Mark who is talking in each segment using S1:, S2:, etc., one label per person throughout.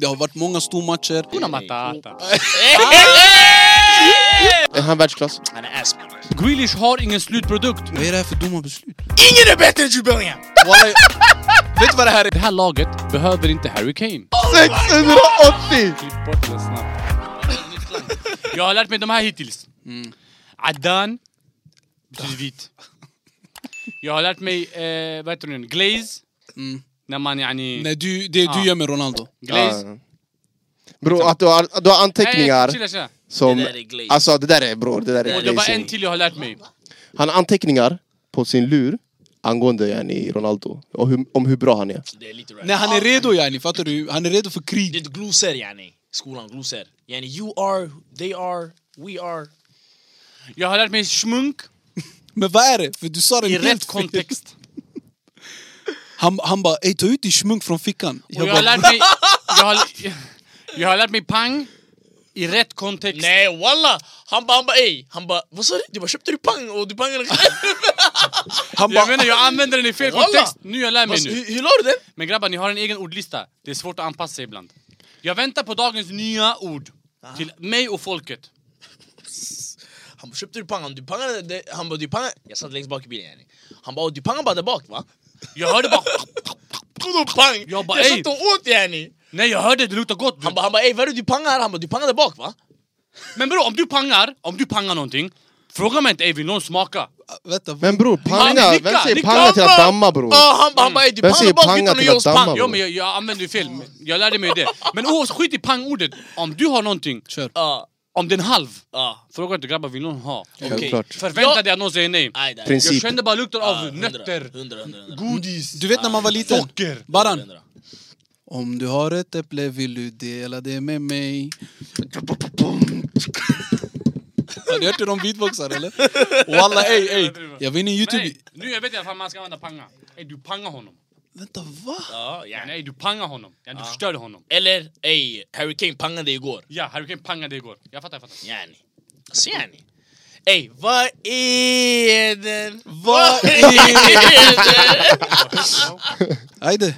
S1: Det har varit många stormatcher.
S2: Kuna Matata.
S3: Är han världsklass?
S2: Han är ass. Grealish har ingen slutprodukt.
S1: Vad är det här för dumma beslut?
S4: Ingen är bättre än Jubilian!
S1: Walla, Vet du vad det här är?
S2: Det här laget behöver inte Harry Kane.
S4: Oh,
S3: 680!
S2: Klipp bort den snabbt. Jag har lärt mig de här hittills.
S1: Mm.
S2: Addan. Betyder vit. Jag har lärt mig, eh, vad heter den? Glaze.
S1: Mm.
S2: När man yani...
S1: Nej, du, det
S2: Ah.
S1: du gör med Ronaldo.
S2: Glaze.
S3: Ja. Bror, att du har, att du
S2: Liksom-
S3: har
S2: Nej,
S3: anteckningar
S2: chilla, chilla.
S3: som...
S4: Det där är glaze.
S3: Alltså det där är bror, det där
S4: Det
S3: är
S2: Och det var
S3: glazing.
S2: en till jag har lärt mig.
S3: Han har anteckningar på sin lur angående yani Ronaldo och hur, om hur bra han är.
S4: Det är lite right.
S1: Nej, han är redo yani, fattar du? Han är redo för
S4: Det är
S1: krig.
S4: ett glosor yani. Skolan, glosor. Yani you are, they are, we are.
S2: Jag har lärt mig schmunk
S1: Men vad är det? För du sa det
S2: i
S1: helt
S2: rätt
S1: fel.
S2: kontext.
S1: Han, han bara, ey ta ut din schmunk från fickan.
S2: Och jag har lärt mig... Jag har, jag har lärt mig pang i rätt kontext.
S4: Nej walla! Han bara, han bara ey. Han bara, vad sa du? Du bara, köpte du pang? Och du pangade
S1: han bara,
S2: Jag menar, jag använder den i fel
S4: Walla!
S2: kontext. Nu jag lär mig nu.
S4: Alltså, Hur hur la du den?
S2: Men grabbar, ni har en egen ordlista. Det är svårt att anpassa sig ibland. Jag väntar på dagens nya ord. Till mig och folket.
S4: Han bara, köpte du pang? Han bara, Du pangade, det- han bara, du pangade. Jag satt längst bak i bilen yani. Han bara, "Och du pangade bara där bak va?
S2: Jag hörde bara...
S4: Vadå pang?
S2: Jag bara,
S4: jag
S2: ey.
S4: satt och åt yani.
S2: Nej, jag hörde det luktar gott.
S4: Han bara, han bara ey vad är det du pangar? Han bara, du pangar där bak va?
S2: Men bror, om du pangar, om du pangar någonting, fråga mig inte ey, vill någon smaka?
S1: vänta.
S3: Men bror,
S2: Ja,
S3: panga!
S2: nicka,
S3: Vem säger
S2: nicka.
S3: panga till att damma bror?
S2: Ah,
S4: Ja, han bara, han bara ey du
S3: Vem
S4: pangar
S3: Mm. säger
S4: där bak
S3: panga
S4: utan att
S3: till
S4: ge
S3: att
S4: oss
S3: damma,
S4: pang.
S3: bro?
S2: Ja, men jag, jag använder ju fel. Jag lärde mig det. Men oavsett, skit i pangordet. Om du har någonting,
S1: Kör.
S4: Ja,
S2: om det är en halv,
S4: ja.
S2: fråga inte grabbar, vill någon ha?
S4: Okej.
S3: Självklart.
S2: Förvänta
S4: Ja.
S2: dig att någon säger nej.
S4: Aj, där.
S3: Prins-
S2: Jag
S3: Princip.
S2: kände bara lukten
S4: Ja,
S2: av
S4: hundra,
S2: nötter,
S4: hundra, hundra, hundra.
S2: godis.
S1: Du vet när man var liten?
S2: Socker.
S1: Baran.
S4: Hundra.
S1: Om du har ett äpple vill du dela det med mig. Har du hört hur de beatboxar eller? Walla ey ey. Jag vinner youtube.
S2: Nej, nu jag vet jag fan man ska använda panga. Ey, du pangar honom.
S1: Vänta va?
S4: Ja, ja.
S2: Ja, nej, du pangar honom. Ja, du förstörde honom.
S4: Eller ey, Harry Kane pangade igår.
S2: Ja, Harry Kane pangade igår. Jag fattar, jag fattar.
S4: Yani. Alltså yani. Ey, vad är den?
S1: Vad
S4: är den?
S1: Ajde.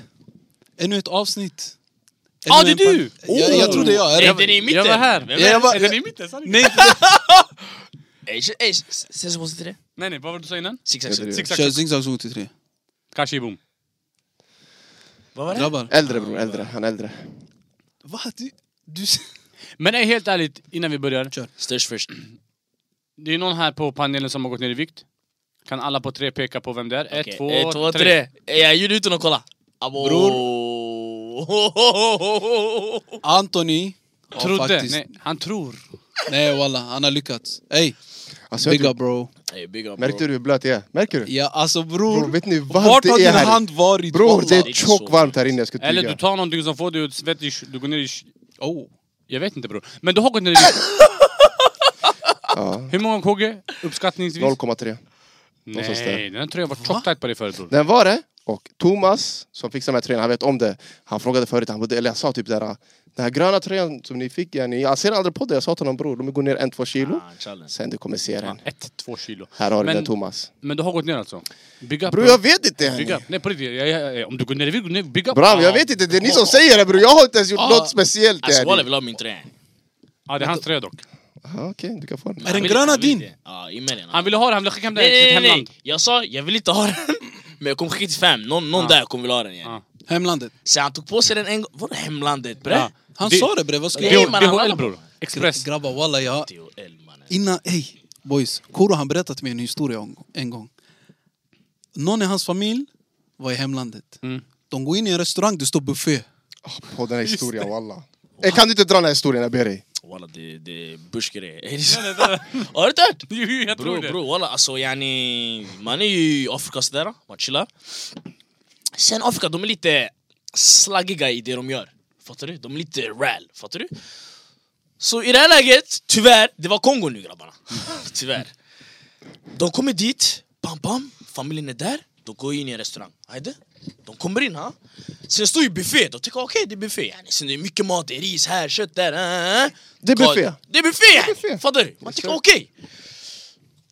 S1: Ännu ett avsnitt.
S2: Ja,
S1: Ännu
S2: det är
S1: en
S2: du! Oh!
S1: pan- Jag, jag tror det är jag. Är
S4: Ey,
S1: det-
S4: den är i mitten.
S2: Jag var här.
S4: Vem är
S1: Ja, jag
S4: den?
S1: var-
S2: Är den i mitten? sa ni?
S1: Nej, inte det.
S4: Ey, kö- ey, ses vad heter det?
S2: Nej, nej, vad var det du sa innan?
S4: Six Axel.
S3: Ja, det är det.
S2: Zigzag.
S1: Kör zigzag zon till tre.
S2: Kanske i boom.
S4: Vad var det?
S1: Grabbar.
S3: Äldre bror, äldre. Han är äldre.
S1: Va? Du... du...
S2: Men nej, helt ärligt, innan vi börjar.
S4: Störst först.
S2: Det är någon här på panelen som har gått ner i vikt. Kan alla på tre peka på vem det är? Ett,
S4: Okej,
S2: två,
S4: ett, två,
S2: tre.
S4: tre. Ey, jag gjorde utan att kolla. Abo.
S1: Bror. Anthony har
S2: Trodde.
S1: faktiskt...
S2: Nej, han tror.
S1: Nej walla, han har lyckats. Ey,
S3: Alltså, jag
S1: big
S3: tror,
S1: up bro.
S4: Ey, big up
S3: märkte
S4: bro.
S3: du hur blöt jag är? Märker du?
S1: Ja alltså bror.
S3: Bror, vet ni hur varmt
S1: Vart
S3: det
S1: har
S3: är
S1: din
S3: här?
S1: hand varit?
S3: Bror,
S1: walla?
S3: det
S4: Det
S3: är
S4: är så
S3: tjock varmt här inne, jag ska
S2: Eller du
S3: tyga.
S2: tar någonting som får dig att svettig... Du går ner i...
S1: Oh.
S2: Jag vet inte bror. Men du har gått ner i vikt.
S3: Ja,
S2: Hur många KG? Uppskattningsvis?
S3: 0,3. någonstans
S2: Nej,
S3: där.
S2: den här tröjan var tjockt tajt på dig förut bror.
S3: Den var det. Och Thomas, som fixade den här tröjan, han vet om det. Han frågade förut, han bodde, eller jag sa typ där, den här gröna tröjan som ni fick, yani, jag ser aldrig på det. Jag sa till honom bror, de går ner en, två kilo.
S4: Ah, challenge.
S3: Sen du kommer se den.
S2: Ett, två kilo.
S3: Här har du
S2: Men-
S3: den Thomas.
S2: Men du har gått ner alltså? Big up
S3: Bror
S2: bror.
S3: jag vet inte!
S2: Big
S3: yani.
S2: up. Nej på riktigt, jag, jag, jag, om du går ner i vikt, gå ner, big up.
S3: Bram, jag vet inte, det är ni som säger det bror. Jag har inte ens gjort
S1: Ja.
S3: något speciellt.
S4: Alltså walla
S3: yani.
S4: vill ha min tröja.
S2: Ja, det är hans tröja dock.
S3: Aha, Okej, du kan få den.
S1: Är den
S4: Han vill-
S1: gröna
S4: han vill
S1: din?
S4: inte. Ja, i mellan.
S2: Han ville ha den, han ville skicka hem den till
S4: Nej,
S2: sitt
S4: nej, nej, nej.
S2: hemland.
S4: Jag sa jag vill inte ha den, men jag kommer skicka till fem. Någon, någon
S2: Ah.
S4: där kommer vilja ha den igen.
S2: Ah.
S1: Hemlandet.
S4: Så han tog på sig den en gång. Vadå hemlandet bre?
S2: Ja.
S1: Han
S2: Det-
S1: sa det bre, vad ska
S4: Nej,
S1: jag...
S4: men han
S2: DHL
S4: handlar
S2: bror. Express.
S1: Grabbar walla jag...
S4: DHL mannen.
S1: Innan, ey boys. Koro han berättat till mig en historia om- en gång. Någon i hans familj var i hemlandet.
S2: Mm.
S1: De går in i en restaurang, det står buffé.
S3: På den här historien, walla. Eh, Kan du inte dra den här historien, jag ber dig?
S4: Walla det, det är börsgrej. Har du inte hört?
S2: Jo, jo, jag tror
S4: Bror
S2: det.
S4: bror walla alltså yani, man är ju i Afrika sådär, man chillar. Sen Afrika de är lite slaggiga i det de gör. Fattar du? De är lite räl, fattar du? Så i det här läget, tyvärr, det var Kongo nu grabbarna. tyvärr. De kommer dit, bam bam, familjen är där, de går in i en restaurang. Ajde. De kommer in, ha? sen står ju buffé, de tänker okej det är buffé. Yani. Sen det är mycket mat, det är ris här, kött där. äh, äh.
S3: Det är buffé.
S4: Det är buffé!
S3: buffé.
S4: yani. Fattar du? Man
S3: Yes,
S4: tycker
S3: sir.
S4: okej.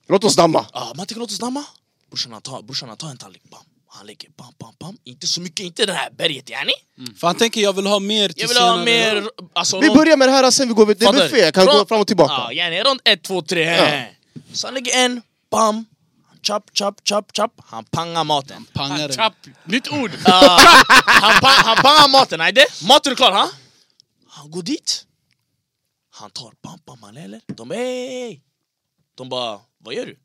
S3: Låt oss damma!
S4: Ja, man tänker låt oss damma. Brorsan han tar, brorsan han tar en tallrik, bam. Han Han lägger bam, bam, bam. Inte så mycket, inte det här berget yani.
S1: För han tänker jag vill ha mer till
S4: Jag vill ha
S1: senare.
S4: mer... Alltså,
S3: Vi
S4: rond-
S3: börjar med det här, sen vi går vid... Det är
S4: Fattar
S3: buffé,
S4: du?
S3: jag kan gå
S4: Rond-
S3: fram och
S4: Ja,
S3: tillbaka.
S4: yani rond ett, två, tre.
S3: Ja.
S4: Så han lägger en, bam. Chop, chop, chop, chop. Han pangar maten.
S1: Pangar den.
S2: Chapp, Ah, nytt ord!
S4: Ah, han, pa- han pangar maten, ajde. Maten är klar, ha? Han går dit. Han tar bam, bam, han häller. De bara, "Hey, hey, hey." De bara, vad gör du?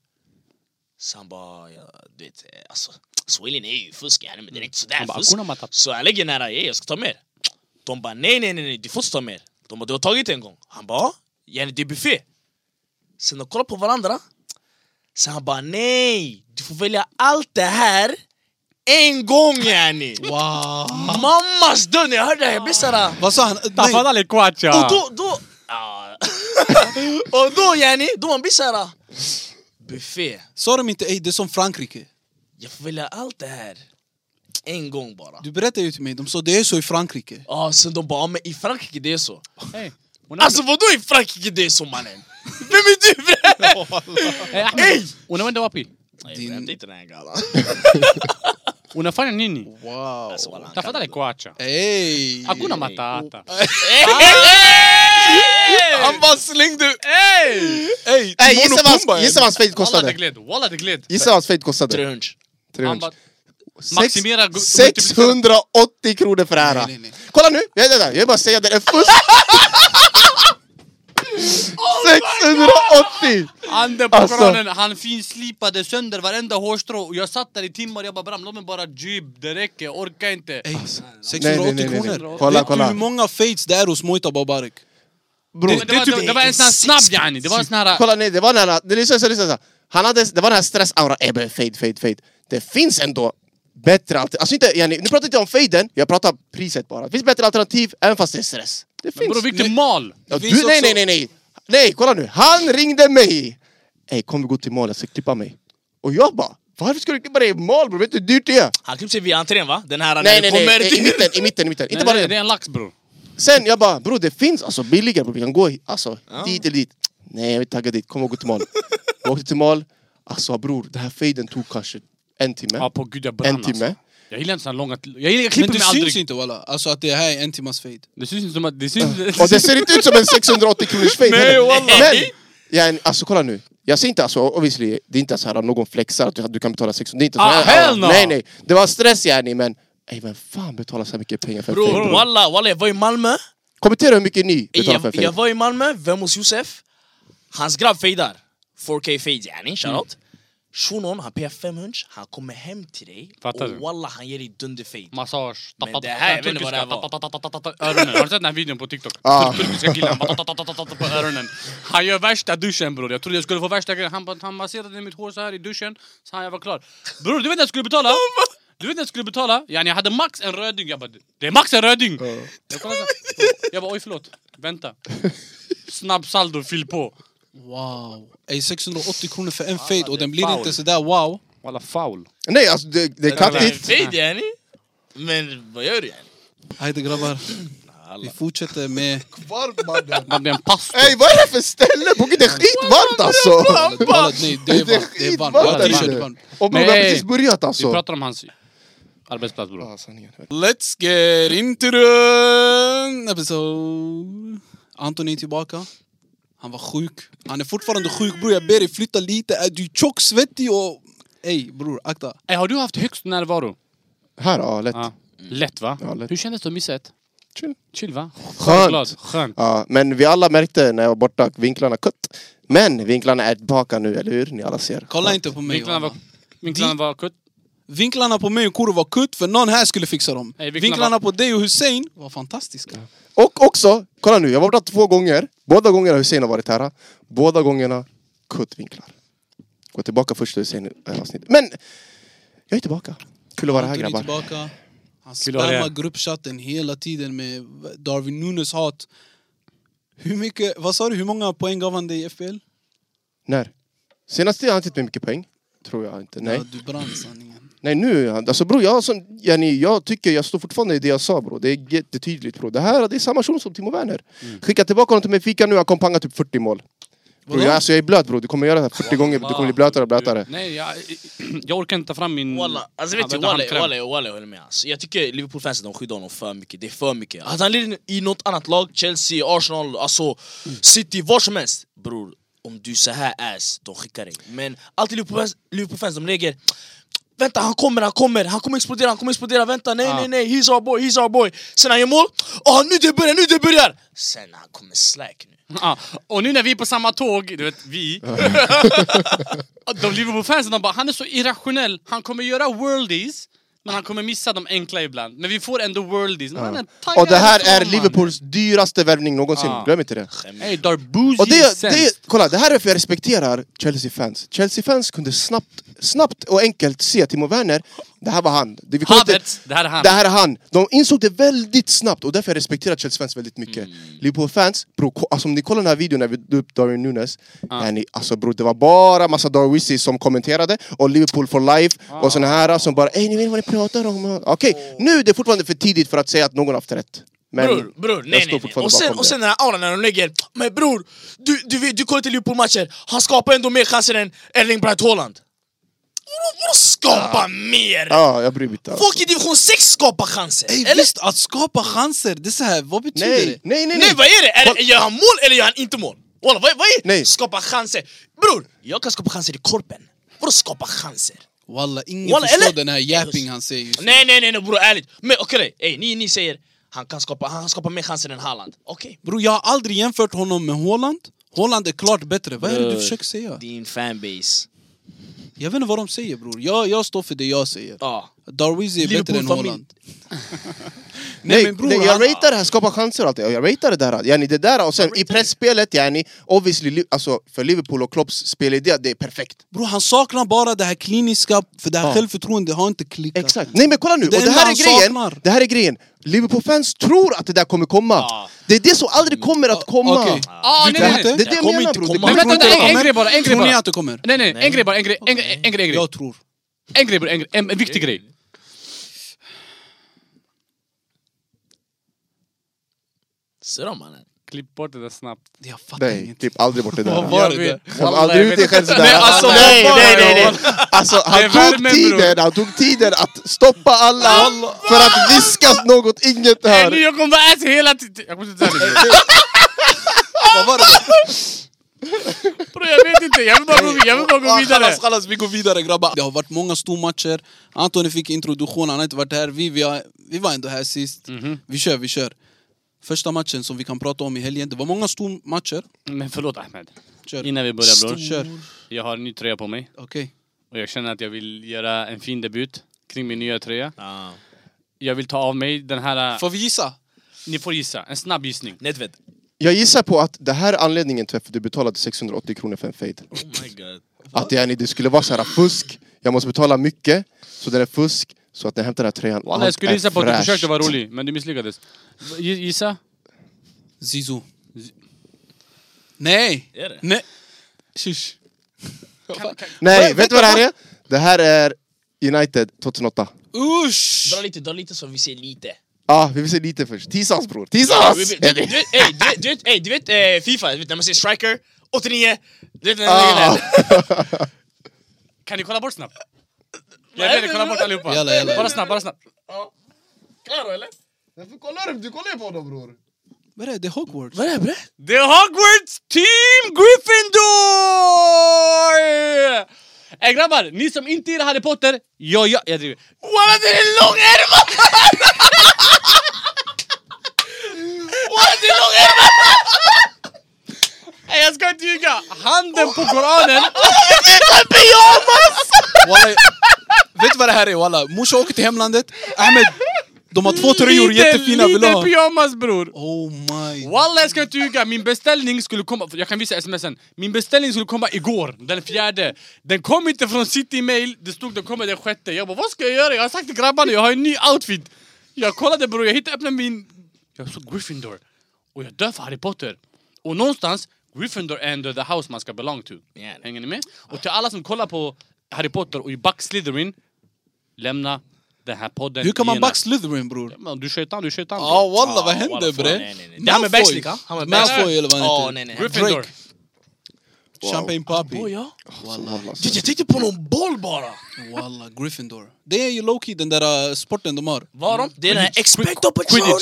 S4: Så han bara, ja, du vet, eh, alltså, swahilin är ju fusk, yani, men det är inte sådär
S2: Han bara,
S4: fusk.
S2: "Hakuna matata."
S4: Så han lägger nära, "Hey, jag ska ta mer. De bara, nej, nej, nej, nej, du får inte ta mer. De bara, du har tagit en gång. Han bara, "Ja, yani det är buffé. Sen de kollar på varandra. Så han bara, nej, du får välja allt det här en gång yani.
S1: Wow.
S4: Mammas död, när jag hörde det här, jag blev såhär...
S1: Vad sa han?
S2: Tafana
S1: Nej.
S2: le kwacha!
S4: Och då, då... Ja. och då yani, då man blir såhär... Buffé,
S1: Sa de inte ey det är som Frankrike?
S4: jag får välja allt det här en gång bara.
S1: Du berättade ju till mig, de sa det är så i Frankrike.
S4: Ja, sen de bara, "Ja, men i Frankrike det är så.
S2: Hey,
S4: Alltså vadå i Frankrike det är så mannen? Vem är du bre?
S2: Hey! Unaenda wapi?
S4: Nej,
S1: Din-
S4: jag inte den här galan.
S2: Unafanya nini?
S1: Wow.
S4: Alltså, wallah, han kan-
S2: Tafadhali le kwacha!
S1: Ey!
S2: Hakuna matata!
S4: Han bara slängde...
S1: Ey!
S3: Nej, Eh, gissa
S1: Mono
S3: vad
S1: Pumba,
S3: hans- Gissa vad hans
S2: Walla
S3: fade
S2: det
S3: kostade.
S2: gled, walla det gled!
S3: Gissa vad hans fade kostade.
S4: 300.
S2: Han
S3: 300.
S2: bara,
S3: Sex-
S2: maximera gu-
S3: 680 kronor för det här.
S1: Nej, nej, nej.
S3: Kolla nu! Jag, jag, jag vill bara säga det är fusk! 680!
S2: Ande på
S3: Alltså.
S2: kranen, han finslipade sönder varenda hårstrå och jag satt där i timmar, jag bara bram, låt mig bara jib, det räcker, jag orkar inte
S1: Ey, 680
S3: Nej, nej, nej, nej.
S1: kronor.
S3: Kolla,
S1: Vet
S3: kolla.
S1: du hur många fades det är hos Mojta Babarek?
S3: Bror, typ
S2: det, det, var, det, var en sån här snabb yani, det var en sån här...
S3: kolla nej, det var den här... Det, lyssna, lyssna, lyssna. Han hade, det var den här stressauran, ebbe, fade, fade, fade. Det finns ändå bättre alternativ. Alltså inte, yani, nu pratar jag inte om faden, jag pratar priset bara. Det finns bättre alternativ även fast det är stress. Det finns.
S2: Bror Viktor mal!
S3: Ja,
S1: Det
S3: du,
S1: finns
S3: nej,
S1: också-
S3: nej, nej, nej! Nej, kolla nu! Han ringde mig! Ey, kom vi gå till mål, jag ska klippa mig. Och jag bara, varför ska du klippa dig i mål bror? Vet du hur dyrt det är?
S4: Han klippte sig vid entrén va? Den här
S3: Nej,
S4: när
S3: nej,
S4: det
S3: nej,
S4: kommer
S3: nej, i mitten, i mitten, i mitten. Inte bara
S2: Nej, Det
S3: det.
S2: är en lax bror!
S3: Sen jag bara, bror det finns alltså billigare bror, vi kan gå hit, alltså, dit eller dit. Nej, jag vill tagga dit, kom och gå till mål. Jag åkte till mål, alltså bror, den här faden tog kanske en timme.
S2: Ja på gud jag brann
S3: en timme.
S2: Jag gillar inte såna långa... Jag, gillar, jag
S1: Men
S2: klipper
S1: det
S2: mig
S1: syns
S2: aldrig!
S1: inte walla, alltså att det här är en timmas fade.
S2: Det syns inte som att... Det syns...
S3: Och det ser inte ut som en 680 kronors fade
S2: Nej,
S3: heller.
S2: wallah.
S3: Men, ja, alltså kolla nu. Jag säger inte alltså, obviously, det är inte så här att någon flexar att du, att du kan betala 600. Det är inte så
S2: Ah,
S3: här.
S2: hell no!
S3: Nej, nej. Det var stress yani, men ey, vem fan betalar så här mycket pengar för en
S4: Bror,
S3: fade?
S4: walla, walla jag var i Malmö
S3: Kommentera hur mycket ni betalar för en
S4: jag, jag
S3: fade.
S4: var i Malmö, vem hos Josef? Hans grabb fejdar. 4K fade yani,
S2: Mm.
S4: shoutout. Shunon, han payar 500, han kommer hem till dig
S2: Fattar du?
S4: och walla han ger dig dunderfade.
S2: Massage...
S4: Men det här, jag vet inte vad det här var.
S2: var. Öronen. Har du sett den här videon på TikTok?
S3: Ja.
S2: Turkiska killen bara tatatatatata på öronen. Han gör värsta duschen bror. Jag trodde jag skulle få värsta grejen. Han, bara- han masserade mitt hår så här i duschen. Så han jag var klar. Bror du vet när jag skulle betala? Du vet när jag skulle betala? Yani jag hade max en röding. Jag bara det är max en röding. Jag, kollade så här. jag bara oj förlåt. Vänta. Snabb saldo fyll på.
S1: Wow. Ey, 680 kronor för en fade och
S2: det är
S1: den blir
S2: foul.
S1: inte sådär wow.
S2: Walla foul.
S3: Nej, alltså det, det är
S4: Det är en
S3: klattigt.
S4: fade yani. Men vad gör du yani?
S1: Hejde grabbar. Vi fortsätter med...
S2: Man blir en pastor.
S3: Ey, vad är det för ställe? På Gud, det är skitvarmt alltså!
S1: Walla, Nej, det är varmt. Det är varmt. Jag har
S2: skitvarmt.
S1: t-shirt, det är varmt.
S3: Och bror, vi har
S2: Nej.
S3: precis börjat
S2: Vi
S3: alltså.
S2: pratar om hans arbetsplats bror.
S3: Ja, sanningen.
S1: Let's get into the episode. Anton är tillbaka. Han var sjuk. Han är fortfarande sjuk bror. Jag ber dig flytta lite. Är du tjock, svettig och... Ey bror, akta.
S2: Eh, Har du haft högst närvaro?
S3: Här, ja, lätt.
S2: Ja. Lätt va?
S3: Ja, lätt.
S2: Hur kändes det att missa ett?
S3: Chill.
S2: Chill va?
S3: Skönt.
S2: Glad. Skönt.
S3: Ja, men vi alla märkte när jag var borta att vinklarna kutt. Men vinklarna är tillbaka nu, eller hur? Ni alla ser.
S1: Kolla inte på mig.
S2: Vinklarna var,
S1: Vinklarna,
S2: vinklarna var kutt.
S1: vinklarna på mig och Kuro var kutt för någon här skulle fixa dem.
S2: Nej,
S1: vinklarna
S2: vinklarna
S1: på dig och Hussein var fantastiska.
S3: Och också, kolla nu, jag var borta två gånger. Båda gångerna Hussein har varit här. Båda gångerna kuttvinklar. Gå tillbaka först till Hussein-avsnittet. Men! Jag är tillbaka. Kul att vara här
S1: Anton är
S3: grabbar.
S1: tillbaka. Han
S2: Kul att ha dig
S1: spammar
S2: här.
S1: gruppchatten hela tiden med Darwin Nunes hat. Hur mycket, vad sa du, hur många poäng gav han dig i FPL?
S3: När? Senast har han inte med mycket poäng. Tror jag inte. Nej.
S1: Ja, du brann sanningen.
S3: Nej nu, alltså bror jag, som, yani, jag tycker, jag står fortfarande i det jag sa bror. Det är jättetydligt bror. Det här det är samma person som Timo Werner. Skicka tillbaka honom till mig fika nu, han kommer panga typ 40 mål. Bro, jag, alltså, jag är blöt bror, du kommer göra det här 40 gånger, du kommer bli blötare och blötare.
S2: Nej, jag, jag orkar inte ta fram min...
S4: Walla, alltså vet du,
S2: använda
S4: Walla,
S2: handkräm.
S4: Walla, Walla, jag håller med alltså. Jag tycker Liverpool-fansen de skyddar honom för mycket, det är för mycket Hade han lirat i något annat lag, Chelsea, Arsenal, alltså City, var som helst Bror, om du är så här ass, de skickar dig Men alltid Liverpool-fans, Liverpool-fans de lägger Vänta, han kommer, han kommer, han kommer explodera, han kommer explodera, vänta, nej,
S2: Ah.
S4: nej, nej, he's our boy, he's our boy Sen han gör mål, ah nu det börjar, nu det börjar! Sen han kommer slack nu
S2: Ja, och nu när vi är på samma tåg, du vet, vi... de Liverpool-fansen, de bara han är så irrationell, han kommer göra worldies men han kommer missa de enkla ibland. Men vi får ändå worldies. Men han är taggad
S3: Och det här
S2: som
S3: är
S2: fan.
S3: Liverpools dyraste värvning någonsin,
S2: Ja.
S3: glöm inte det.
S2: Ey, Darbuzi
S3: Och det,
S2: sämst.
S3: det, kolla, det här är för jag respekterar Chelsea-fans. Chelsea-fans kunde snabbt, snabbt och enkelt se Timo Werner, det här var han. Det, vi kommer inte-
S2: Havertz, det här är han.
S3: Det här är han. De insåg det väldigt snabbt och därför jag respekterar Chelsea-fans väldigt mycket.
S4: Mm.
S3: Liverpool-fans, bro, ko- alltså om ni kollar den här videon när vi tog upp Darwin Nunes, ah. ni, alltså bro, det var bara massa Darwisi som kommenterade och Liverpool for life och såna här som bara ey ni vet vad ni pratar om. Okej, nu är det fortfarande för tidigt för att säga att någon har haft rätt. Men
S4: bror, bror,
S3: jag
S4: nej, nej,
S3: står
S4: nej.
S3: fortfarande
S4: Och sen,
S3: bakom
S4: och
S3: det.
S4: sen den här auran när de lägger Men bror, du, du, vet, du kollar till Liverpool-matcher Han skapar ändå mer chanser än Erling Braut Haaland Vadå- Vadå skapa mer?
S3: Ja, jag bryr mig inte. alls.
S4: Folk i division 6 skapar chanser!
S1: Ey,
S4: eller?
S1: visst, att skapa chanser, det är så här, vad betyder det?
S3: Nej, nej, nej,
S4: Nej
S3: nej.
S4: vad är det? Är, det- gör han mål eller gör han inte mål? Walla, vad, vad är det?
S3: Nej.
S4: Skapa chanser! Bror, jag kan skapa chanser i korpen Vadå skapa chanser?
S1: Walla, ingen
S4: Walla,
S1: förstår
S4: eller?
S1: den här yapping han säger just nu.
S4: Nej nej nej, nej bror, ärligt Men okej, ey, ni, ni säger han kan skapa, han skapar mer chanser än Haaland Okej
S1: Bro, jag har aldrig jämfört honom med Holland. Holland är klart bättre. Vad är det du
S4: Bror.
S1: försöker säga?
S4: Din fanbase
S1: Jag vet inte vad de säger bror. Jag, jag står för det jag säger.
S4: Ja
S1: Darwizi är bättre än
S4: Liverpool-familj.
S1: Holland.
S3: Nej,
S1: men bror,
S3: nej, jag
S1: han-
S3: ratear det här, skapa chanser och allt det. Jag ratear det där. Yani det där och sen i pressspelet, yani, obviously, Li- alltså, för Liverpool och Klopps spelidé, det är perfekt.
S1: Bror han saknar bara det här kliniska, för det här
S3: Ja.
S1: självförtroendet har inte klickat.
S3: Exakt. Nej men kolla nu,
S1: Det
S3: och det
S1: enda
S3: här är
S1: han
S3: grejen.
S1: saknar.
S3: Det här är grejen. Liverpool-fans tror att det där kommer komma.
S4: Ja.
S3: Det är det som aldrig kommer att komma.
S1: Okej.
S2: Ah,
S1: Du
S2: nej,
S1: tror
S2: nej,
S3: Det
S1: inte?
S3: är det jag
S4: kommer
S3: menar
S4: inte
S3: bror. Det
S4: komma.
S2: Men
S3: kommer-
S1: Tror inte
S2: vänta,
S1: det
S2: vänta, en
S1: kommer?
S2: grej bara, en grej
S1: Tror ni
S2: bara.
S1: att det kommer?
S2: Nej, nej, en grej bara, en grej, en grej, en grej, en grej.
S1: Jag tror.
S2: En grej bara, en, grej, en, en viktig grej.
S4: Ser du mannen?
S2: Klipp bort det där snabbt.
S1: Jag fattar
S3: Nej,
S1: inget.
S3: typ aldrig bort det
S2: Vad
S3: där.
S2: var
S1: Gör
S2: det?
S1: det.
S3: Skäm aldrig ut dig själv sådär.
S2: Nej, alltså,
S3: nej,
S2: vad
S3: nej,
S2: var
S3: nej,
S2: det?
S3: nej. Alltså,
S2: Det är
S3: han
S2: värmen,
S3: tog
S2: bror.
S3: tiden, han tog tiden att stoppa alla för att viskas något inget
S2: Ey, nu
S3: hör.
S2: jag kommer vara ass hela tiden. Jag kommer inte säga det.
S1: Vad var det?
S2: Bro, jag vet inte, jag vill bara gå, jag vill bara gå
S1: Ah,
S2: vidare.
S1: Kallas, kallas, vi går vidare grabbar. Det har varit många stormatcher. Antoni fick introduktion, han har inte varit här. Vi, vi, har, vi var ändå här sist.
S2: Mhm.
S1: Vi kör, vi kör. Första matchen som vi kan prata om i helgen, det var många stormatcher.
S2: Men förlåt Ahmed.
S1: Kör.
S2: Innan vi börjar bror.
S1: Kör.
S2: Jag har en ny tröja på mig.
S1: Okej.
S2: Och jag känner att jag vill göra en fin debut kring min nya tröja. Jag vill ta av mig den här... äh,
S1: Får vi gissa?
S2: Ni får gissa, en snabb gissning.
S4: Nedved
S3: Jag gissar på att det här är anledningen till att du betalade 680 kronor för en fade.
S4: Oh my god
S3: Att yani, det skulle vara så här fusk, jag måste betala mycket, så det är fusk, så att när jag hämtar den här tröjan och
S2: Alla, jag skulle
S3: är
S2: gissa på att du
S3: fräsch.
S2: försökte vara rolig, men du misslyckades. Gi- Gissa?
S1: Zizou. Nej!
S4: Är det?
S1: Nej! Shush.
S3: Nej, vet du vad det här är? Det här är United 2008.
S1: Usch!
S4: Dra lite, dra lite så vi ser lite
S3: Ja, ah, vi vill se lite först. Tisans bror,
S4: Du
S3: tisans!
S4: vet, du, du, vet- ey, du, vet- du, vet- ey, du vet eh, Fifa, du vet när man ser striker 89 Du vet när
S3: Ah.
S2: Kan ni kolla bort snabbt? Jag ber er kolla bort allihopa.
S1: Jalla, jalla.
S2: Bara snabbt, bara snabbt.
S4: Klaro eller?
S3: Du kollar ju på honom bror!
S1: Vad är det? Det är Hogwarts.
S4: Vad är det bre?
S2: The Hogwarts Team Gryffindor! Ey Eh, grabbar, ni som inte gillar Harry Potter, jag, jag, jag driver.
S4: Walla det är en lång ärva! Walla det är en lång ärva!
S2: Ey jag ska inte ljuga! Handen på Koranen!
S1: Walla, vet du vad det här är walla? Morsan åker till hemlandet. Ahmed, de har två tröjor,
S2: Liten-
S1: jättefina. Vill du
S2: Liten
S1: ha?
S2: pyjamas bror!
S1: Oh my...
S2: Walla jag ska inte ljuga, min beställning skulle komma, jag kan visa smsen Min beställning skulle komma igår, den fjärde Den kom inte från city mail, det stod den kommer den sjätte Jag bara vad ska jag göra? Jag har sagt till grabbarna, jag har en ny outfit Jag kollade bror, jag hittade, öppnade min... Jag såg Gryffindor Och jag dör för Harry Potter Och någonstans, Gryffindor är ändå the house man ska belong to
S4: Yeah.
S2: Hänger ni med? Och till alla som kollar på Harry Potter och i back Slytherin Lämna den här podden
S1: Hur kan man
S2: genast.
S1: back Slytherin bror?
S2: Men Du är shaitan, du är shaitan
S1: Ja
S2: bror.
S1: walla
S4: Ah,
S1: vad
S4: walla,
S1: händer
S4: fan,
S1: bre?
S4: nej, nej, nej. Det här med backslick, ha? Han med backslick.
S1: Malfoy eller vad han
S4: Ja,
S1: heter.
S4: nej, nej.
S2: Gryffindor.
S1: Drake. Champagne poppy.
S4: Boja?
S1: Wallah.
S4: Jag tänkte på någon boll bara!
S1: Wallah, Gryffindor. Det är ju Loki, den där eh, sporten de har.
S4: Var de? Det är den här Expecto Patronum!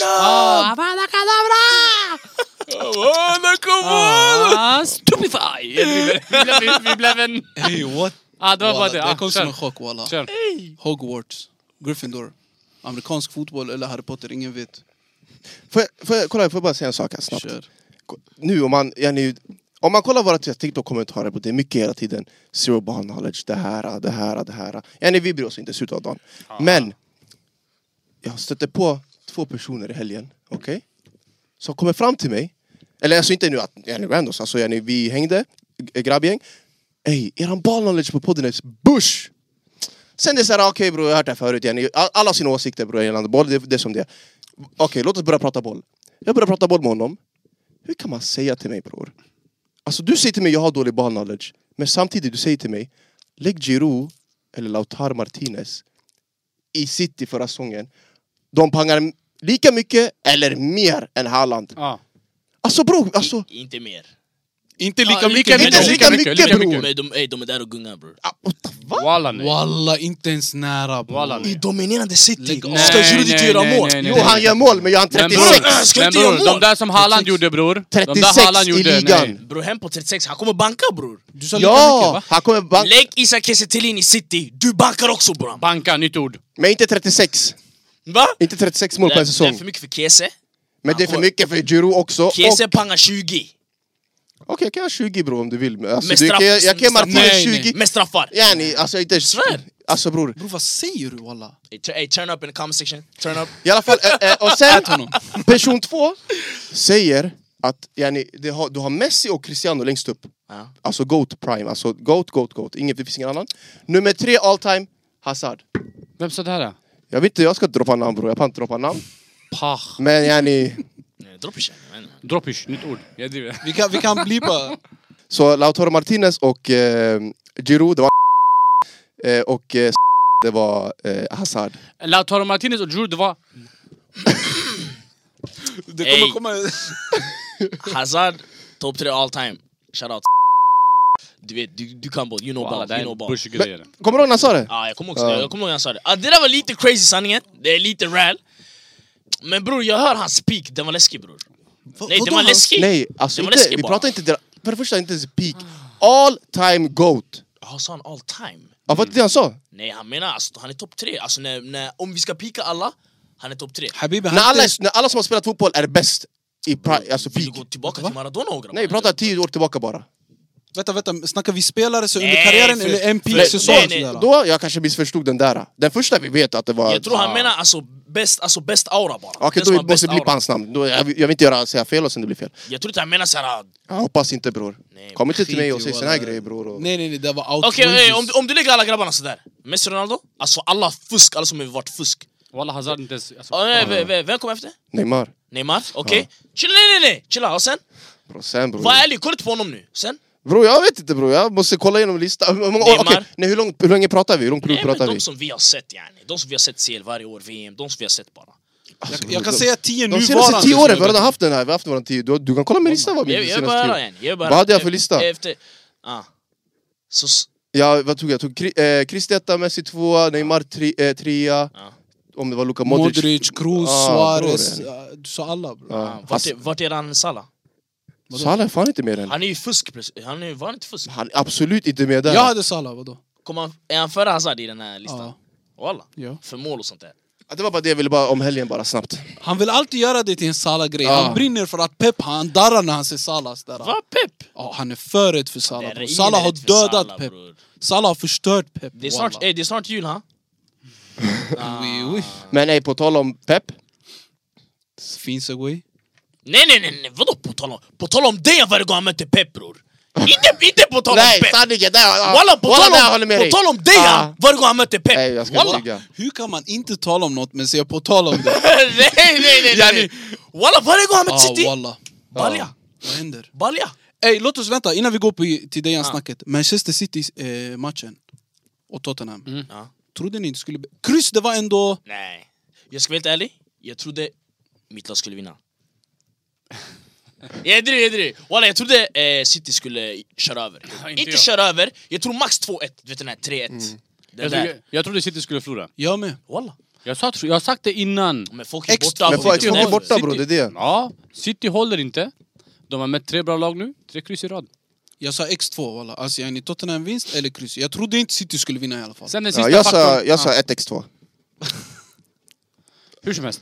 S2: Ah, stupefy! Vi blev- Vi blev en...
S1: Hey, what?
S2: Ah, det var bara
S1: Wallah,
S2: det.
S1: det
S2: Ah,
S1: kom som
S2: kör.
S1: en chock wallah.
S2: Kör.
S1: Hogwarts, Gryffindor. Amerikansk fotboll eller Harry Potter, ingen vet.
S3: Får jag, får jag, kolla, får jag bara säga en sak här snabbt?
S1: Kör.
S3: Nu om man, jag nu, om man kollar våra TikTok-kommentarer på det, är mycket hela tiden zero bar knowledge, det här, det här, det här. Jag nu, vi bryr oss inte i slutet av dagen. Men, jag stötte på två personer i helgen, okej? Som kommer fram till mig, eller alltså inte nu att, jag nu randos, alltså jag nu, vi hängde, g- grabbgäng. Ey, eran ball knowledge på podden är bush! Sen det är såhär, okej bror jag har hört det här förut, Jenny. All- alla har sina åsikter bror gällande boll, det, det är som det är. Okej, låt oss börja prata boll. Jag börjar prata boll med honom. Hur kan man säga till mig bror? Alltså du säger till mig jag har dålig ball knowledge, men samtidigt du säger till mig Lägg Giroud eller Lautaro Martinez i City förra säsongen. De pangar lika mycket eller mer än Haaland.
S2: Ah.
S3: Alltså bror, alltså
S4: Inte mer. Ah,
S1: Inte lika
S2: Ja,
S1: mycket.
S3: inte ens
S2: men-
S3: lika
S2: lika
S3: mycket,
S2: mycket,
S3: mycket
S2: lika
S3: bror!
S4: Men de, ey, de är där och gungar bror.
S3: Ah, what the fuck?
S2: Walla nej.
S1: Wallah, inte ens nära. bror.
S2: Walla nej.
S4: dominerande city!
S1: Lägg av.
S4: Ska
S2: Nej,
S4: Giroud inte
S2: nej,
S4: göra
S2: nej,
S4: mål?
S2: nej, nej.
S3: Jo han gör mål men gör han
S2: Men
S3: 36!
S2: bror,
S4: Ska
S2: men
S4: inte göra
S2: bror, de
S4: mål?
S2: där som Haaland
S3: 36.
S2: gjorde bror. De
S3: 36
S2: där Haaland
S3: i
S2: gjorde, nej.
S3: ligan.
S4: Bror hem på 36, han kommer banka bror!
S1: Du sa lika mycket
S3: Ja!
S1: va?
S3: Han kommer banka,
S4: Lägg Isak Kiese Thelin i city, du bankar också bror!
S2: Banka, nytt ord.
S3: men inte 36.
S4: Va?
S3: Inte 36 mål på en
S4: Det är
S3: säsong.
S4: för mycket för Kiese,
S3: Men det är för mycket för Giroud också. Och-
S4: Kiese pangar 20!
S3: Okej, jag kan ha 20 bror om du vill. Men Alltså,
S4: Med
S3: du,
S4: straff-
S3: kan, jag, jag kan ge
S4: med straff-
S3: Martinez
S1: Nej, nej.
S3: 20.
S4: Med straffar!
S3: Yani, alltså inte...
S4: Svär.
S3: Alltså bror.
S1: Bror vad säger du walla?
S4: Ey, tu- ey, turn up in the comment section, turn up!
S3: I alla fall, eh, eh, och sen
S1: Ät honom.
S3: person två säger att yani, det har, du har Messi och Cristiano längst upp.
S4: Ja.
S3: Alltså GOAT prime, alltså GOAT, GOAT, GOAT. Ingen, det finns ingen annan. Nummer tre all time, Hazard.
S2: Vem sa det här?
S3: Jag vet inte, jag ska inte droppa namn bror, jag kan inte droppa namn.
S2: Pach.
S3: Men yani,
S4: Nej, Dropp i kärnan, jag vet inte.
S2: Droppish, nytt ord. Jag driver.
S1: Vi kan, vi kan blipa.
S3: så Lautaro Martinez och eh, Giroud, det var eh, och eh, det var eh, Hazard.
S2: Lautaro Martinez och Giroud, det var...
S1: Det
S4: Ey.
S1: kommer komma...
S4: Hazard, top 3 all time. Shout out. Du vet, du, du kan boll, you know
S2: Walla,
S4: ball,
S2: det
S4: you
S2: här är
S4: know
S2: en
S4: ball. Ah,
S2: bush-grej.
S3: Kommer du ihåg när han sa det?
S4: Ja, jag kommer också
S3: Ja.
S4: jag kommer ihåg han sa det. Ah, det där var lite crazy sanningen, det är lite räl. Men bror, jag hör hans peak, den var läskig bror.
S1: Va-
S4: Nej,
S1: vadå
S4: den var
S1: han-
S4: läskig!
S3: Nej, alltså
S4: Det var
S3: inte,
S4: läskigt
S3: vi
S4: bara.
S3: pratar inte där. För det första inte ens peak. All time GOAT.
S4: Ja, Ah, sa han all time?
S3: Ja, vad det han sa?
S4: Nej, han menar alltså, han är topp tre. Alltså, när, när, om vi ska pika alla, han är topp tre.
S1: Habibi, han
S3: När alla,
S1: inte-
S3: är- när alla som har spelat fotboll är bäst i pri- alltså
S4: Mm. Vill du
S3: peak.
S4: gå tillbaka till Maradona och grabbar?
S3: Nej, vi pratar tio år tillbaka bara.
S1: Vänta, vänta. Snackar vi spelare så under
S4: Nej,
S1: karriären
S4: för-
S1: eller en
S4: för-
S1: peak-säsong?
S4: nej, nej.
S1: sådär?
S3: Då, jag kanske missförstod den där. Den första vi vet att det var...
S4: Jag tror han menar alltså bäst, alltså, bäst aura bara.
S3: uh, Okej,
S4: Den som
S3: då
S4: har
S3: måste
S4: bäst
S3: vi blipa
S4: aura.
S3: hans namn. Då, jag, vill- jag vill inte göra, säga fel och sen det blir fel.
S4: Jag tror inte han menar ah, såhär...
S3: Jag hoppas inte bror.
S4: Nej,
S3: Kom inte till
S1: skit
S3: mig
S1: i
S3: och säg
S1: vad
S3: såna här
S1: det-
S3: grejer bror. Och...
S1: Nej, nej, nej. Det var
S4: Okej,
S1: outrageous.
S4: ey, om, du- om du lägger alla grabbarna sådär. Messi och Ronaldo, alltså alla fusk, alla som har varit fusk.
S2: Walla Hazard inte ens... alltså,
S4: Ja, nej, v- v- vem kom efter?
S3: Neymar.
S4: Neymar? Okej. Chilla, nej, nej, nej! Chilla, och sen?
S3: Bror, sen bror.
S4: Var ärlig, kolla inte på honom nu. Sen?
S3: Bror, jag vet inte bror. Jag måste kolla igenom listan. Hur många år-
S4: Neymar.
S3: Okej, nej, hur, långt, hur länge pratar vi? Hur långt
S4: Nej, men
S3: pratar vi?
S4: de som vi har sett yani. De som vi har sett CL varje år, VM, de som vi har sett bara.
S3: Alltså,
S1: Jag kan
S3: bror,
S1: säga tio
S3: De
S1: nuvarande.
S3: senaste tio åren, vi har
S1: snubbar.
S3: redan haft den här, vi har haft våran tio, du, du kan kolla min lista vad min
S4: Jag, jag
S3: senaste
S4: bara
S3: tio
S4: höra yani. Jag bara,
S3: Vad hade jag för lista?
S4: Efter... Ah. Så, s-
S3: Ja, vad tog jag? Jag Tog Kri- eh, Cristi etta, Messi tvåa, Neymar tre, eh, trea
S4: Ja.
S3: Om det var Luka Modric,
S1: Modric, Kroos,
S3: Ah,
S1: Suarez.
S3: bror,
S1: ah, Du sa alla bror.
S3: ja.
S4: ah, vart,
S3: Fast
S4: är, vart är han Salah?
S3: Salah är fan inte med den
S4: Han är ju fusk plötsligt. Han är, var han inte fusk?
S3: Han är absolut inte med den
S1: Jag hade Salah, vadå?
S4: Kom han, är han före Hazard i den här listan?
S1: Ja.
S4: Walla.
S1: Ja.
S4: För mål och sånt där.
S3: Ja, Det var bara det jag ville bara om helgen bara snabbt
S1: Han vill alltid göra det till en Salah-grej.
S3: Ja.
S1: Han brinner för att Pep, han darrar när han ser Salah. Sådär.
S4: Va Pep?
S1: Ja, han är för rädd för
S4: Det
S1: Salah.
S4: är
S1: bror.
S4: ingen
S1: Salah har
S4: rätt för
S1: dödat
S4: Salah,
S1: Pep.
S4: bror.
S1: Salah har förstört Pep. Ah,
S4: Det är snart,
S1: wallah.
S4: eh, det är snart jul ha?
S1: Oui, oui.
S3: Men nej, på tal om Pep
S1: Finns det way?
S4: Nej nej nej, nej. vadå på tal om? På tal om det varje gång han möter Pep bror! Inte, inte på tal om
S3: Nej,
S4: Pep!
S3: sanningen! Där, ja.
S4: Walla på tal
S3: där, jag håller
S4: om,
S3: med
S4: på
S3: dig.
S4: tal om dig
S3: Ah.
S4: ja. varje gång han möter Pep!
S3: Nej, jag ska
S4: Walla.
S3: inte ljuga
S1: Hur kan man inte tala om något men säga på tal om det?
S4: nej, nej, nej, nej, nej. Walla, varje gång han möter
S1: ah,
S4: City!
S1: wallah.
S4: Balja,
S1: Vad händer?
S4: balja!
S1: Ey, låt oss vänta innan vi går på, till det ah.
S4: Ah.
S1: snacket. Manchester City-matchen och Tottenham.
S4: Ja.
S1: Trodde ni inte skulle... be- Kryss, det var ändå...
S4: Nej, jag ska vara helt ärlig. Jag trodde mitt lag skulle vinna. Jag är dryg, jag är dryg. Walla, jag trodde eh, City skulle köra över.
S2: inte
S4: inte
S2: jag.
S4: köra över, jag tror max 2-1. Du vet den här 3-1. Den
S2: Jag,
S4: där.
S2: trodde- jag trodde City skulle förlora.
S1: Jag med.
S4: Walla.
S2: Jag, sa, jag har sagt det innan.
S4: Men folk är
S1: Ex-
S4: borta.
S3: Men
S4: på
S3: folk folk
S4: Victor
S3: är
S4: Nelson.
S3: borta bror, det är det.
S2: Ja, City håller inte. De har mött tre bra lag nu, tre kryss i rad.
S1: Jag sa X2 walla. Alltså yani Tottenham vinst eller kryss. Jag trodde inte City skulle vinna i alla fall.
S2: Sen den
S3: Ja,
S2: sista
S3: jag sa,
S2: faktorn...
S3: jag sa
S2: Ja,
S3: 1x2.
S2: hur som helst.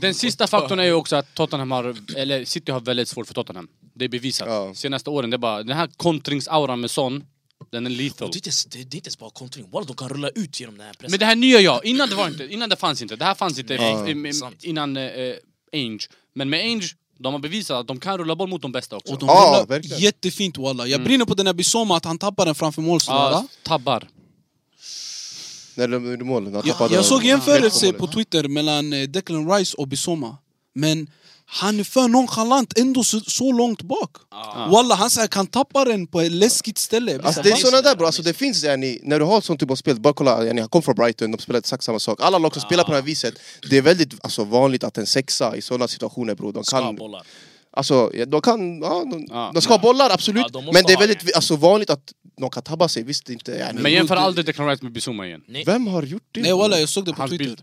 S2: Den sista faktorn är ju också att Tottenham har, eller City har väldigt svårt för Tottenham. Det är bevisat.
S3: Ja.
S2: Senaste åren, det är bara den här kontringsauran med Son, den är lethal.
S4: Det är inte ens- det- det är inte ens bara kontring. Walla, de kan rulla ut genom den här pressen.
S2: Men det här nya jag, innan det var inte, innan det fanns inte. Det här fanns inte
S4: Ja.
S2: i- i- i-
S4: Sant.
S2: innan eh, Ange. Men med Ange, de har bevisat att de kan rulla boll mot de bästa också.
S1: Och de
S3: Ja,
S1: rullar
S3: verkligen.
S1: jättefint walla. Jag brinner på den här Bissoma att han tappar den framför målsnöret.
S2: ja, tabbar.
S3: När de gjorde mål, när han
S1: Jag,
S3: tappade-
S1: jag såg jämförelse
S3: Helt
S1: på
S3: målet.
S1: Twitter mellan eh, Declan Rice och Bissoma. Men han är för nonchalant ändå så, så långt bak.
S4: Ah.
S1: Walla, han säger kan tappa den på ett läskigt ställe.
S3: Alltså det är
S4: Visst,
S3: såna där
S4: där, liksom-
S3: bror, alltså det finns yani, när du har sån typ av spel, bara kolla, yani, han kom från Brighton, de spelade exakt samma sak. Alla lag som spelar på
S4: Ah.
S3: det här viset, det är väldigt alltså, vanligt att en sexa i såna situationer bror, de
S4: Ska
S3: kan...
S4: bollar.
S3: Alltså, ja, de kan, ja, de,
S2: Ja.
S3: de ska ha bollar absolut,
S4: Ja, de måste
S3: men det är
S4: ha
S3: väldigt alltså, vanligt att de kan tabba sig, visst inte yani.
S2: Men jämför aldrig Declan Rice med Bissouma igen.
S3: Vem har gjort det?
S1: Nej walla, jag såg det på
S2: Hans
S1: Twitter.
S2: bild.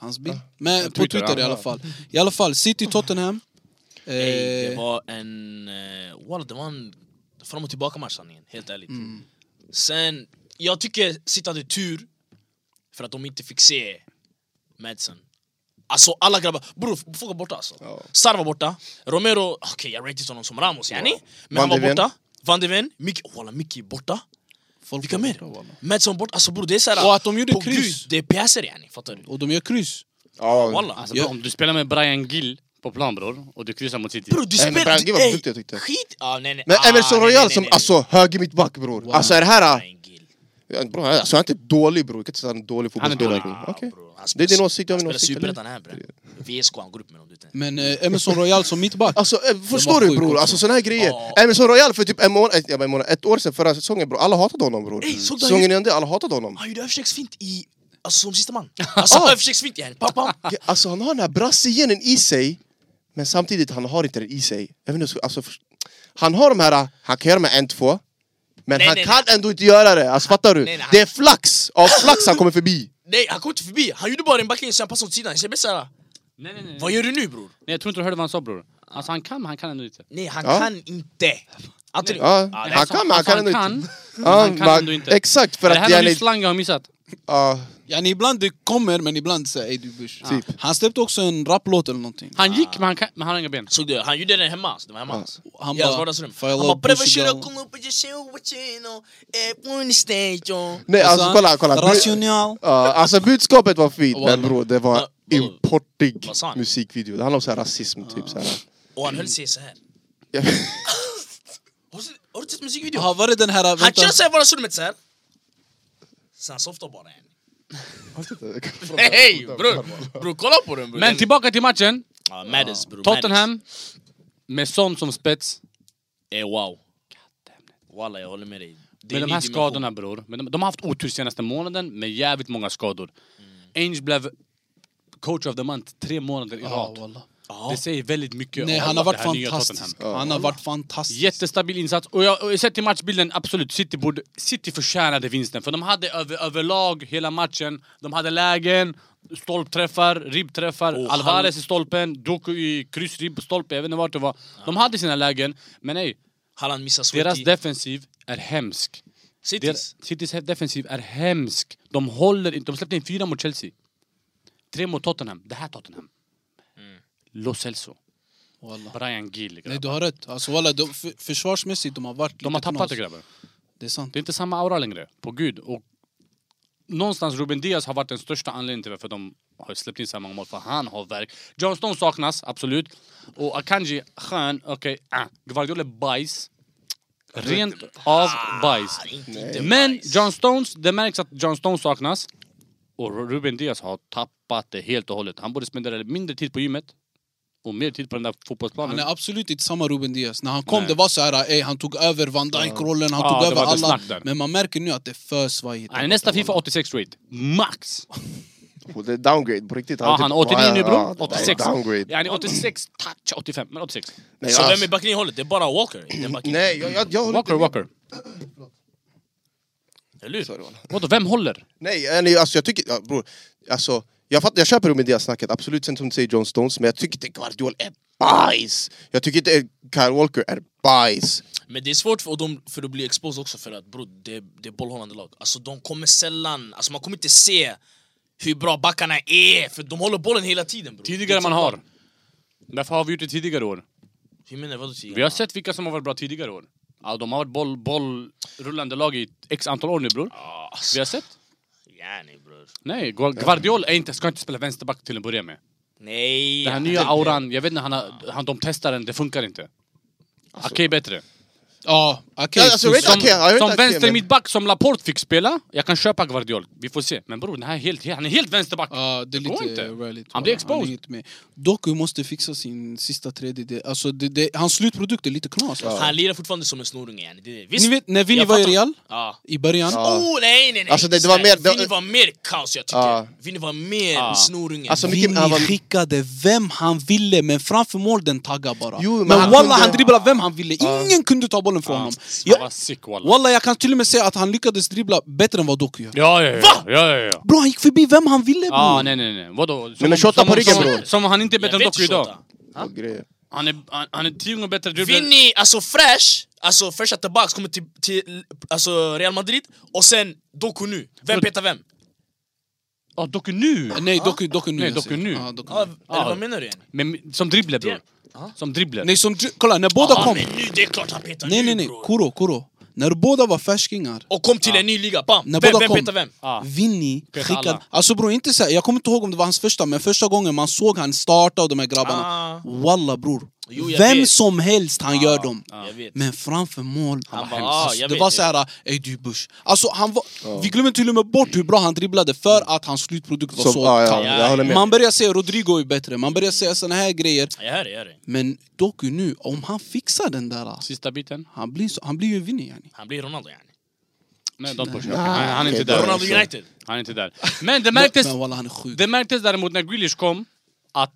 S1: Hans bild?
S3: Ah.
S1: Men på
S2: Twitter,
S1: Twitter i
S2: ja.
S1: alla fall. I alla fall, City-Tottenham. Eh,
S4: Ey, det var en... eh, Walla, det var en fram och tillbaka match sanningen, helt ärligt.
S3: Mm.
S4: Sen, jag tycker City hade tur för att de inte fick se Madsen. Alltså alla grabbar, bror folk var borta alltså.
S3: Ja.
S4: Sar var borta, Romero, okej jag ratear inte honom som Ramos yani. Men han
S3: Van
S4: var
S3: de Ven.
S4: borta, Van de Ven, Micke, walla Micke är borta.
S1: folk
S4: Vilka
S1: var
S4: mer?
S1: bra, walla.
S4: Madsen borta, alltså bror det är såhär...
S1: Och att de gjorde
S4: på
S1: kryss.
S4: Gud, det är pjäser yani, fattar du?
S1: Och de gör kryss.
S3: Ja,
S4: Walla.
S2: Alltså,
S1: Ja.
S2: bro, om du spelar med Brian Gill på plan bror, och du kryssar mot City.
S4: Bror du
S3: Nej, men
S4: spelar...
S3: Brangi var
S4: ey,
S3: duktig, jag tyckte.
S4: Skit! Ah, nej, nej.
S3: men
S4: ah,
S3: Emerson
S4: nej, nej,
S3: Royal
S4: nej,
S3: som
S4: nej.
S3: alltså höger mittback bror,
S1: Wow.
S3: alltså är det här...
S4: Brian Gill.
S3: Bror, alltså, han är inte dålig bror, jag kan inte säga att han är en dålig
S2: Han är
S3: fotbollsspelare.
S2: dålig.
S3: bror. Okej.
S4: bro. Han
S3: Det är
S4: spelar-
S3: din åsikt, jag har min
S4: Han
S3: åsikt.
S4: spelar
S3: eller?
S4: superettan här bre. VSK, han går upp med dem du vet.
S1: Men eh, Emerson Royal som mittback.
S3: Alltså eh, förstår
S1: var
S3: du
S1: sjuka
S3: bror,
S1: också.
S3: alltså såna här grejer.
S4: Ja.
S3: Äh, men så Royal för typ en månad, ett, ja, men en månad, ett år sedan, förra säsongen bror, alla hatade honom bror.
S4: Ey, såg du han
S3: Säsongen innan det, alla hatade honom.
S4: Han gjorde överstegsfint i... Alltså som sista man. Alltså
S3: Ah.
S4: överstegsfint yani. Pam, pam.
S3: Ja, Alltså han har den här brassegenen i sig, men samtidigt han har inte den i sig. Jag vet inte, alltså, först- han har de här, eh, han kan göra med en, två, men
S4: Nej,
S3: han
S4: nej,
S3: kan ändå inte göra det, alltså fattar du?
S4: Nej, nej, han-
S3: Det är flax, av flax han kommer förbi.
S4: Nej han kom inte förbi. Han gjorde bara en backlinje sen passade åt sidan. Jag känner mest såhär...
S2: Nej, nej, nej.
S4: Vad gör du nu bror?
S2: nej, jag tror inte du hörde vad han sa bror. Alltså han kan, men han kan ändå inte.
S4: Nej han
S3: Ja.
S4: kan inte. Anthony.
S3: Ja,
S4: Ah, det
S3: han
S4: är
S3: kan, men han kan
S2: ändå
S3: ändå
S2: inte.
S3: inte.
S2: alltså, Han kan, men han kan
S3: man-
S2: ändå inte.
S3: Exakt, för
S2: Är det
S3: att...
S2: här är någon ny
S3: yani-
S2: slang jag har missat.
S3: ja,
S1: Yani ibland det kommer, men ibland säger ey du bush. Ah.
S3: Typ.
S1: Han släppte också en raplåt eller någonting.
S2: Han gick, men han, kan, men han har inga ben.
S4: Såg du? Han gjorde den hemma alltså. Det var hemma alltså.
S1: Han
S4: I hans
S1: bara,
S4: vardagsrum.
S1: "För I
S4: Han
S1: love
S4: bara pröva
S1: Bushy
S4: köra
S1: Girl."
S4: kom upp och kör och känna. På station.
S3: Nej
S1: Alltså,
S3: alltså kolla, kolla. Bu-
S1: Rational.
S3: ja, alltså budskapet var fint, men
S1: Wallah.
S3: bror det var
S4: Ja, wallah.
S3: importig
S4: Vad sa han? Ah.
S3: musikvideo. Det handlar om så här rasism typ så här.
S4: Och han höll sig såhär.
S3: Ja.
S4: Har du sett- har du sett musikvideon?
S1: Har varit den här...
S4: Han
S1: Vänta.
S4: kör såhär i vardagsrummet såhär. Sen softar bara yani.
S3: Hej,
S4: Hej bror! Bror kolla på den bror!
S2: Men tillbaka till matchen.
S4: ja, Maddis, bror, Maddis.
S2: Tottenham, med Son som spets.
S4: Eh, wow. Walla jag håller med dig. Det är en
S2: Med de
S4: ny
S2: här
S4: dimension.
S2: skadorna bror. Men de, de har haft otur senaste månaden med jävligt många skador.
S4: Mm.
S2: Ange blev coach of the month tre månader
S3: Ah,
S2: i
S1: Ja,
S2: rad.
S1: wallah.
S4: Ja.
S2: Det säger väldigt mycket
S1: Nej,
S2: om
S1: han har varit
S2: det här nya
S1: fantastisk.
S2: Tottenham.
S1: Han har varit fantastisk.
S2: Jättestabil insats. Och jag och jag sett till matchbilden, absolut, City, borde, City förtjänade vinsten. För de hade över, överlag hela matchen. De hade lägen, stolpträffar, ribbträffar,
S4: Och
S2: Alvarez i stolpen, Doku i kryss, ribb, stolpe, jag vet inte vart det var. De hade sina lägen, men nej.
S4: Halland missar
S2: Deras
S4: Sweaty.
S2: defensiv är hemsk. Der,
S4: Cities.
S2: Citys defensiv är hemsk. De håller inte. De släppte in fyra mot Chelsea. Tre mot Tottenham. Det här Tottenham. Lo Celso.
S1: Mm. Wallah.
S2: Brian Gill.
S1: Nej
S2: grabbar.
S1: du har rätt. Alltså, walla, de, för, försvarsmässigt de har varit
S2: De har
S1: lite
S2: tappat
S1: knas.
S2: det grabbar.
S1: Det är sant.
S2: Det är inte samma aura längre. På gud. Och någonstans Ruben Diaz har varit den största anledningen till varför de har släppt in så här många mål. För han har verk. John Stone saknas, absolut. Och Akanji, skön, okej. ah. Guardiola är bajs. Rent av bajs.
S4: Ah, inte, inte
S2: Men
S4: nice.
S2: John Stones, det märks att John Stones saknas. Och Ruben Diaz har tappat det helt och hållet. Han borde spendera mindre tid på gymmet och mer tid på den där
S1: Han
S2: fotbollsplanen.
S1: är absolut inte samma Ruben Diaz. När han kom
S2: Nej.
S1: det var så här, ey, han tog över Van Dijk-rollen, han
S2: Ja,
S1: tog
S2: det
S1: över
S2: var det
S1: alla.
S2: snack där.
S1: Men man märker nu att det är för svajigt.
S2: Han är nästa Fifa 86 rate. Max!
S3: Och det är downgrade på riktigt.
S4: Ah,
S2: Ja, han är 89 nu
S3: Ja,
S2: bror.
S3: det där är
S2: 86.
S3: Downgrade.
S2: Yani 86, touch 85, men 86.
S3: Nej,
S4: Så
S3: alltså-
S4: vem är backlinjehållet? Det är bara Walker. i Den backen.
S3: Nej, jag, jag, jag håller
S2: Walker,
S3: inte med.
S2: Walker.
S4: Eller hur?
S3: Sorry, walla.
S2: Vadå, vem håller?
S3: Nej, eh, nej, alltså jag tycker... Ja, bror, alltså, jag, fattar, jag köper Romedias-snacket, absolut, sen som du säger John Stones, men jag tycker inte Guardiol är bajs! Jag tycker inte Kyle Walker är bajs!
S4: Men det är svårt för dem för att bli exposed också för att bro, det, det är bollhållande lag. Alltså de kommer sällan, alltså man kommer inte se hur bra backarna är för de håller bollen hela tiden bro.
S2: Tidigare man har. Därför har vi gjort det tidigare år.
S4: Hur menar du? Vadå tidigare?
S2: Vi har sett vilka som har varit bra tidigare år. Ja, de har varit boll, boll, rullande lag i x antal år nu bror.
S4: Ah,
S2: Vi
S4: Alltså,
S2: har sett.
S4: yani bror.
S2: Nej, Gua- Guardiol är inte, ska inte spela vänsterback till att börja med.
S4: Nej.
S2: Den här nya auran, jag vet inte, han, har- han, de testar den, det funkar inte. Okej, bättre.
S1: Ja, okej.
S3: Ja, alltså,
S1: Susan.
S2: Som,
S3: Okej, ja, jag
S2: som
S3: vet inte,
S2: vänster
S3: men-
S2: mittback som Laporte fick spela, jag kan köpa Guardiol. Vi får se. Men bror, den här är helt, han är helt vänsterback.
S1: Ja, det är
S2: går
S1: lite
S2: inte.
S1: rallyt.
S2: Han blir
S1: Ja,
S2: exposed.
S1: är inte med. Doku måste fixa sin sista tredjedel. Alltså, det, det, hans slutprodukt är lite knas. Alltså.
S4: Han lirar fortfarande som en snorunge yani. Det, visst,
S1: Ni vet när Vini
S4: jag
S1: var i
S4: fattar.
S1: Real
S4: Ja.
S1: i början.
S3: Ja.
S4: Oh nej nej nej!
S3: Alltså, det- det var mer- det-
S4: Vinny var mer kaos jag tycker.
S3: Ja.
S4: Vinny var mer
S2: Ja.
S4: snorunge.
S3: Alltså,
S1: Vini
S3: mycket- han var-
S1: skickade vem han ville, men framför mål den taggade bara.
S3: Jo, men
S1: men
S3: han
S1: wallah,
S3: kunde-
S1: han dribblade vem han ville. Ingen kunde ta bollen från honom.
S2: Han var
S1: Jag,
S2: sick walla.
S1: wallah, jag kan till och med säga att han lyckades dribbla bättre än vad Doku gör.
S2: Ja, ja, ja. ja, ja, ja.
S1: Bro, han gick förbi vem han ville bror.
S2: Ah, nej, nej, nej. Vadå? Som,
S3: Mm. men
S2: om-
S3: shotta
S2: som
S3: på
S2: om-
S3: ryggen,
S2: som-
S3: bror.
S2: Som om han inte är
S4: Jag
S2: bättre än
S4: vet
S2: Doku idag.
S4: Shota.
S3: Och grejer.
S2: Han är, han, han är tio gånger bättre dribblare.
S4: Vinny, alltså fresh, alltså fresha tillbaks, kommer till, till alltså Real Madrid och sen Doku nu. Vem petar vem?
S2: Ja, Doku nu!
S1: Nej, Doku, doku nu.
S2: Nej,
S1: jag
S2: Doku
S1: säger.
S2: nu.
S1: Ja, doku
S4: Ja,
S1: nu.
S4: eller vad menar du igen?
S2: Men, som dribbler bror. Som dribbler.
S1: Nej, som, dri- kolla, när båda
S2: Ah,
S4: Ja,
S1: kom.
S4: men nu, det är klart han petar
S1: Nej,
S4: nu
S1: nej, nej.
S4: bror.
S1: Kuro, Kuro. När båda var färskingar,
S4: Och kom till en ny liga, bam!
S1: När
S4: Vem,
S1: båda
S4: vem
S1: kom.
S4: petar vem?
S2: Ah.
S1: Vinny
S2: Peta
S1: skickade...
S2: alla.
S1: Alltså bror, inte så här, jag kommer inte ihåg om det var hans första, men första gången man såg han starta och de här grabbarna.
S4: Ah.
S1: Walla bror.
S4: Jo, jag
S1: Vem
S4: vet.
S1: som helst han gör dem.
S4: Jag vet.
S1: Men framför mål,
S4: Han
S1: var
S4: bara,
S1: hemsk.
S4: ah,
S1: alltså,
S4: jag
S1: det
S4: vet,
S1: var
S4: jag
S1: såhär, ey du Bush. Alltså, han var, vi glömmer till och med bort hur bra han dribblade för att hans slutprodukt var
S3: Som, ah,
S1: så
S3: ja, ja,
S1: kall.
S3: jag håller med.
S1: Man börjar säga Rodrigo är bättre, man börjar säga såna här grejer.
S4: Jag hör det, jag hör det.
S1: Men Doku nu, om han fixar den där, alltså,
S2: Sista biten.
S1: han blir, så, han blir ju Vinny yani.
S4: Han blir Ronaldo yani.
S2: Nej, don't push. Okay. Han, han är inte
S3: Ah,
S2: där.
S3: okej, bra.
S4: Ronaldo
S3: så.
S4: United.
S2: Han är inte där. Men det
S1: Men,
S2: märktes,
S1: men walla, han är sjuk.
S2: det märktes däremot när Grealish kom att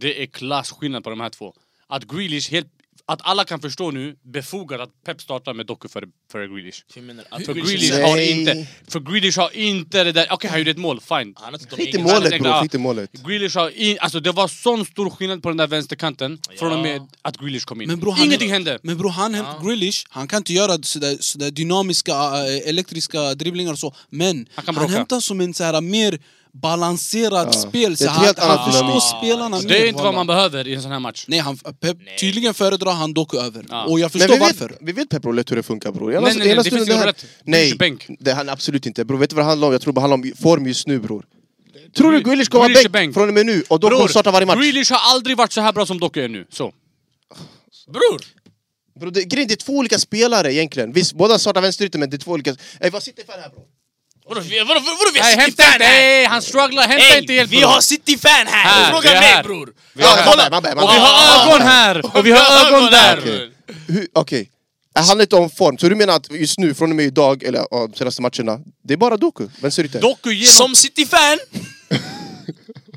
S2: det är klasskillnad på de här två. Att Grealish helt... Att alla kan förstå nu, befogat att Pep startar med Doku före för Grealish.
S4: Hur menar du? Att
S2: För
S4: Grealish-
S2: Grealish
S3: Nej.
S2: har inte... För Grealish har inte det där... Okej, han gjorde ett mål, fine.
S4: Han har inte de
S3: Skit i
S4: egna-
S3: målet bror, skit i målet.
S2: Grealish har in, alltså det var sån stor skillnad på den där vänsterkanten från och med att Grealish kom in.
S1: Men bror, han-
S2: Ingenting hände!
S1: Men bror, han ja. Grealish, han kan inte göra sådär, sådär dynamiska, eh, elektriska dribblingar och så. Men
S2: Han
S1: han,
S2: kan bråka.
S1: hämtar som en såhär mer balanserat
S3: Ja.
S1: spel. Så
S3: Det är ett
S1: han,
S3: helt annat
S1: han förstår
S3: dynamik.
S1: spelarna
S2: Det är inte vad
S1: wallah.
S2: man behöver i en sån här match.
S1: Nej, han, Pep,
S4: Nej.
S1: tydligen föredrar han dock över.
S2: Ja.
S1: Och jag
S3: Men
S1: förstår
S3: vi
S1: varför.
S3: vet, vi vet Pep Roulette hur det funkar bror.
S2: Nej, nej, nej, det finns ingen roulette. Det finns ju
S3: Nej,
S2: bänk.
S3: det handlar absolut inte. Bror, vet du vad det handlar om? Jag tror det handlar om form just nu bror. Tror du Grealish kommer
S2: Grealish är
S3: vara
S2: bänk.
S3: bänk från och med nu och då kommer starta varje match?
S2: Grealish har aldrig varit så här bra som Doku är nu. Så.
S4: Bror!
S3: Bro, det, grejen, det är två olika spelare egentligen. Visst, båda startar vänsterytter men det är två olika... Ey, vad sitter fan här bror?
S4: Vadå, vi- vadå, vadå vi har
S2: Nej, hämta
S4: City-fan
S2: inte!
S4: här?
S2: Hey, han strugglar, hämta inte
S4: Ey,
S2: helt
S4: vi
S2: bra.
S4: har City-fan
S2: Här,
S4: här!
S2: vi är
S4: Fråga mig
S2: här.
S4: bror!
S3: Vi har,
S4: kolla.
S3: man bär,
S2: Och vi har ögon här! Och vi har ögon där!
S3: Okej. Hur- Okej. Det handlar inte om form, så du menar att just nu, från och med idag, eller ja, de senaste matcherna, det är bara Doku, vänsterytter?
S2: Doku ger dem...
S4: Som City-fan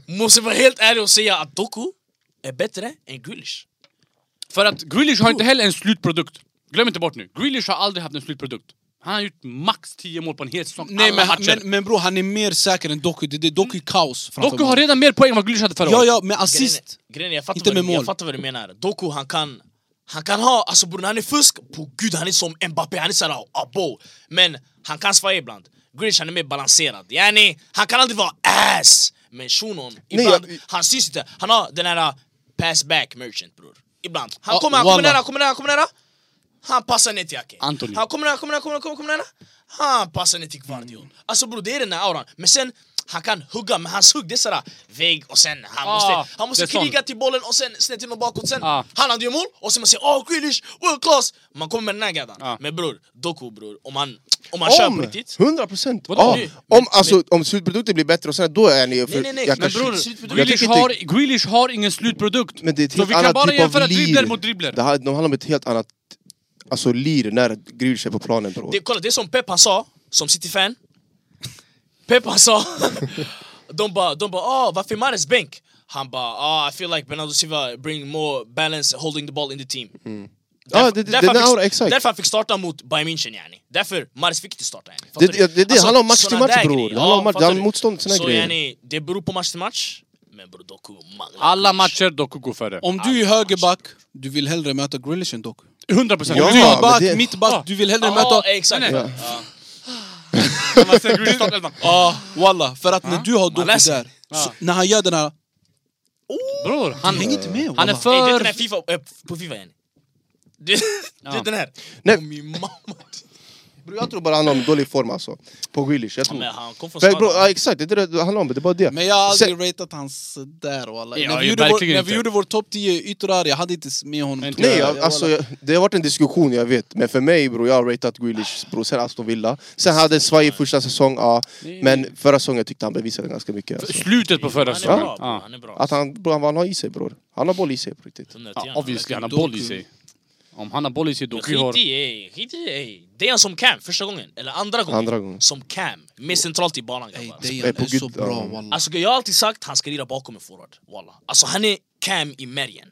S4: måste vara helt ärlig och säga att Doku är bättre än Grealish.
S2: För att Grealish har inte heller en slutprodukt. Glöm inte bort nu, Grealish har aldrig haft en slutprodukt. Han har gjort max 10 mål på en hel säsong,
S1: Nej,
S2: alla
S1: men,
S2: matcher.
S1: Ah, men, men bror, han är mer säker än Doku. Det, det, Doku är kaos framför
S2: Doku har
S1: mål.
S2: redan mer poäng än vad Grealish hade förra
S1: Ja,
S2: året.
S1: ja, med assist.
S4: Grejen är- Grejen är, jag fattar,
S1: Inte
S4: vad, du-
S1: med mål.
S4: jag fattar vad du menar. Doku, han kan... Han kan ha, alltså bror när han är fusk, på gud han är som Mbappé, han är såhär abo. Men han kan svaja ibland. Grealish han är mer balanserad. Yani, han kan aldrig vara ass. Men shunon, ibland,
S3: jag-
S4: han syns inte. Han har den här uh, pass back merchant bror. Ibland. Han
S1: Ja,
S4: kommer, han kommer
S1: wallah.
S4: nära, han kommer nära, han kommer nära. Han passar ner till Ake.
S2: Anthony.
S4: Han kommer nära, kommer nära, kommer nära, kommer, kommer nära. Han passar ner till Guardiol.
S2: Mm.
S4: Alltså bror det är den där auran. Men sen, han kan hugga, men hans hugg det är sådär vägg och sen han
S2: Ah,
S4: måste, han måste
S2: det är sånt.
S4: kriga till bollen och sen snett in och bakåt. Sen
S2: Ah.
S4: han hade ju mål och sen man säger åh Grealish, world class! Man kommer med den här gaddan.
S2: Ah.
S4: Men bror, Doku bror, om han, om han kör på
S3: Om!
S4: riktigt.
S3: 100 procent!
S2: Vadå?
S3: Ja.
S2: Men-
S3: Om, alltså, om slutprodukten blir bättre, och sen då är ni... För,
S4: Nej, nej, nej.
S3: jag
S2: Men
S3: kanske-
S2: bror,
S4: slutprodukt.
S3: jag
S2: Grealish
S3: tycker
S2: har,
S3: inte-
S2: Grealish har ingen slutprodukt.
S3: Men det är ett
S2: så
S3: helt
S2: vi kan
S3: annat
S2: bara
S3: typ av
S2: jämföra
S3: lir.
S2: dribbler mot dribbler.
S3: Det här, de handlar om ett helt annat alltså, lir när Grealish är på planen bror.
S4: Det, kolla, det är som Pep han sa, som City-fan. Pep han sa, De bara, de bara ah varför är Mahrez bänk? Han bara ah I feel like Bernardo Silva bring more balance holding the ball in the team.
S3: Ja,
S4: Därför-
S3: Ah, det- det-
S4: därför
S3: den
S4: han fick-
S3: aura, exakt.
S4: Därför han fick starta mot Bayern München yani. Därför Mahrez fick inte starta yani.
S3: Det-
S4: Fattar
S3: det-
S4: du?
S3: det- det handlar om match till
S4: såna
S3: match,
S4: där
S3: bror.
S4: grejer.
S3: Det handlar om
S4: Ja,
S3: match- det
S4: fattar
S3: handlar
S4: du?
S3: om motstånd, såna
S4: Så
S3: grejer.
S4: yani, det beror på match till match. Men bror Doku manglar.
S2: Alla matcher Doku går före.
S1: Om du är högerback, du vill hellre möta Grealish än Doku.
S2: 100 procent.
S3: Ja,
S1: Om du är
S3: men
S1: back,
S3: det-
S1: mittback, du vill hellre
S4: Ja,
S1: möta...
S4: exakt.
S2: Nej, nej.
S4: Ja.
S2: Man ser Grealish startelvan.
S1: Ja, walla. För att när du har Doku
S4: läser.
S1: där, så,
S2: Ja.
S1: när han gör den här...
S2: Bror, han,
S1: Häng inte med,
S2: han är
S1: wallah.
S4: Ey, det är den
S2: för...
S4: här FIFA, eh, på FIFA yani. Det, det är den här.
S3: Nej.
S4: Och min mamma.
S3: Bro, jag tror bara han har en dålig form alltså. På Grealish, jag tror.
S4: Men han kom från
S3: För, bro,
S4: skada.
S3: ja, exakt, det är det det handlar om, det är bara det.
S1: Men jag har
S3: Sen-
S1: aldrig ratat hans där walla.
S2: Ja,
S1: när, vi
S2: ju
S1: gjorde vår,
S2: verkligen
S1: när vi
S2: inte.
S1: gjorde vår topp 10 yttrar, jag hade inte med honom.
S2: Inte
S3: Nej,
S2: Ja,
S3: jag, alltså, jag, det har varit en diskussion, jag vet. Men för mig, bro, jag har ratat Grealish, bro, sen Aston Villa. Sen hade en svajig första säsong, ja. Men förra säsongen tyckte han bevisade ganska mycket. Alltså.
S2: Slutet på förra
S4: Han är bra, bror.
S2: säsongen. Ja.
S4: han är bra.
S3: Att han, bro, han, han har i sig, bror. Han har boll i sig på riktigt.
S4: Den där tian,
S2: Ja, obviously, han har
S1: Doku.
S2: boll i sig. Om han har boll i sig, Doku
S4: Skit
S2: har...
S4: i, ey, skit i, ey. Dejan som cam första gången, eller andra gången.
S3: Andra gången.
S4: Som cam, mer centralt i banan
S1: Ey,
S4: grabbar.
S1: Dejan
S3: Jag är på
S1: är så
S3: Gud,
S1: bra
S3: ja.
S1: walla.
S4: Alltså jag har alltid sagt han ska lira bakom en forward, wallah. Alltså han är cam i märgen.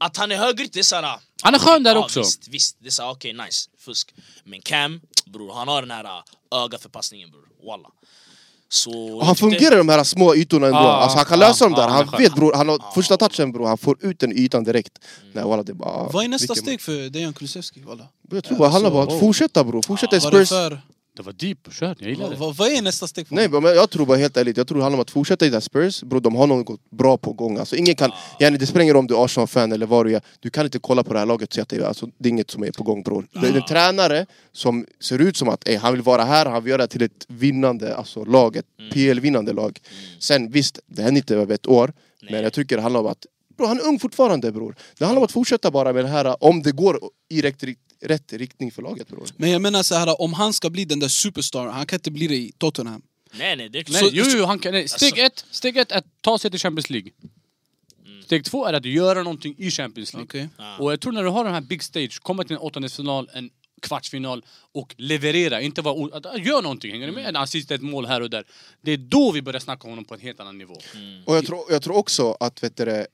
S4: Att han är högerytter, det är såhär...
S2: Han är skön där
S4: ja,
S2: också.
S4: ah, Visst, visst. Det är såhär, okej nice, fusk. Men cam, bror han har den här ah, öga för passningen bror, wallah. Så...
S3: Och Ah, han fungerar i de här små ytorna ändå.
S2: Ja,
S3: alltså, han kan
S2: ja,
S3: lösa dem
S2: ja,
S3: där.
S2: han är
S3: Han
S2: skön.
S3: vet, bror. Han
S2: Ah.
S3: har första touchen, bror. Han får ut den ytan direkt.
S2: Mm.
S3: Nej, walla, det är bara...
S1: Vad är nästa
S3: vilken-
S1: steg för Dejan Kulusevski walla?
S3: Jag tror bara det
S2: Alltså,
S3: handlar bara om att
S2: wow.
S3: fortsätta, bror. Fortsätta i
S1: Vad är det
S3: Spurs.
S1: för...
S2: Det var deep, kör. Jag gillar
S1: Vad,
S2: det.
S1: vad vad är nästa steg? För
S3: Nej, men jag tror bara helt ärligt, jag tror det handlar om att fortsätta i den här Spurs. Bro, de har något bra på gång. Alltså, ingen kan, yani, det spelar ingen roll om du är Arsenal-fan eller vad du är. Du kan inte kolla på det här laget och säga att det, är- alltså, det är inget som är på gång bror. Det är en tränare som ser ut som att eh, han vill vara här, han vill göra det till ett vinnande alltså, lag, ett PL-vinnande lag. Sen visst, det händer inte över ett år, men jag tycker det handlar om att Bro, han är ung fortfarande bror. Det handlar om att fortsätta bara med det här, om det går i rätt, rätt riktning för laget bror.
S1: Men jag menar så här, om han ska bli den där superstar, han kan inte bli det i Tottenham.
S4: Nej nej, det är
S2: Nej, Alltså-
S4: så-
S2: jo, jo, han kan, nej. Steg, ett, steg ett är att ta sig till Champions League. Steg två är att göra någonting i Champions League.
S1: Okej.
S4: Ah.
S2: Och jag tror när du har den här big stage, komma till en åttondelsfinal, en kvartsfinal och leverera, inte vara o- att, att, gör någonting, hänger du med? En assist, ett mål här och där. Det är då vi börjar snacka om honom på en helt annan nivå.
S3: Och jag tror, jag tror också att vet du, det,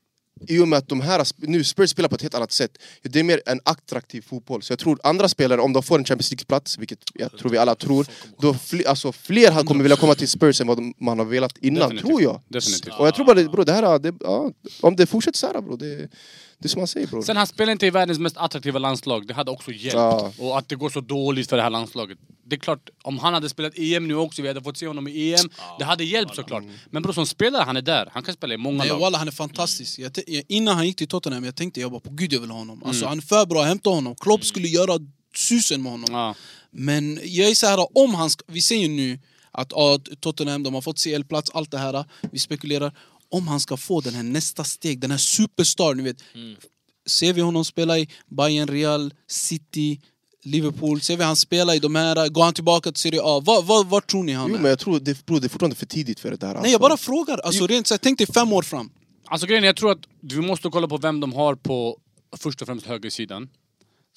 S3: i och med att de här sp- nu Spurs spelar på ett helt annat sätt Det är mer en attraktiv fotboll Så jag tror andra spelare, om de får en Champions League-plats Vilket jag tror vi alla tror då fl- alltså, Fler här kommer vilja komma till Spurs än vad de- man har velat innan,
S2: Definitivt.
S3: tror jag
S2: Definitivt.
S3: Och jag tror bara, det- bro, det här, det, ja, om det fortsätter så här bro, det, det är som man säger bro
S2: Sen han spelar inte i världens mest attraktiva landslag, det hade också hjälpt.
S3: Ja.
S2: Och att det går så dåligt för det här landslaget. Det är klart, om han hade spelat EM nu också, vi hade fått se honom i EM, det hade hjälpt såklart. Men bror, som spelare, han är där. Han kan spela i många
S1: Nej,
S2: lag.
S1: walla, han är fantastisk. Jag, te- jag- innan han gick till Tottenham, jag tänkte jag bara på gud jag vill ha honom. Alltså,
S2: Mm.
S1: han är för bra, hämta honom. Klopp skulle göra susen med honom.
S2: Ja.
S1: Men jag är så här, om han ska, vi ser ju nu att ja, Tottenham de har fått CL-plats, allt det här. Vi spekulerar. Om han ska få den här nästa steg, den här superstar, ni vet. Ser vi honom spela i Bayern, Real, City, Liverpool? Ser vi han spela i de här? Går han tillbaka till Serie A? Vad, vad, vad tror ni han
S3: Jo
S1: är?
S3: men jag tror, det, bro, det är fortfarande för tidigt för det här
S1: Nej, jag bara frågar. Alltså, rent, så här, tänk dig fem år fram.
S2: Alltså grejen är, jag tror att vi måste kolla på vem de har på först och främst högersidan.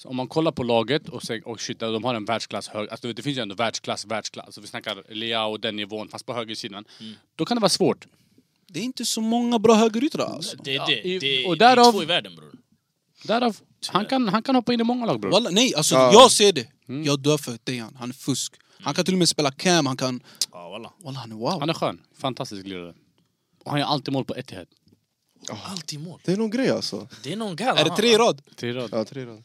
S2: Så om man kollar på laget och säger oh shit, de har en världsklass hög, alltså du vet, det finns ju ändå världsklass, världsklass. Alltså, vi snackar Leao och den nivån, fast på högersidan. Då kan det vara svårt.
S1: Det är inte så många bra högeryttrar alltså.
S4: Det är
S2: Ja,
S4: det,
S2: i-
S4: det,
S2: och
S4: det är
S2: därav-
S4: två i världen bror.
S2: Därav, han kan, han kan hoppa in i många lag bror.
S1: Walla, nej, alltså
S3: Ja. Mm.
S1: jag ser det. Jag dör för Dejan, han är fusk. Han kan till och med spela cam, han kan...
S4: Ja Ah, wallah.
S1: Walla, han är wow.
S2: Han är skön, fantastisk lirare. Och han gör alltid mål på Etihad.
S3: Ah.
S4: Alltid mål.
S3: Det är någon grej alltså
S4: Det är någon gal.
S1: Är det tre i rad?
S2: Till rad.
S3: ja, tre rad.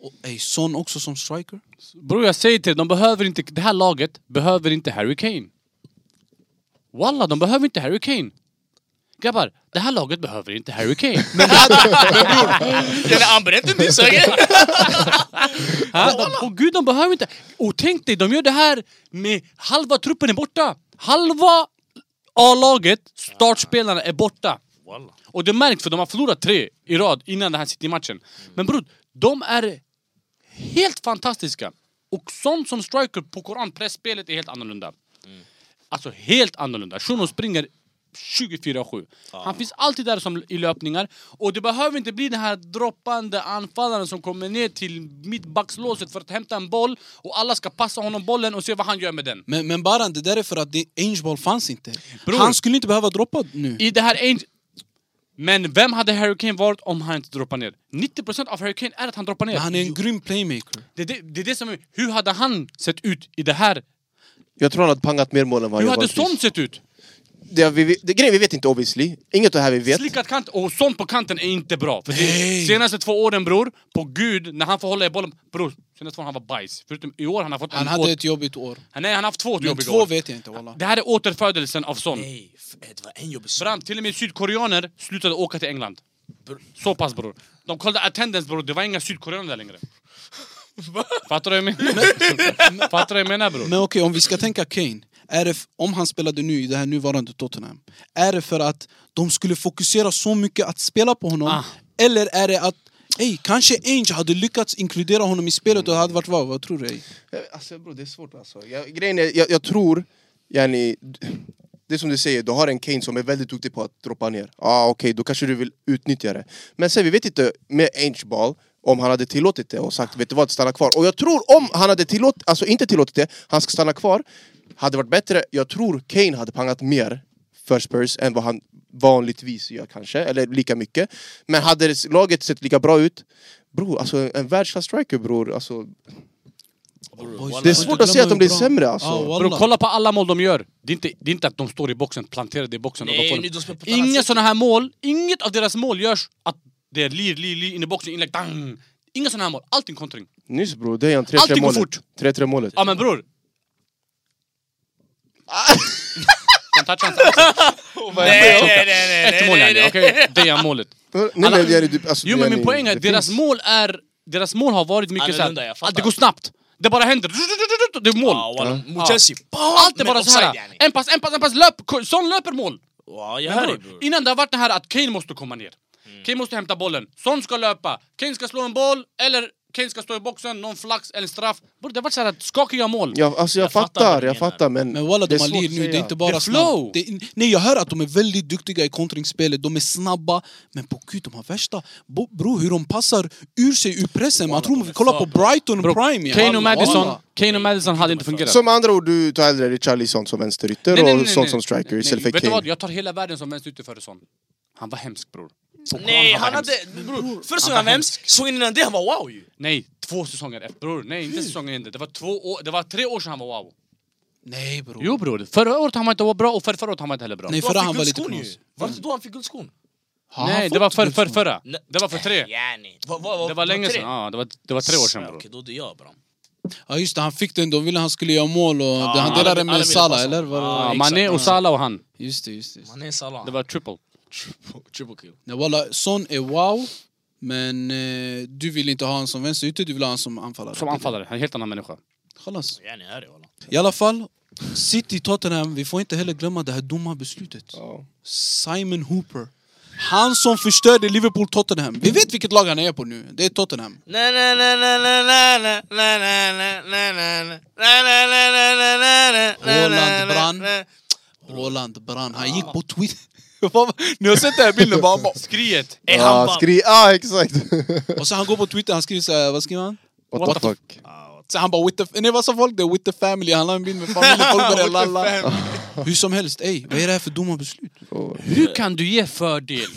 S1: Och, ey, Son också som striker?
S2: Bror jag säger till dig, de behöver inte, det här laget behöver inte Harry Kane. Walla, de behöver inte Harry Kane. Grabbar, det här laget behöver inte Harry Kane.
S4: Eller anbränt inte säger
S2: Och gud, de behöver inte... Och tänk dig, de gör det här med halva truppen är borta. Halva A-laget, startspelarna, är borta.
S4: Wallah.
S2: Och det märks för de har förlorat tre i rad innan den här City-matchen. Men bror, de är helt fantastiska. Och sånt som striker på Koran, pressspelet är helt annorlunda. Alltså helt annorlunda. Shunon springer 24-7. Han finns alltid där som i löpningar. Och det behöver inte bli den här droppande anfallaren som kommer ner till mittbackslåset för att hämta en boll och alla ska passa honom bollen och se vad han gör med den.
S1: Men, men Baran, det där är för att det- Ange Ball fanns inte.
S2: Bror.
S1: Han skulle inte behöva droppa nu.
S2: I det här Ainge... Men vem hade Harry Kane varit om han inte droppar ner? 90% av Harry Kane är att han droppar ner.
S1: Men han är en grym playmaker.
S2: Det, det, det är det som är... Hur hade han sett ut i det här?
S3: Jag tror han hade pangat mer mål än vad
S2: Hur
S3: han
S2: hade
S3: gjorde.
S2: Son sett ut?
S3: Det, vi, det, grejen vi vet inte obviously. Inget av det här vi vet.
S2: Slickad kant och sånt på kanten är inte bra. För det,
S1: Nej.
S2: senaste två åren bror, på gud, när han får hålla i bollen... Bror, senaste två åren han var bajs. Förutom i år han har fått
S1: Han
S2: en
S1: hade
S2: åter-
S1: ett jobbigt år.
S2: Nej, han har haft två
S1: Men
S2: jobbiga
S1: två
S2: år.
S1: vet jag inte walla.
S2: Det här är återfödelsen av Son.
S4: Nej, f- det var en jobbig sak.
S2: Bram, till och med sydkoreaner slutade åka till England. Så pass bror. De kollade attendance bror, det var inga sydkoreaner där längre. Fattar du vad jag menar? Fattar du vad jag menar bror?
S1: Men okej, om vi ska tänka Kane. Är det, f- om han spelade nu i det här nuvarande Tottenham. Är det för att de skulle fokusera så mycket att spela på honom?
S2: Ah.
S1: Eller är det att Ey, kanske Ange hade lyckats inkludera honom i spelet och det hade varit vad? Vad tror du? ey?
S3: Alltså bro, det är svårt alltså. Jag, grejen är, jag, jag tror, yani, det är som du säger, du har en Kane som är väldigt duktig på att droppa ner. Ja ah, okej, då kanske du vill utnyttja det. Men sen vi vet inte med Ange Ball om han hade tillåtit det och sagt vet du vad, stanna kvar. Och jag tror om han hade tillåtit, alltså inte tillåtit det, han ska stanna kvar, hade varit bättre. Jag tror Kane hade pangat mer för Spurs än vad han vanligtvis gör kanske, eller lika mycket. Men hade laget sett lika bra ut, bror, alltså en världsklass striker bror, alltså
S1: Boys,
S3: det är
S1: får
S3: svårt
S1: inte
S3: att se att
S1: glömma
S3: de blir
S1: hur bra-
S3: sämre, alltså.
S1: Ah, walla.
S2: Bror kolla på alla mål de gör. Det är inte, det är inte att de står i boxen, planterade i boxen och de
S4: Nej,
S2: får...
S4: nu de spelar på ett annat
S2: Inga
S4: sätt.
S2: såna här mål, inget av deras mål görs att det är lir, lir, lir, in i boxen, inlägg, dang! Inga såna här mål, allting kontring.
S3: Nyss bror, det är en 3-3 målet.
S2: Allting går fort.
S3: 3-3 målet.
S2: Ja men bror! Han touchade hans axel.
S4: Nej, nej, nej, nej,
S2: Ett
S4: nej,
S2: mål
S4: nej,
S2: yani,
S4: nej.
S2: okej? Det är målet.
S3: Nej, men,
S2: Alla-
S3: yani, du- alltså,
S2: Jo men min
S3: yani,
S2: poäng är
S3: det
S2: att deras
S3: finns-
S2: mål är... Deras mål har varit mycket
S4: Annorlunda,
S2: såhär...
S4: jag fattar. Ah,
S2: Att det går snabbt! Det bara händer, det är mål!
S4: Ja, wallah.
S2: Ja.
S4: Mot Chelsea,
S2: Allt är
S4: men
S2: bara
S4: offside,
S2: såhär,
S4: yani.
S2: en pass, en pass, en pass, löp! Sån löper mål!
S4: Ja, jag
S2: Men
S4: hör
S2: bror,
S4: dig bror.
S2: innan det har varit det här att Kane måste komma ner. Kane måste hämta bollen. Son ska löpa. Kane ska slå en boll. Eller Kane ska stå i boxen, någon flax eller straff. Bror, det har varit så här skakiga mål.
S3: Ja, alltså jag,
S4: Jag fattar
S3: fattar,
S4: vad du
S3: jag
S4: menar.
S3: fattar men...
S1: Men walla,
S3: det är
S1: de har
S3: svårt
S1: lir
S3: att
S1: nu, det är
S3: säga.
S1: inte bara
S2: Det är flow.
S1: snabbt. Det är, nej, jag hör att de är väldigt duktiga i kontringsspelet, de är snabba. Men på gud, de har värsta... Bo, bro, hur de passar ur sig ur pressen. Man tror man vi kollar på Brighton
S2: Bror,
S1: Prime. ja.
S2: Kane och
S1: Walla,
S2: Madison,
S1: walla.
S2: Kane och Madison hade inte fungerat.
S3: Så med andra ord, du tar hellre Richarlison som vänsterytter och Son som striker istället för
S2: Vet du vad?
S3: Kane.
S2: Jag tar hela världen som vänsterytter före Son. Han var hemsk bror. På plan,
S4: Nej,
S2: var
S4: han
S2: hemsk.
S4: hade... Bror, först såg
S2: Han
S4: han
S2: var
S4: hemskt, sången innan det, han var wow ju.
S2: Nej, två säsonger efter bror. Nej, inte säsongen innan. Det var två år, det var tre år sedan han var wow.
S1: Nej bror.
S2: Jo bror, förra året han var inte bra och förra, förra året han var inte heller bra.
S1: Nej,
S4: Då
S1: förra han
S4: fick
S1: var lite
S4: guldskon ju.
S1: knas.
S4: Var det inte då han fick guldskon?
S1: Har han
S2: Nej, det
S1: fått
S2: var för, för,
S1: guldskon?
S2: förra.
S4: Nej.
S2: Det var för tre.
S4: Yani. Va- va- va-
S2: Det var länge
S4: tre?
S2: sedan. Ja, det var, det var tre år sedan
S4: Ja,
S2: bror.
S4: Okej, då är det jag bra.
S1: Ja just det, han fick den. De ville han skulle göra mål och det, han
S4: alla-
S1: delade
S4: alla
S1: med
S4: ville
S1: Salah
S4: passa.
S1: eller? Var,
S4: Ja,
S2: Ja,
S4: exakt.
S2: Mané och Salah och han.
S1: Just det, just det. Just det.
S4: Man är Salah.
S2: Det var triple.
S4: triple kill.
S1: Nej, walla, Son är wow. Men eh, du vill inte ha han som vänsterytter, du vill ha han som anfallare.
S2: Som anfallare, en helt annan människa.
S1: Chalas.
S4: Yani, hör dig walla.
S1: I alla fall, City Tottenham, vi får inte heller glömma det här dumma beslutet.
S3: Ja.
S1: Simon Hooper. Han som förstörde Liverpool Tottenham. Vi vet vilket lag han är på nu. Det är Tottenham.
S4: Na na na na na na na na na na na na na na na na na na na
S1: Haaland brann.
S4: na.
S1: Roland brann. Han gick på Twitter. Vad- Ni har sett den här bilden bara, han bara...
S2: Skriet!
S4: Är han
S3: Ja,
S4: bara...
S3: Ah, skri... Ja, exakt!
S1: Och sen han går på Twitter, han skriver såhär, vad skriver han?
S3: What, the fuck?
S1: Sen han bara with the... Nej vad sa folk? Det är with the family. Han la en bild med familjen, folk började lalla. Hur som helst, ey, vad är det här för dumma beslut?
S3: Oh.
S2: Hur kan du ge fördel?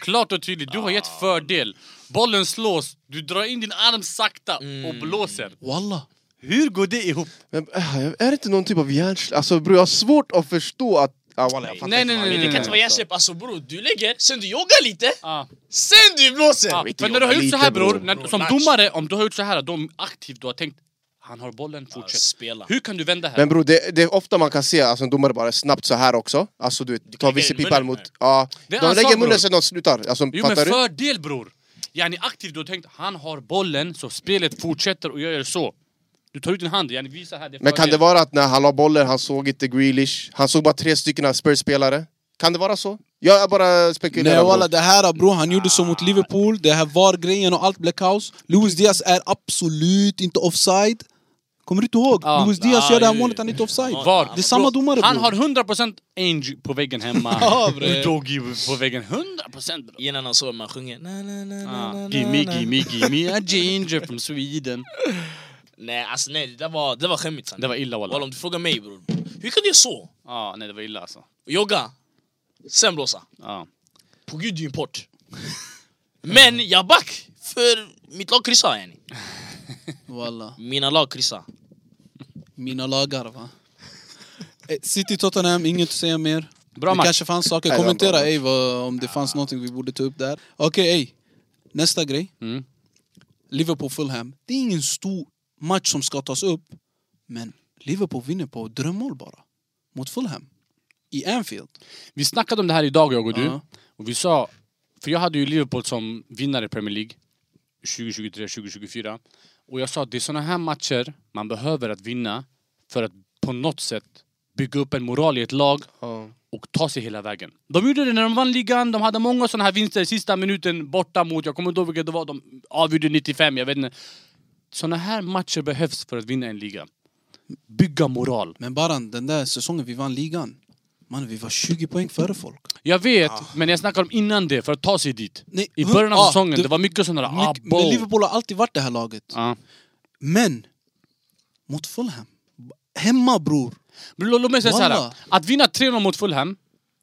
S2: Klart och tydligt, du har gett fördel. Bollen slås, du drar in din arm sakta
S4: Mm.
S2: och blåser.
S1: Walla.
S2: Hur går det ihop?
S3: Men, äh, är det inte någon typ av hjärnsläpp? Alltså bror, jag har svårt att förstå att... Ah, walla, jag fattar
S2: Nej,
S3: inte
S2: nej,
S3: vad
S2: nej,
S3: han menar.
S4: Det kan
S2: nej,
S4: inte vara hjärnsläpp. Alltså bror, du lägger, sen du joggar lite,
S2: Ah.
S4: sen du blåser!
S2: Ah.
S3: inte
S2: För när du har
S3: jobba
S2: gjort så
S3: lite,
S2: här bror,
S3: bror.
S2: när,
S4: Bror,
S2: som
S4: match.
S2: domare, om du har gjort så här, de aktivt, du har tänkt han har bollen, fortsätt.
S4: spela.
S2: Hur kan du vända här?
S3: Men bror, det, det är ofta man kan se alltså, en domare bara snabbt så här också. Alltså du vet, tar
S4: lägga
S3: vissa
S4: den i
S3: pipar
S4: munnen
S3: mot...
S4: här.
S3: Ja,
S2: Det är
S3: de
S2: hans
S3: lägger
S2: sak,
S3: i munnen
S2: bror.
S3: sen de slutar. Alltså,
S2: Jo men
S3: fattar du?
S2: fördel bror! Yani aktivt, du har tänkt han har bollen så spelet fortsätter och jag gör så. Du tar ut din hand, yani visa här. Det är
S3: Men kan
S2: fördel.
S3: det vara att när han la bollen, han såg inte Grealish, han såg bara tre stycken av Spurs-spelare? Kan det vara så? Jag bara spekulerar.
S1: Nej
S3: bror.
S1: walla, det här bror, han gjorde så mot Liverpool. Det här var grejen och allt blev kaos. Luis Diaz är absolut inte offside. Kommer du inte ihåg?
S2: Ja.
S1: Luis Diaz gör det här
S4: Ja,
S1: målet, han är inte offside.
S4: Ja,
S2: Var?
S1: Det är samma
S2: Bro,
S1: domare,
S2: Han
S1: bro.
S2: har 100% Ange på väggen hemma.
S1: Ja, bre.
S2: Doggy på väggen. 100% bro.
S4: Innan han sover, man sjunger na, na, na, na, na,
S2: Ah, gimme,
S4: na.
S2: gimme, gimme a ginger from Sweden.
S4: Nej alltså nej, det där var, det där var skämmigt sanning.
S2: Det var illa
S4: Walla
S2: walla.
S4: om du frågar mig bror, hur kan du göra så?
S2: Ja, nej det var illa alltså. Ah.
S4: Jogga, sen blåsa.
S2: Ja.
S4: På gud det är import. Men jag back, för mitt lag kryssade yani.
S1: Walla.
S4: Mina lag kryssade.
S1: Mina lagar va. Eh, City Tottenham, inget att säga mer.
S2: Bra
S1: det
S2: match.
S1: kanske fanns saker.
S3: Nej, det var en bra
S1: Kommentera
S3: match.
S1: ey, vad, om det fanns någonting vi borde ta upp där. Okej ey. Nästa grej.
S2: Mm.
S1: Liverpool-Fulham. Det är ingen stor match som ska tas upp. Men Liverpool vinner på drömmål bara. Mot Fulham. I Anfield.
S2: Vi snackade om det här idag jag och du.
S1: Ja.
S2: Och vi sa, för jag hade ju Liverpool som vinnare i Premier League 2023, 2024. Och jag sa att det är såna här matcher man behöver att vinna för att på något sätt bygga upp en moral i ett lag och ta sig hela vägen. De gjorde det när de vann ligan, de hade många såna här vinster i sista minuten borta mot, jag kommer inte ihåg vilka det var, de avgjorde 95, jag vet inte. Såna här matcher behövs för att vinna en liga. Bygga moral.
S1: Men Baran, den där säsongen vi vann ligan. Man, vi var 20 poäng före folk.
S2: Jag vet, men jag snackar om innan det, för att ta sig dit.
S1: Ah. Nej,
S2: I
S1: hund-
S2: början av
S1: ja,
S2: säsongen,
S1: det-
S2: det var mycket sådana där... Ah,
S1: Mycket-
S2: bow. Ah.
S1: men Liverpool har alltid varit det här laget.
S2: Ja.
S1: Men mot Fulham. Hemma bror.
S2: Men lå- Låt mig säga såhär,
S1: Walla.
S2: att vinna 3-0 mot Fulham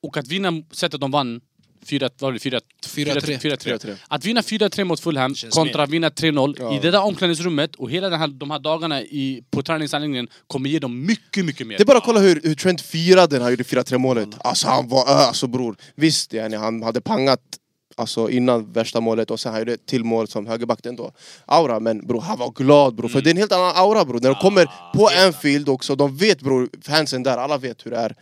S2: och att vinna sättet de vann, 4, vad var det, 4,
S1: 4-3.
S2: 4-3.
S3: 4-3.
S2: Att vinna 4-3 mot Fulham
S4: Känns
S2: kontra
S4: mer.
S2: vinna 3-0
S3: Ja.
S2: i det där omklädningsrummet och hela den här, de här dagarna i, på träningsanläggningen kommer ge dem mycket, mycket mer.
S3: Det är bara att kolla hur, hur Trent firade när han gjorde 4-3 målet. Alltså han var ö, alltså bror. Visst, yani, han hade pangat alltså, innan värsta målet och sen han gjorde ett till mål som högerback ändå. Aura, men bror han var glad bror. För det är en helt annan aura bror. När de kommer på Anfield också, de vet bror, fansen där, alla vet hur det är.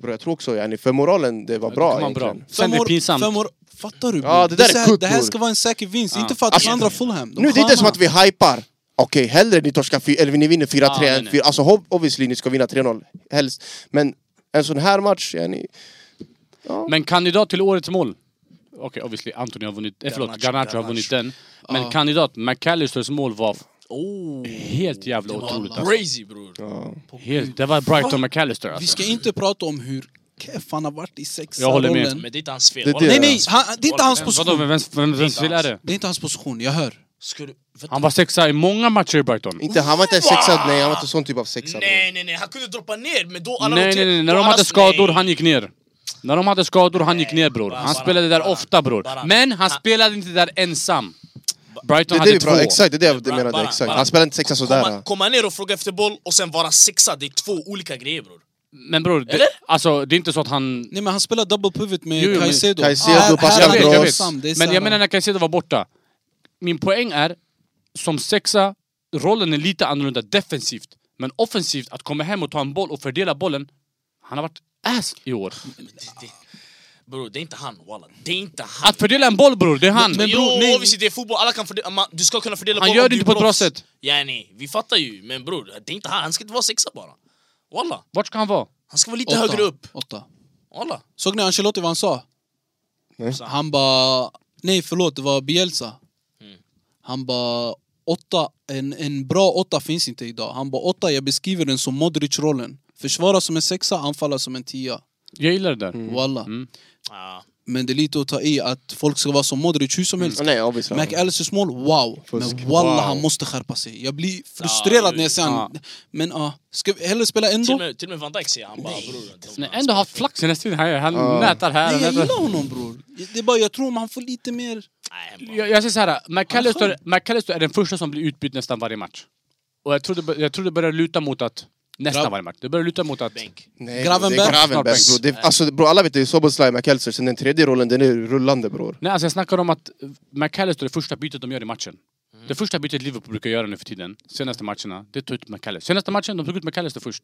S3: Bror jag tror också yani, för moralen det var bra
S2: det var bra.
S3: egentligen.
S2: Sen blir det pinsamt.
S1: Fem år, fattar du? bror?
S3: Ja, det där är
S1: så här-
S3: kutt,
S1: det här
S3: bror.
S1: ska vara en säker vinst,
S2: Ja.
S1: inte för att
S3: Alltså,
S1: de andra Fulham. De
S3: Nu det är inte
S1: sköna.
S3: som att vi hypar. Okej, hellre ni torskar fy- eller ni vinner 4-3
S2: Ah, nej,
S3: än
S2: nej.
S3: 4 Alltså hopp- obviously ni ska vinna 3-0 helst. Men en sån här match, yani,
S2: Men kandidat till årets mål? Okej, obviously Anthony har vunnit, eh, förlåt,
S4: Garnacho,
S2: Garnacho har
S4: Garnacho.
S2: vunnit den. Men
S1: Ja.
S2: kandidat, McAllisters mål var
S4: Oh,
S2: helt jävla otroligt. alltså.
S4: crazy bror.
S2: Helt, det var Brighton McAllister
S1: Vi
S2: alltså.
S1: ska inte prata om hur keff han har varit i sexa
S2: Jag håller med.
S1: rollen.
S4: Men det är inte hans fel.
S3: Det är
S4: Walla,
S3: det.
S1: Nej
S4: är
S1: nej,
S4: hans
S1: han,
S4: fel.
S1: det är inte
S4: Walla,
S1: hans
S4: men-
S2: Vadå,
S1: position.
S2: vem, vem, vem fel är det?
S1: Det är inte hans position, jag hör.
S4: Ska du- vänta.
S2: Han var sexa i många matcher i Brighton.
S3: inte, han var inte en sexad, nej han var inte sån typ av sexa.
S4: Nej nej nej, han kunde droppa ner men då alla
S2: Nej, nej,
S4: noterade-
S2: nej.
S4: då
S2: När de
S4: alla-
S2: hade skador,
S4: nej.
S2: han gick ner. När de hade skador, han gick ner bror.
S4: bara-
S2: Han spelade där
S4: bara-
S2: ofta bror.
S4: bara-
S2: Men han spelade inte där ensam. Brighton
S3: Det är det
S2: hade
S3: vi pratar,
S2: två.
S3: exakt, det är det jag
S4: Bara-
S3: menade.
S4: bara-
S3: Exakt.
S4: bara-
S3: Han spelade inte sexa sådär.
S4: Komma, komma ner och fråga efter boll och sen vara sexa, det är två olika grejer bror.
S2: Men bror, det, alltså, det är inte så att han...
S1: Nej men han spelar double pivot med
S2: Jo, jo, men-
S1: Caicedo.
S3: Caicedo,
S1: Här- här
S3: Pascal
S1: är
S2: Jag
S1: han
S2: vet, jag
S3: Andros.
S1: ensam, det är
S2: vet. Men
S1: så här-
S2: jag menar när Caicedo var borta. Min poäng är, som sexa, rollen är lite annorlunda defensivt. Men offensivt, att komma hem och ta en boll och fördela bollen. Han har varit ass i år.
S4: Men det- det- Bror det är inte han walla, det är inte han.
S2: Att fördela en boll bror, det är han.
S1: Men
S4: jo,
S1: bror, nej.
S4: obviously det är fotboll, alla kan fördela, man, du ska kunna fördela
S2: Han
S4: boll
S2: gör
S4: om
S2: det
S4: du
S2: inte på ett bra
S4: proffs.
S2: sätt.
S4: Yani, vi fattar ju, men bror det är inte han, han ska inte vara sexa bara. Walla,
S2: Vart ska han vara?
S4: han ska vara lite
S1: åtta,
S4: högre upp.
S1: Åtta.
S4: Walla.
S1: Såg ni Ancelotti vad han sa? Han bara... Nej förlåt, det var Bielsa.
S4: Mm.
S1: Han bara... Åtta, en, en bra åtta finns inte idag. Han bara åtta, jag beskriver den som Modric-rollen. Försvara som en sexa, anfalla som en tia.
S2: Jag gillar det där.
S3: Mm.
S1: Walla.
S4: Ja.
S1: Men det är lite att ta i att folk ska vara som Modric hur som helst.
S3: Nej, obviously.
S1: McAllisters mål, wow!
S3: Mm. Fusk.
S1: Men walla,
S3: Wow.
S1: han måste skärpa sig. Jag blir frustrerad när jag ser han. Men ja, ska vi hellre spela
S4: Till,
S1: ändå?
S4: och med, till och med Van Dijk säger han bara bror. de-
S2: Men ändå haft flax hela tiden. Han, han nätar här.
S1: Nej, jag
S2: han nätar.
S1: gillar honom bror. Det är bara, jag tror om han får lite mer...
S4: Nej, bara-
S2: Jag, jag säger såhär,
S1: Han
S2: McAllister,
S1: är
S2: McAllister är den första som blir utbytt nästan varje match. Och jag tror det, bör- jag tror det börjar luta mot att... Nästan
S1: Grabb.
S2: varje match. Det börjar luta mot att...
S4: Bänk.
S3: Nej,
S1: Gravenberg.
S3: det är Gravenberg
S2: Snart
S3: bror. Det, alltså, bror alla vet det är Soboslaj, McAllister, sen den tredje rollen den är rullande bror.
S2: Nej, alltså jag snackar om att McAllister är första bytet de gör i matchen.
S4: Mm.
S2: Det första bytet Liverpool brukar göra nu för tiden, senaste matcherna, det är att ta ut McAllister. Senaste matchen, de tog ut McAllister först.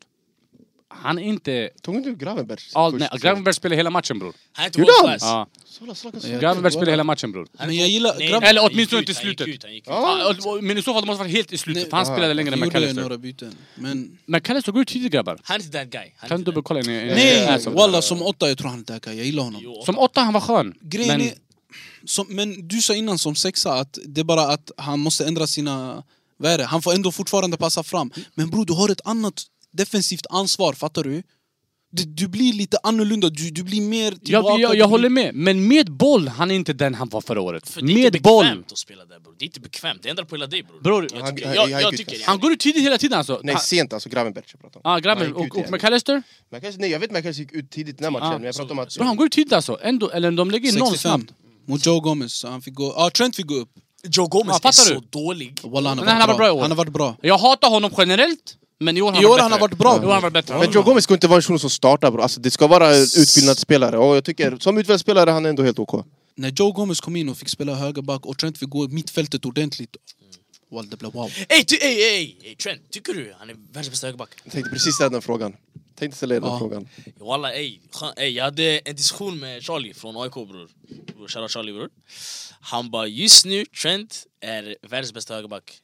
S2: Han är inte...
S3: Tog inte du Gravenberg?
S2: All,
S3: först?
S2: nej, Gravenberg spelar hela matchen bror.
S4: Han är inte
S3: Gjorde
S4: world
S3: han?
S4: class.
S2: Ja.
S3: Sola, sola, sola.
S2: Gravenberg spelar hela matchen bror.
S4: Han är
S1: Men
S4: inte-
S1: jag gillar-
S4: nej,
S1: grabbar-
S4: han
S2: Eller
S4: gick
S2: åtminstone
S4: ut,
S2: till
S4: han gick
S2: slutet.
S4: ut, han gigick ut.
S3: Ja.
S2: Ja, och- och- Men i så fall det måste vara helt i slutet,
S1: Nej,
S2: för han
S1: ja,
S2: spelade längre än
S1: Han gjorde
S2: McAllister.
S1: några byten. Men...
S2: Men Kalle stod ut tidigt grabbar.
S4: Han är inte that guy. Han är
S2: Kan
S4: inte
S2: du
S4: that-
S2: kolla in i- i- i-
S1: Nej,
S2: alltså.
S1: walla som åtta, jag tror han är dackar. Jag gillar honom.
S4: Jo,
S2: Som åtta han var skön.
S1: Grejen
S2: men
S1: är, som, men du sa innan som sexa att det är bara att han måste ändra sina Vad är det? Han får ändå fortfarande passa fram. Men bror, du har ett annat defensivt ansvar, fattar du? Du, du blir lite annorlunda, du, du blir mer tillbaka.
S2: Jag, jag,
S1: du
S2: jag
S1: blir-
S2: håller med, men med boll, han är inte den han var förra året.
S4: För det är inte
S2: Med boll!
S4: bekvämt att spela där bror. Det är inte bekvämt, det ändrar på hela dig bror.
S2: Bror,
S4: jag
S3: Han-
S4: tycker,
S3: han-
S4: jag,
S3: han
S4: jag
S3: gick
S4: tycker
S3: ut.
S2: han går ut tidigt hela tiden alltså.
S3: Nej,
S2: Han-
S3: sent alltså. Gravenberch jag pratar om.
S2: Ja, grabben.
S3: Han gick ut
S2: Och, och
S3: igen.
S2: McAllister?
S3: Men kanske, nej, jag vet McAllister gick ut tidigt när matchen,
S2: Ja,
S3: men jag pratar om att...
S2: Bro, han går ut tidigt alltså. Ändå, eller de lägger in någon
S1: 65
S2: snabbt.
S1: mot Joe Gomez, så han fick gå... Ja, ah, Trent fick gå upp.
S4: Joe Gomez
S2: Ja,
S4: är
S2: fattar
S4: så
S2: du?
S4: dålig.
S1: Walla, han har
S2: Men han har
S1: varit
S2: varit bra i
S1: bra.
S2: år.
S1: Han har varit bra.
S2: Jag hatar honom generellt, men i år har han
S1: I år
S2: varit
S1: han har
S2: bättre.
S1: varit bra.
S2: I år har han varit bättre.
S3: Men Joe Gomez ska inte vara en person som startar bror. Alltså, det ska vara utbildad spelare. Och jag tycker, som utbildad spelare, han är ändå helt OK.
S1: När Joe Gomez kom in och fick spela högerback och Trent fick gå i mittfältet ordentligt. Walla, det blev wow.
S4: Ey, ty, ey, ey, ey, Trent, tycker du han är världens bästa högerback?
S3: Jag tänkte precis ställa den frågan. Tänkte ställa er den
S1: Ja.
S3: frågan.
S4: Walla ey, skön, ey, jag hade en diskussion med Charlie från AIK bror. Bror, Shoutout Charlie bror. Han bara just nu Trent är världens bästa högerback.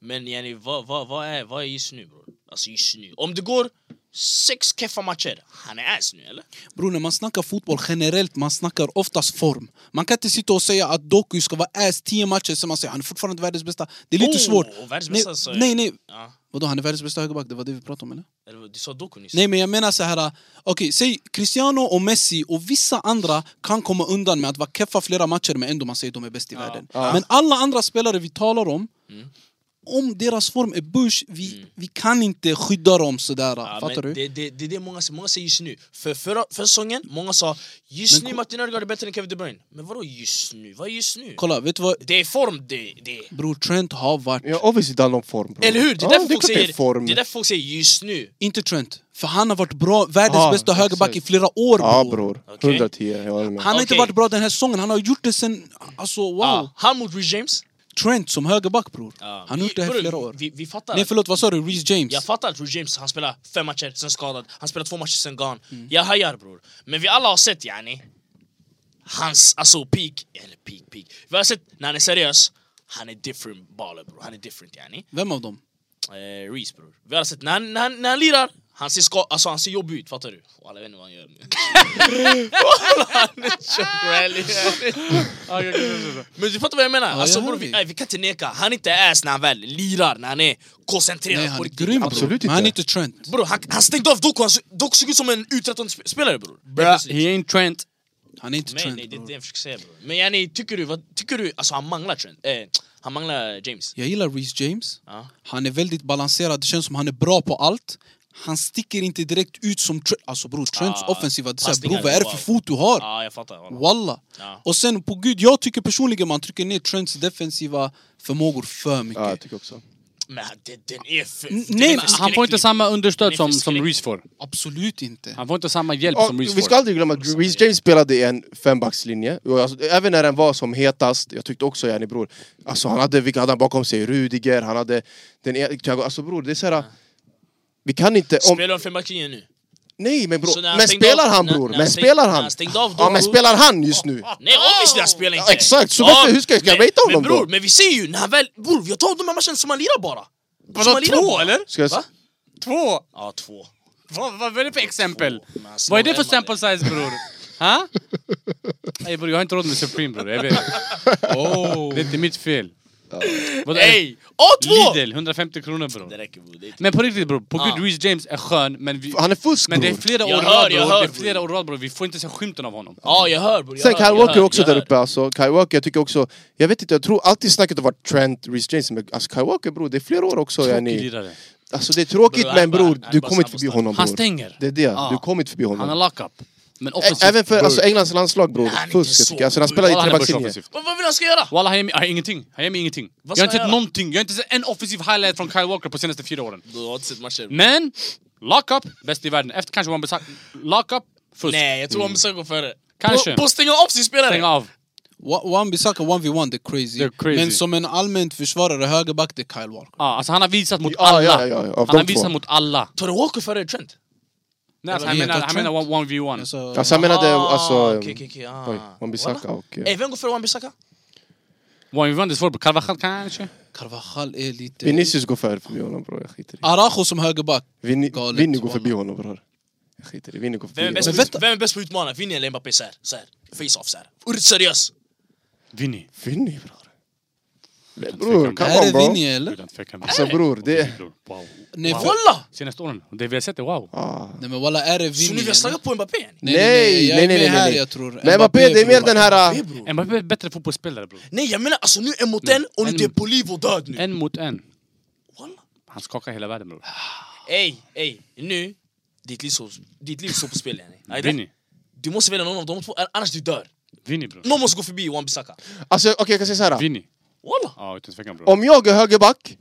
S4: Men yani, vad, vad, vad, är, vad är just nu bror? Alltså just nu. Om det går sex keffa matcher, han är ass nu eller?
S1: Bror, när man snackar fotboll generellt, man snackar oftast form. Man kan inte sitta och säga att Doku ska vara ass 10 matcher, sen man säger han är fortfarande världens bästa. Det är lite
S4: Oh,
S1: svårt.
S4: och världens
S1: Nej,
S4: bästa, så-
S1: nej, nej.
S4: Ja.
S1: Vadå, han är världens bästa högerback? Det var det vi pratade om eller?
S4: Eller vad- Du sa Doku nyss.
S1: Nej, men jag menar så här. Okej, säg Cristiano och Messi och vissa andra kan komma undan med att vara keffa flera matcher men ändå man säger de är bäst i världen.
S3: Ja.
S1: Men alla andra spelare vi talar om,
S4: Mm.
S1: om deras form är bush, vi, vi kan inte skydda dem sådär.
S4: Ja,
S1: fattar
S4: men
S1: du?
S4: Det, det, det är det många, säger. många säger just nu. För förra, förra säsongen, många sa just
S1: Men
S4: nu Martin Ödegaard är bättre än Kevin De Bruyne. Men vadå just nu? Vad är just nu?
S1: Kolla, vet du vad?
S4: Det är form det, det är.
S1: Bror, Trent har varit...
S3: Ja, obviously det handlar om form bror.
S4: Eller hur? Det är
S3: Ja,
S4: därför
S3: det
S4: folk
S3: klart det är
S4: säger
S3: form.
S4: det är därför folk säger just nu.
S1: Inte Trent, för han har varit bra, världens
S3: Ja,
S1: bästa högerback i
S3: exakt.
S1: flera år
S3: Ja
S1: bror.
S3: bror,
S4: Okej.
S3: 110, jag håller med.
S1: Han har inte
S4: Okej.
S1: varit bra den här säsongen, han har gjort det sen... Alltså wow!
S4: Ah, han mot Reece James.
S1: Trent som högerback bror.
S4: Ah.
S1: Han har gjort det här i
S4: Bror,
S1: flera år.
S4: Vi, vi fattar.
S1: Nej förlåt, vad sa du? Reece James?
S4: jag fattar att Reece James han spelar fem matcher, sen skadad. Han spelar två matcher, sen gone.
S1: Mm.
S4: Jag hajar bror. Men vi alla har sett yani, hans alltså peak, eller peak peak. Vi har sett när han är seriös, han är different baller bror. Han är different yani.
S1: Vem av dem?
S4: Eh, Reese bror. Vi har sett när han, när han, när han lirar, han ser, ska, alltså, han ser jobbig ut, fattar du? Och alla vet inte vad han gör nu. Walla, han är så rally. Men du fattar vad jag menar?
S1: jag
S4: alltså,
S1: hör
S4: bror, vi,
S1: dig.
S4: nej, vi kan inte neka, han är inte ass när han väl lirar, när han är koncentrerad
S1: Nej, han
S4: på
S1: är
S4: riktigt. Alltså,
S1: grym bror.
S3: Absolut inte.
S1: Men han är inte Trent.
S4: Bror, han, han stängde av Doku, han så- Doku såg ut som en uträttande sp- spelare bror.
S2: Bra, he ain't Trent.
S1: Han är inte
S4: Nej,
S1: Trent
S4: nej, det är
S1: bror.
S4: det jag försöker säga bror. Men yani, tycker du, vad, tycker du, alltså han manglar Trent, eh, han manglar James.
S1: Jag gillar Reece James.
S4: Ja.
S1: Han är väldigt balanserad, det känns som han är bra på allt. Han sticker inte direkt ut som Trent. Alltså bror, Trents
S4: Ah,
S1: offensiva... Det är såhär,
S4: passningar,
S1: bror vad är det
S4: wow. Ah.
S1: för fot du har?
S4: Ja, jag fattar. walla.
S1: Walla!
S4: Ja.
S1: Och sen på gud, jag tycker personligen man trycker ner Trents defensiva förmågor för mycket.
S3: Ja, jag tycker också.
S4: Men det, den är för...
S1: N-
S4: den
S1: nej,
S4: är
S1: men
S4: för
S2: Han får inte
S4: skräcklig.
S2: samma
S4: Den
S2: understöd
S4: är
S2: som,
S4: för
S2: som
S4: skräck.
S2: Reece får.
S1: Absolut inte.
S2: Han får inte samma hjälp
S3: Ja,
S2: som Reece
S3: vi ska
S2: får.
S3: aldrig glömma att Reece James spelade i en fembackslinje. Och Alltså, även när den var som hetast, jag tyckte också yani bror. Alltså han hade, vilka hade han bakom sig? Rudiger, han hade... Den, e- Thiago- alltså bror, det är såhär... Vi kan inte... Om,
S4: Spelar han för Marquinhos nu?
S3: nej men
S4: Så när
S3: bror,
S4: han
S3: men
S4: stängde
S3: spelar
S4: av-
S3: han
S4: när- när
S3: bror? Men
S4: han stäng-
S3: spelar
S4: när
S3: han?
S4: han stängde av
S3: Ja
S4: då,
S3: men
S4: bror.
S3: spelar han just nu?
S4: Nej
S2: Ah!
S4: obviously han spelar inte!
S3: Ja, exakt, så varför- hur ska jag- ska jag
S4: men-
S3: rate honom
S4: men bror,
S3: då?
S4: Men vi ser ju, när han väl... Bror, jag tar de här matcherna som han lirar bara! Som han lirar bara.
S3: Ska jag, s-
S4: Va?
S2: Två!
S4: Ja, två.
S2: Vad, vad är det för exempel?
S4: Men alltså, han
S2: Vad är det för
S4: snarare
S2: sample size bror? Ha? Nej bror, jag har inte råd med Supreme bror, jag vet.
S1: Oh.
S2: Det är inte mitt fel. Vad är det?
S4: Ey! A2!
S2: Lidl, 150 kronor bror.
S4: Det räcker bror, det är inte-
S2: Men på riktigt bror, på
S4: Ah.
S2: gud Reece James är skön men vi...
S3: han är fusk
S2: Men det är
S3: bror.
S2: flera år
S4: Jag
S2: i
S4: hör,
S2: rad
S4: jag
S2: bror, det
S4: hör,
S2: är flera
S4: bror.
S2: år i rad bror, vi får inte se skymten av honom.
S4: Ja, jag hör bror, jag
S3: Sen
S4: hör, jag
S3: Kyle Walker
S4: hör,
S3: också
S4: jag
S3: där
S4: hör.
S3: uppe alltså. Kyle Walker, jag tycker också... Jag vet inte, jag tror alltid snacket har varit Trent, Reece James. Men alltså Kyle Walker bror, det är flera år också
S2: Tråkig
S3: yani.
S2: lirare.
S3: Alltså det är tråkigt
S4: Bror, han
S3: men
S4: bara-
S3: bror,
S4: han
S3: du
S4: bara
S3: kommer inte förbi
S4: sabbar.
S3: honom bror.
S2: Han stänger.
S3: Det är det,
S2: Ah.
S3: du kommer inte förbi
S2: Han
S3: honom.
S2: har lockup. Men
S3: Ä-
S2: offensivt.
S3: Även för
S2: bror.
S3: alltså, Englands landslag bror,
S4: Han är inte
S3: fusk jag
S4: så
S3: tycker. Alltså, han spelar i
S2: Walla, han är bäst
S3: trebackslinjen.
S2: offensivt.
S4: Vad vad vill han ska göra?
S2: Walla, han ger mig han ger ah, ingenting. Han ger mig ingenting. Jag
S4: ska
S2: har inte
S4: han
S2: sett
S4: göra?
S2: någonting. Jag har inte sett en offensiv highlight från Kyle Walker på senaste fyra åren.
S4: Du har inte sett matcher?
S2: Men, lockup, bäst i världen. Efter kanske man besagt... Lockup, fusk. Mm.
S4: Nej, jag tror han besöker före.
S2: Kanske.
S4: På, på att stänga av sin spelare!
S2: Stäng av.
S1: One Bissaka 1v1, det är crazy.
S2: Det är crazy.
S1: Men som en allmänt försvarare högerback, det är Kyle Walker.
S2: Ja, alltså han har visat mot
S3: Ja,
S2: alla.
S3: ja, ja, ja. Av
S2: Han har
S3: de två.
S2: visat mot alla.
S4: Tar du Walker före Trent?
S2: Nej, alltså,
S1: Jag
S2: han
S1: vet
S2: menar,
S1: att
S2: han menar
S1: Trent-
S2: 1v1.
S1: Alltså,
S3: Alltså han menade
S4: Ah,
S3: alltså...
S4: okej, okej, okej, ah.
S3: Oj, Wan-Bissaka
S4: Walla.
S3: och... eh,
S4: Ey, vem går före Wan-Bissaka?
S2: 1v1 det är svårt. Carvajal kanske?
S1: Carvajal är lite...
S3: Vinicius går för förbi honom bror, jag skiter i.
S1: Arajo som högerback.
S3: Vini-
S1: Galet,
S3: Vinny går förbi
S1: walla.
S3: honom bror. Jag skiter i, Vinny går förbi
S4: Vem är
S3: honom.
S4: bäst,
S1: Men vänta.
S4: på, ut- vem är bäst på att utmana? Vinny eller Mbappé? Såhär, så här. face-off såhär. Seriös!
S2: Vinny.
S3: Vinny bror. Bror,
S1: Det
S3: come
S1: här
S3: on
S1: är
S3: bro.
S1: Vinny eller?
S2: Utan tvekan.
S3: Alltså bror, det...
S2: Bror, Wow.
S1: Nej, för,
S4: Walla!
S2: Senaste åren. Det vi har sett är wow.
S3: Ah.
S1: nej men walla är det Vinny?
S4: Så nu vi har
S1: eller?
S4: slagit på Mbappé? igen?
S1: Nej, nej, nej, jag är med här, jag tror.
S3: Nej, Mbappé, det är mer den här...
S4: Nej
S3: äh,
S4: bror.
S2: Mbappé är bättre fotbollsspelare bror.
S4: Nej jag menar alltså nu en mot en och nu
S2: En-
S4: det är på liv och död nu.
S2: En mot en.
S4: Walla.
S2: Han skakar hela världen bror.
S4: Ey, ey, nu. Ditt liv står ditt liv står på spel yani. Ajde.
S2: Vinny.
S4: Du måste välja någon av de två, annars du dör.
S2: Vinny bror.
S4: Någon måste gå förbi Wan Bissaka.
S3: Alltså okej, jag kan säga så här.
S2: Vinny.
S4: Walla!
S2: Ja, utan tvekan bror.
S3: Om jag är högerback...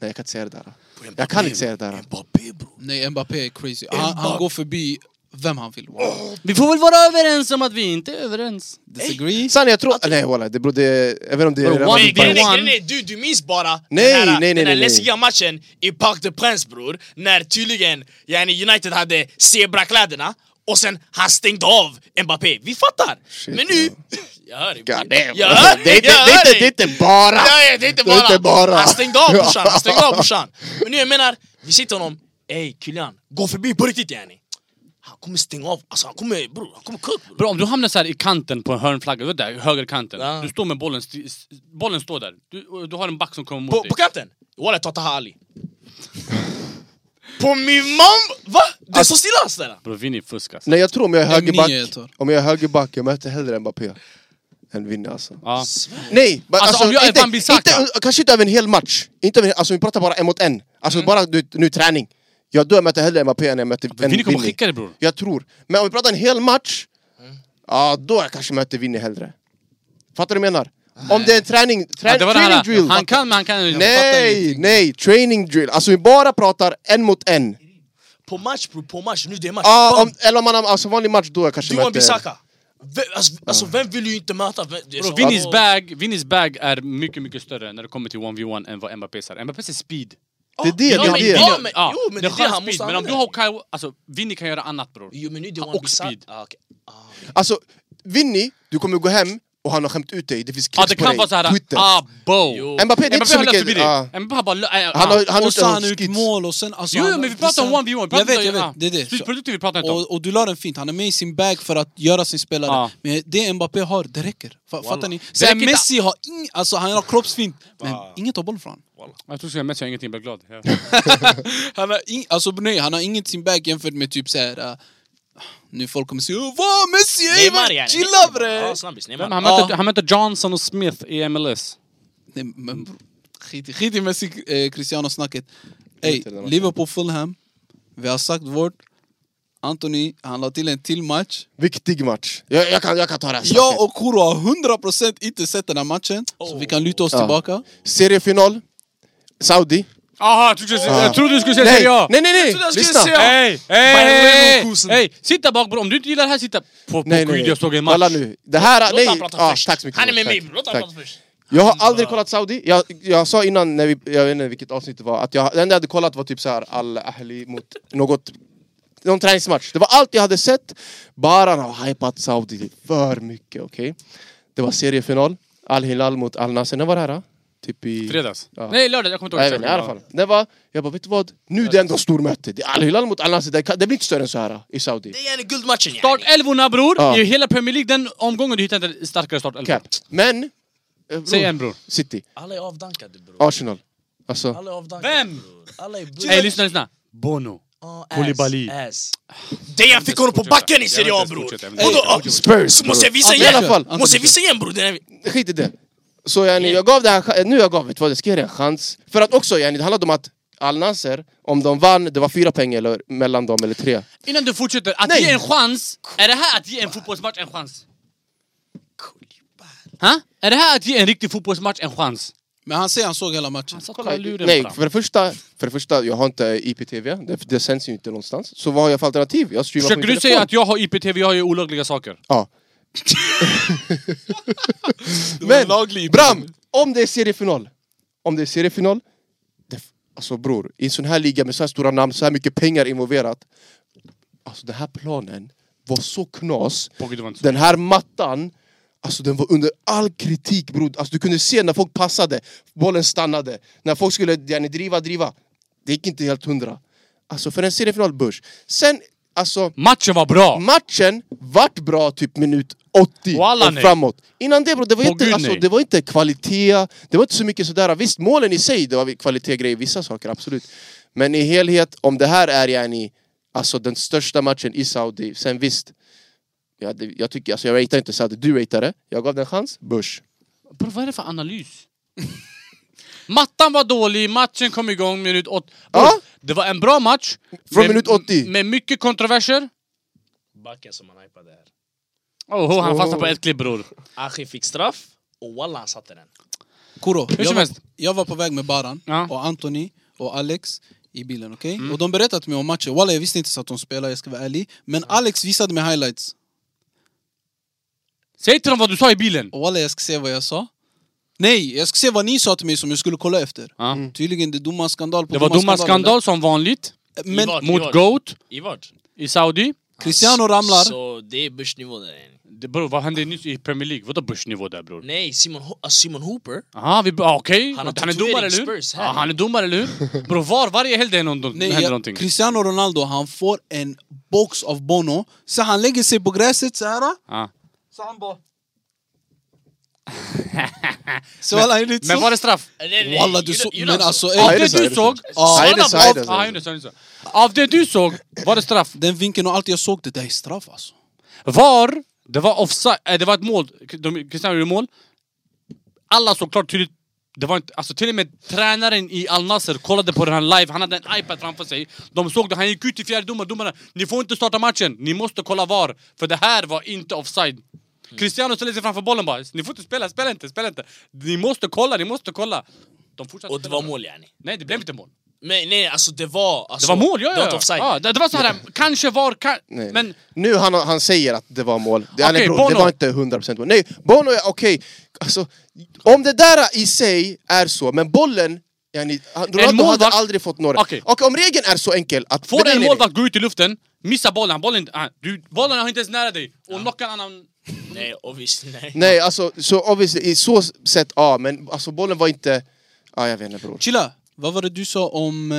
S3: Nej, jag kan inte säga det där.
S4: Mbappé,
S3: Jag kan inte säga det där.
S4: Mbappé bror.
S1: Nej, Mbappé är crazy. Han, han går förbi vem han vill. Wow.
S3: Oh.
S2: Vi får väl vara överens om att vi inte är överens.
S1: Disagree?
S3: Sanne, jag tror... Nej, walla, det berodde... Jag vet inte
S2: Bro,
S3: om Alltså, det... är-
S2: one
S4: Nej, grejen
S2: One.
S4: är, grejen är, du, du minns bara
S3: Nej,
S4: den här,
S3: nej, nej,
S4: den här
S3: nej, nej.
S4: läskiga matchen i Parc des Princes bror, när tydligen yani United hade zebrakläderna och sen han stängde av Mbappé. Vi fattar!
S3: Shit,
S4: Men nu... Jag hör dig.
S3: God damn. Det är inte-
S4: Jag hör dig,
S3: det är inte-
S4: jag hör dig.
S3: det är inte bara...
S4: Ja, ja, det är inte bara.
S3: inte bara.
S4: Han stängde av brorsan, han stängde av brorsan. Men nu jag menar, vi sitter honom, ey Kylian, gå förbi på riktigt yani. Han kommer stänga av, alltså han kommer bror, han kommer kuk bror.
S2: Bro, om du hamnar så här i kanten på en hörnflagga, vet du, där, högerkanten.
S4: Ja.
S2: Du står med bollen, sti- s- bollen står där. Du, och du har en back som kommer mot
S4: På,
S2: dig.
S4: på kanten? Walla jag tar Taha Ali. på min mamma! Va? Det
S2: Alltså-
S4: står stilla sådär?
S2: Bro, Vinny fuskas.
S3: Nej, jag tror om jag är
S1: En nia
S3: högerback...
S1: jag tar.
S3: Om jag är högerback, jag möter hellre Mbappé. Än vinna alltså.
S2: Ja.
S3: Nej, men
S2: Alltså,
S3: alltså,
S2: om jag är
S3: inte,
S2: Van Bissaka.
S3: inte, alltså, kanske inte över en hel match. Inte över, alltså, vi pratar bara en mot en. Alltså
S2: Mm.
S3: bara du, nu träning. Jag dör möter hellre Mbappé än jag möter än
S2: Vinny kommer skicka dig bror. Mm.
S3: Jag tror. Men om vi pratar en hel match, ja då jag kanske möter Vinny hellre. Fattar du vad jag menar? Om det är en träning, trä,
S2: Ja, det var det
S3: training
S2: här.
S3: drill.
S2: Han kan, men han kan inte.
S3: nej, nej, training drill. Alltså vi bara pratar en mot en.
S4: På match bror, på match, nu det är match.
S2: Ah,
S3: Ja,
S4: Bam!
S3: om, eller om man har alltså, vanlig match, då jag kanske
S4: du och
S3: möter...
S4: Bissaka. Vem, alltså, alltså vem vill ju inte möta? Vem- det är
S2: Bro,
S4: så-
S2: Vinny's bag, Vinny's bag är mycket, mycket större när det kommer till 1v1 än vad Mbappé är. Mbappé är speed.
S3: Det är det, det
S4: Ja,
S3: är
S4: men-
S3: det.
S4: ja, men-
S2: Ja,
S4: jo, men det är
S2: skön
S4: det han måste
S2: speed. Men om du
S4: använda.
S2: har Kyle... Alltså, Vinny kan göra annat bror.
S4: Jo men nu det är
S2: Och
S4: Wan Bissaka.
S2: speed.
S4: Ah, okej. Ah.
S3: Alltså, Vinny, du kommer gå hem och han har skämt ut dig. Det finns
S2: Ja,
S3: klipp
S2: det
S3: på
S2: kan
S3: dig.
S2: vara såhär...
S3: Twitter.
S2: Ah, bo!
S4: Jo.
S3: Mbappé, det är inte
S2: Mbappé
S3: så
S2: har
S3: mycket...
S2: löst förbi
S3: ja.
S2: dig. Mbappé har bara... lö- äh,
S3: Han har, han har
S1: Och
S3: inte
S1: så han
S3: någon
S1: ut
S3: skit.
S1: mål och sen... Alltså,
S2: Jo,
S1: han-
S2: jo, men vi pratar om
S1: sen-
S2: 1v1.
S1: Jag vet, jag vet. Det är det. Så-
S2: Slutprodukten vi pratar om.
S1: Och, och du la den fint, han är med i sin bag för att göra sin spelare.
S2: Ja.
S1: Men det Mbappé har, det räcker. Fa- fattar ni?
S2: Det räcker
S1: Sen
S2: inte-
S1: Messi har ing, alltså han har kroppsfint, men inget tar boll från honom.
S2: Jag tror att jag mest gör ingenting, jag blir glad. Ja.
S1: han har ing, Alltså nej, han har inget i sin bag jämfört med typ såhär... Uh, nu folk kommer säga "Åh, Vad Messi? ey, vad-
S4: Neymar yani.
S1: Chilla bre!
S4: Ja, snabbis.
S2: Men
S4: Neymar.
S2: han, mötte,
S1: Ja.
S2: han mötte Johnson och Smith i MLS.
S1: Nej, men bro, skit, i- skit i Messi, eh, Cristiano-snacket. Ey,
S3: Skit i det där.
S1: Liverpool-Fulham, vi har sagt vårt. Anthony, han la till en till match.
S3: Viktig match. Jag, jag, kan, jag kan ta det här snacket.
S1: Jag och Kuro har 100% inte sett den här matchen, så vi kan luta oss
S3: Ja.
S1: tillbaka.
S3: Seriefinal. Saudi.
S2: Aha, jag trodde, jag trodde du skulle säga
S3: Ah. nej.
S2: Serie A!
S3: nej, nej, nej!
S4: trodde jag skulle
S3: Lyssna!
S4: säga-
S2: Hej!
S4: Bayer
S2: Hej!
S4: Leverkusen.
S2: Hej! Sitta bak bror, om du inte gillar det här, sitta... På, på
S3: Nej, nej,
S2: Gud, jag såg en
S3: Kolla
S2: match.
S3: nu. Det här...
S4: Låt
S3: Nej.
S4: han prata
S3: Ja,
S4: först.
S3: tack så mycket.
S4: Han är med mig
S3: Tack.
S4: bror, låt han
S3: Tack.
S4: prata först.
S3: Jag har aldrig kollat Saudi. Jag, jag sa innan, när vi, jag vet inte vilket avsnitt det var, att jag, det enda jag hade kollat var typ så här Al Ahli mot något... Någon träningsmatch. Det var allt jag hade sett. Baran har hypat Saudi för mycket, okej? Det var seriefinal. Al Hilal mot Al Nasser. När var det här? då? Typ i...
S2: Fredags.
S3: Ja.
S2: Nej, lördag. Jag kommer
S3: Nej,
S2: inte
S3: men
S2: ihåg.
S3: i alla fall. Det var, jag bara, vet du vad? Nu är det ändå stormöte. Det är Al-Hilal mot Al-Nasser. Det, kan- det blir inte större än så här i Saudi.
S4: Det är yani guldmatchen
S2: Start
S4: yani.
S2: elvorna bror!
S3: Ja.
S2: I hela Premier League, den omgången du hittar inte starkare startelva.
S3: Cap. Men... eh, bror,
S2: Säg en bror.
S3: City.
S4: Alla är avdankade bror.
S3: Arsenal. Alltså,
S4: Alla är avdankade
S2: Vem?
S4: bror. Alla är bror.
S2: Ey, lyssna, lyssna. Bono.
S4: Ja,
S2: Koulibaly.
S4: ass, ass. Dejan fick honom på backen i Serie A bror!
S2: Jag vill inte ens fortsätta.
S4: Vadå?
S2: Jag vill inte ens fortsätta.
S3: Spurs!
S4: Så måste jag
S3: bror.
S4: visa
S1: Antingen
S4: igen!
S3: kör, antingen
S4: Måste
S1: kör.
S4: jag visa igen bror! Den är-
S3: Skit i det. Så yani, jag gav det här... ch- Nu jag gav vet du vad, jag ska ge det en chans. För att också yani, det handlade om att Al-Nasser, om de vann, det var fyra poäng eller, mellan dem, eller tre.
S2: Innan du fortsätter, att
S3: Nej.
S2: ge en chans, är det här att ge en fotbollsmatch en chans? Ha? Är det här att ge en riktig fotbollsmatch en chans?
S1: Men han säger han såg hela matchen.
S2: Alltså, kolla luren
S3: Nej,
S2: fram.
S3: för det, första, för det första, jag har inte IPTV. Det, det sänds ju inte någonstans. Så vad har jag för alternativ? Jag streamar på
S2: Försöker
S3: min
S2: du
S3: telefon.
S2: säga att jag har IPTV, jag har ju olagliga saker?
S3: Ja.
S1: var en
S3: Men
S1: laglig
S3: Bram, om det är seriefinal. Om det är seriefinal. Det, alltså bror, i en sån här liga med så här stora namn, så här mycket pengar involverat. Alltså den här planen var så knas.
S2: Pogge, det var inte så.
S3: Den här mattan, alltså den var under all kritik bror. Alltså du kunde se när folk passade, bollen stannade. När folk skulle yani, driva, driva. Det gick inte helt hundra. Alltså för en seriefinal, börs. Sen, alltså
S2: Matchen var bra!
S3: matchen vart bra typ minut 80
S2: Walla,
S3: och
S2: nej.
S3: framåt. Innan det bro, det var,
S2: Åh,
S3: inte,
S2: gud,
S3: alltså,
S2: nej.
S3: det var inte kvalitet, det var inte så mycket sådär. Visst, målen i sig, det var kvalitetgrejer, vissa saker, absolut. Men i helhet, om det här är yani, alltså den största matchen i Saudi, sen visst. Ja, det, jag tycker, alltså jag ratear inte Saudi, du ratear det. Jag gav den en chans, Bush.
S2: Bro, vad är det för analys? Mattan var dålig, matchen kom igång minut 80.
S3: Ja.
S2: Det var en bra match.
S3: Från minut 80.
S2: Med mycket kontroverser.
S4: Backen som han hypade här.
S2: Oh, oh, han
S3: Oh.
S2: fastnade på ett klipp bror.
S4: Achi fick straff och walla han satte den.
S1: Kuro,
S2: som
S1: jag var,
S2: helst.
S1: jag var på väg med Baran
S2: Ja. Mm.
S1: och Anthony och Alex i bilen, okej? Och de berättade till mig om matchen. Walla, jag visste inte så att de spelade, jag ska vara ärlig. Men Alex visade mig highlights.
S2: Säg till dem vad du sa i
S3: Mm.
S2: bilen.
S1: Och walla, jag ska se vad jag sa. Nej, jag ska se vad ni sa till mig som jag skulle kolla efter.
S2: Ja.
S1: Tydligen, det är domarskandal på
S2: Det var domarskandal som vanligt.
S1: Men
S4: Ivar.
S2: Mot
S4: var-
S2: GOAT
S4: I vart?
S2: i Saudi.
S1: Cristiano ramlar.
S4: Så det är börsnivå där. yani.
S2: Det, bror, vad hände nyss i Premier League? Vadå börsnivå där bror?
S4: Nej, Simon, Ho- alltså Simon Hooper.
S2: Aha, vi, ah, okej.
S4: Han har
S2: Han är domare eller hur?
S4: tatuering Spurs här.
S2: Ja, han är domare eller hur? Bror, var varje helg det är någon,
S1: Nej,
S2: händer
S1: jag-
S2: någonting.
S1: Cristiano Ronaldo, han får en box av Bono. Så han lägger sig på gräset så här.
S2: Ja.
S1: Så han bara... så alla är lite
S2: Men
S1: så.
S2: var det straff?
S4: Nej, nej,
S1: Walla, du
S4: you
S1: så-
S4: don't- you
S1: men
S4: don't-
S1: alltså,
S2: Av
S1: ey,
S3: är det
S2: det
S3: så, är
S2: du
S3: det
S2: såg...
S3: så?
S1: Ja.
S3: Nej, det är så,
S2: Svara
S3: är
S2: på- Ah,
S3: det så.
S2: Ja, just det, just det. Av det du såg, var det straff?
S1: Den vinkeln och allt jag såg, det där är straff alltså.
S2: VAR, det var offside, eh, det var ett mål, De- Cristiano gjorde mål. Alla såg klart tydligt, det var inte, alltså till och med tränaren i Al Nasser kollade på den här live, han hade en iPad framför sig. De såg det, han gick ut till fjärde domaren, domarna, ni får inte starta matchen, ni måste kolla VAR, för det här var inte offside.
S4: Mm.
S2: Cristiano ställde sig framför bollen bara, ni får inte spela, spela inte, spela inte. Ni måste kolla, ni måste kolla. De fortsatte
S4: Och det
S2: spela.
S4: var mål yani.
S2: Nej, det blev inte mål.
S4: Men nej, alltså det var...
S2: Det
S4: Alltså,
S2: var mål, ja ja.
S4: Det var inte offside.
S2: Ja, det, det var så här, kanske VAR, kan,
S3: Nej.
S2: men
S3: Nu han, han säger att det var mål. Det, han är
S2: Okej,
S3: bror, det
S2: Bono.
S3: var inte 100% mål. Nej, Bono är okej. Alltså, om det där i sig är så, men bollen... Yani, han- Ronaldo hade
S2: målvakt-
S3: aldrig fått några.
S2: Okej.
S3: Och om regeln är så enkel att...
S2: Får
S3: Nej,
S2: en
S3: nej,
S2: målvakt gå ut i luften, missa bollen, bollen, ah, du, bollen har inte ens nära dig och knockar en annan...
S4: Nej, obviously nej.
S3: Nej, alltså så obviously, i så sätt ja, men alltså bollen var inte... Ja, jag vet inte bror.
S1: Chilla, vad var det du sa om... Eh...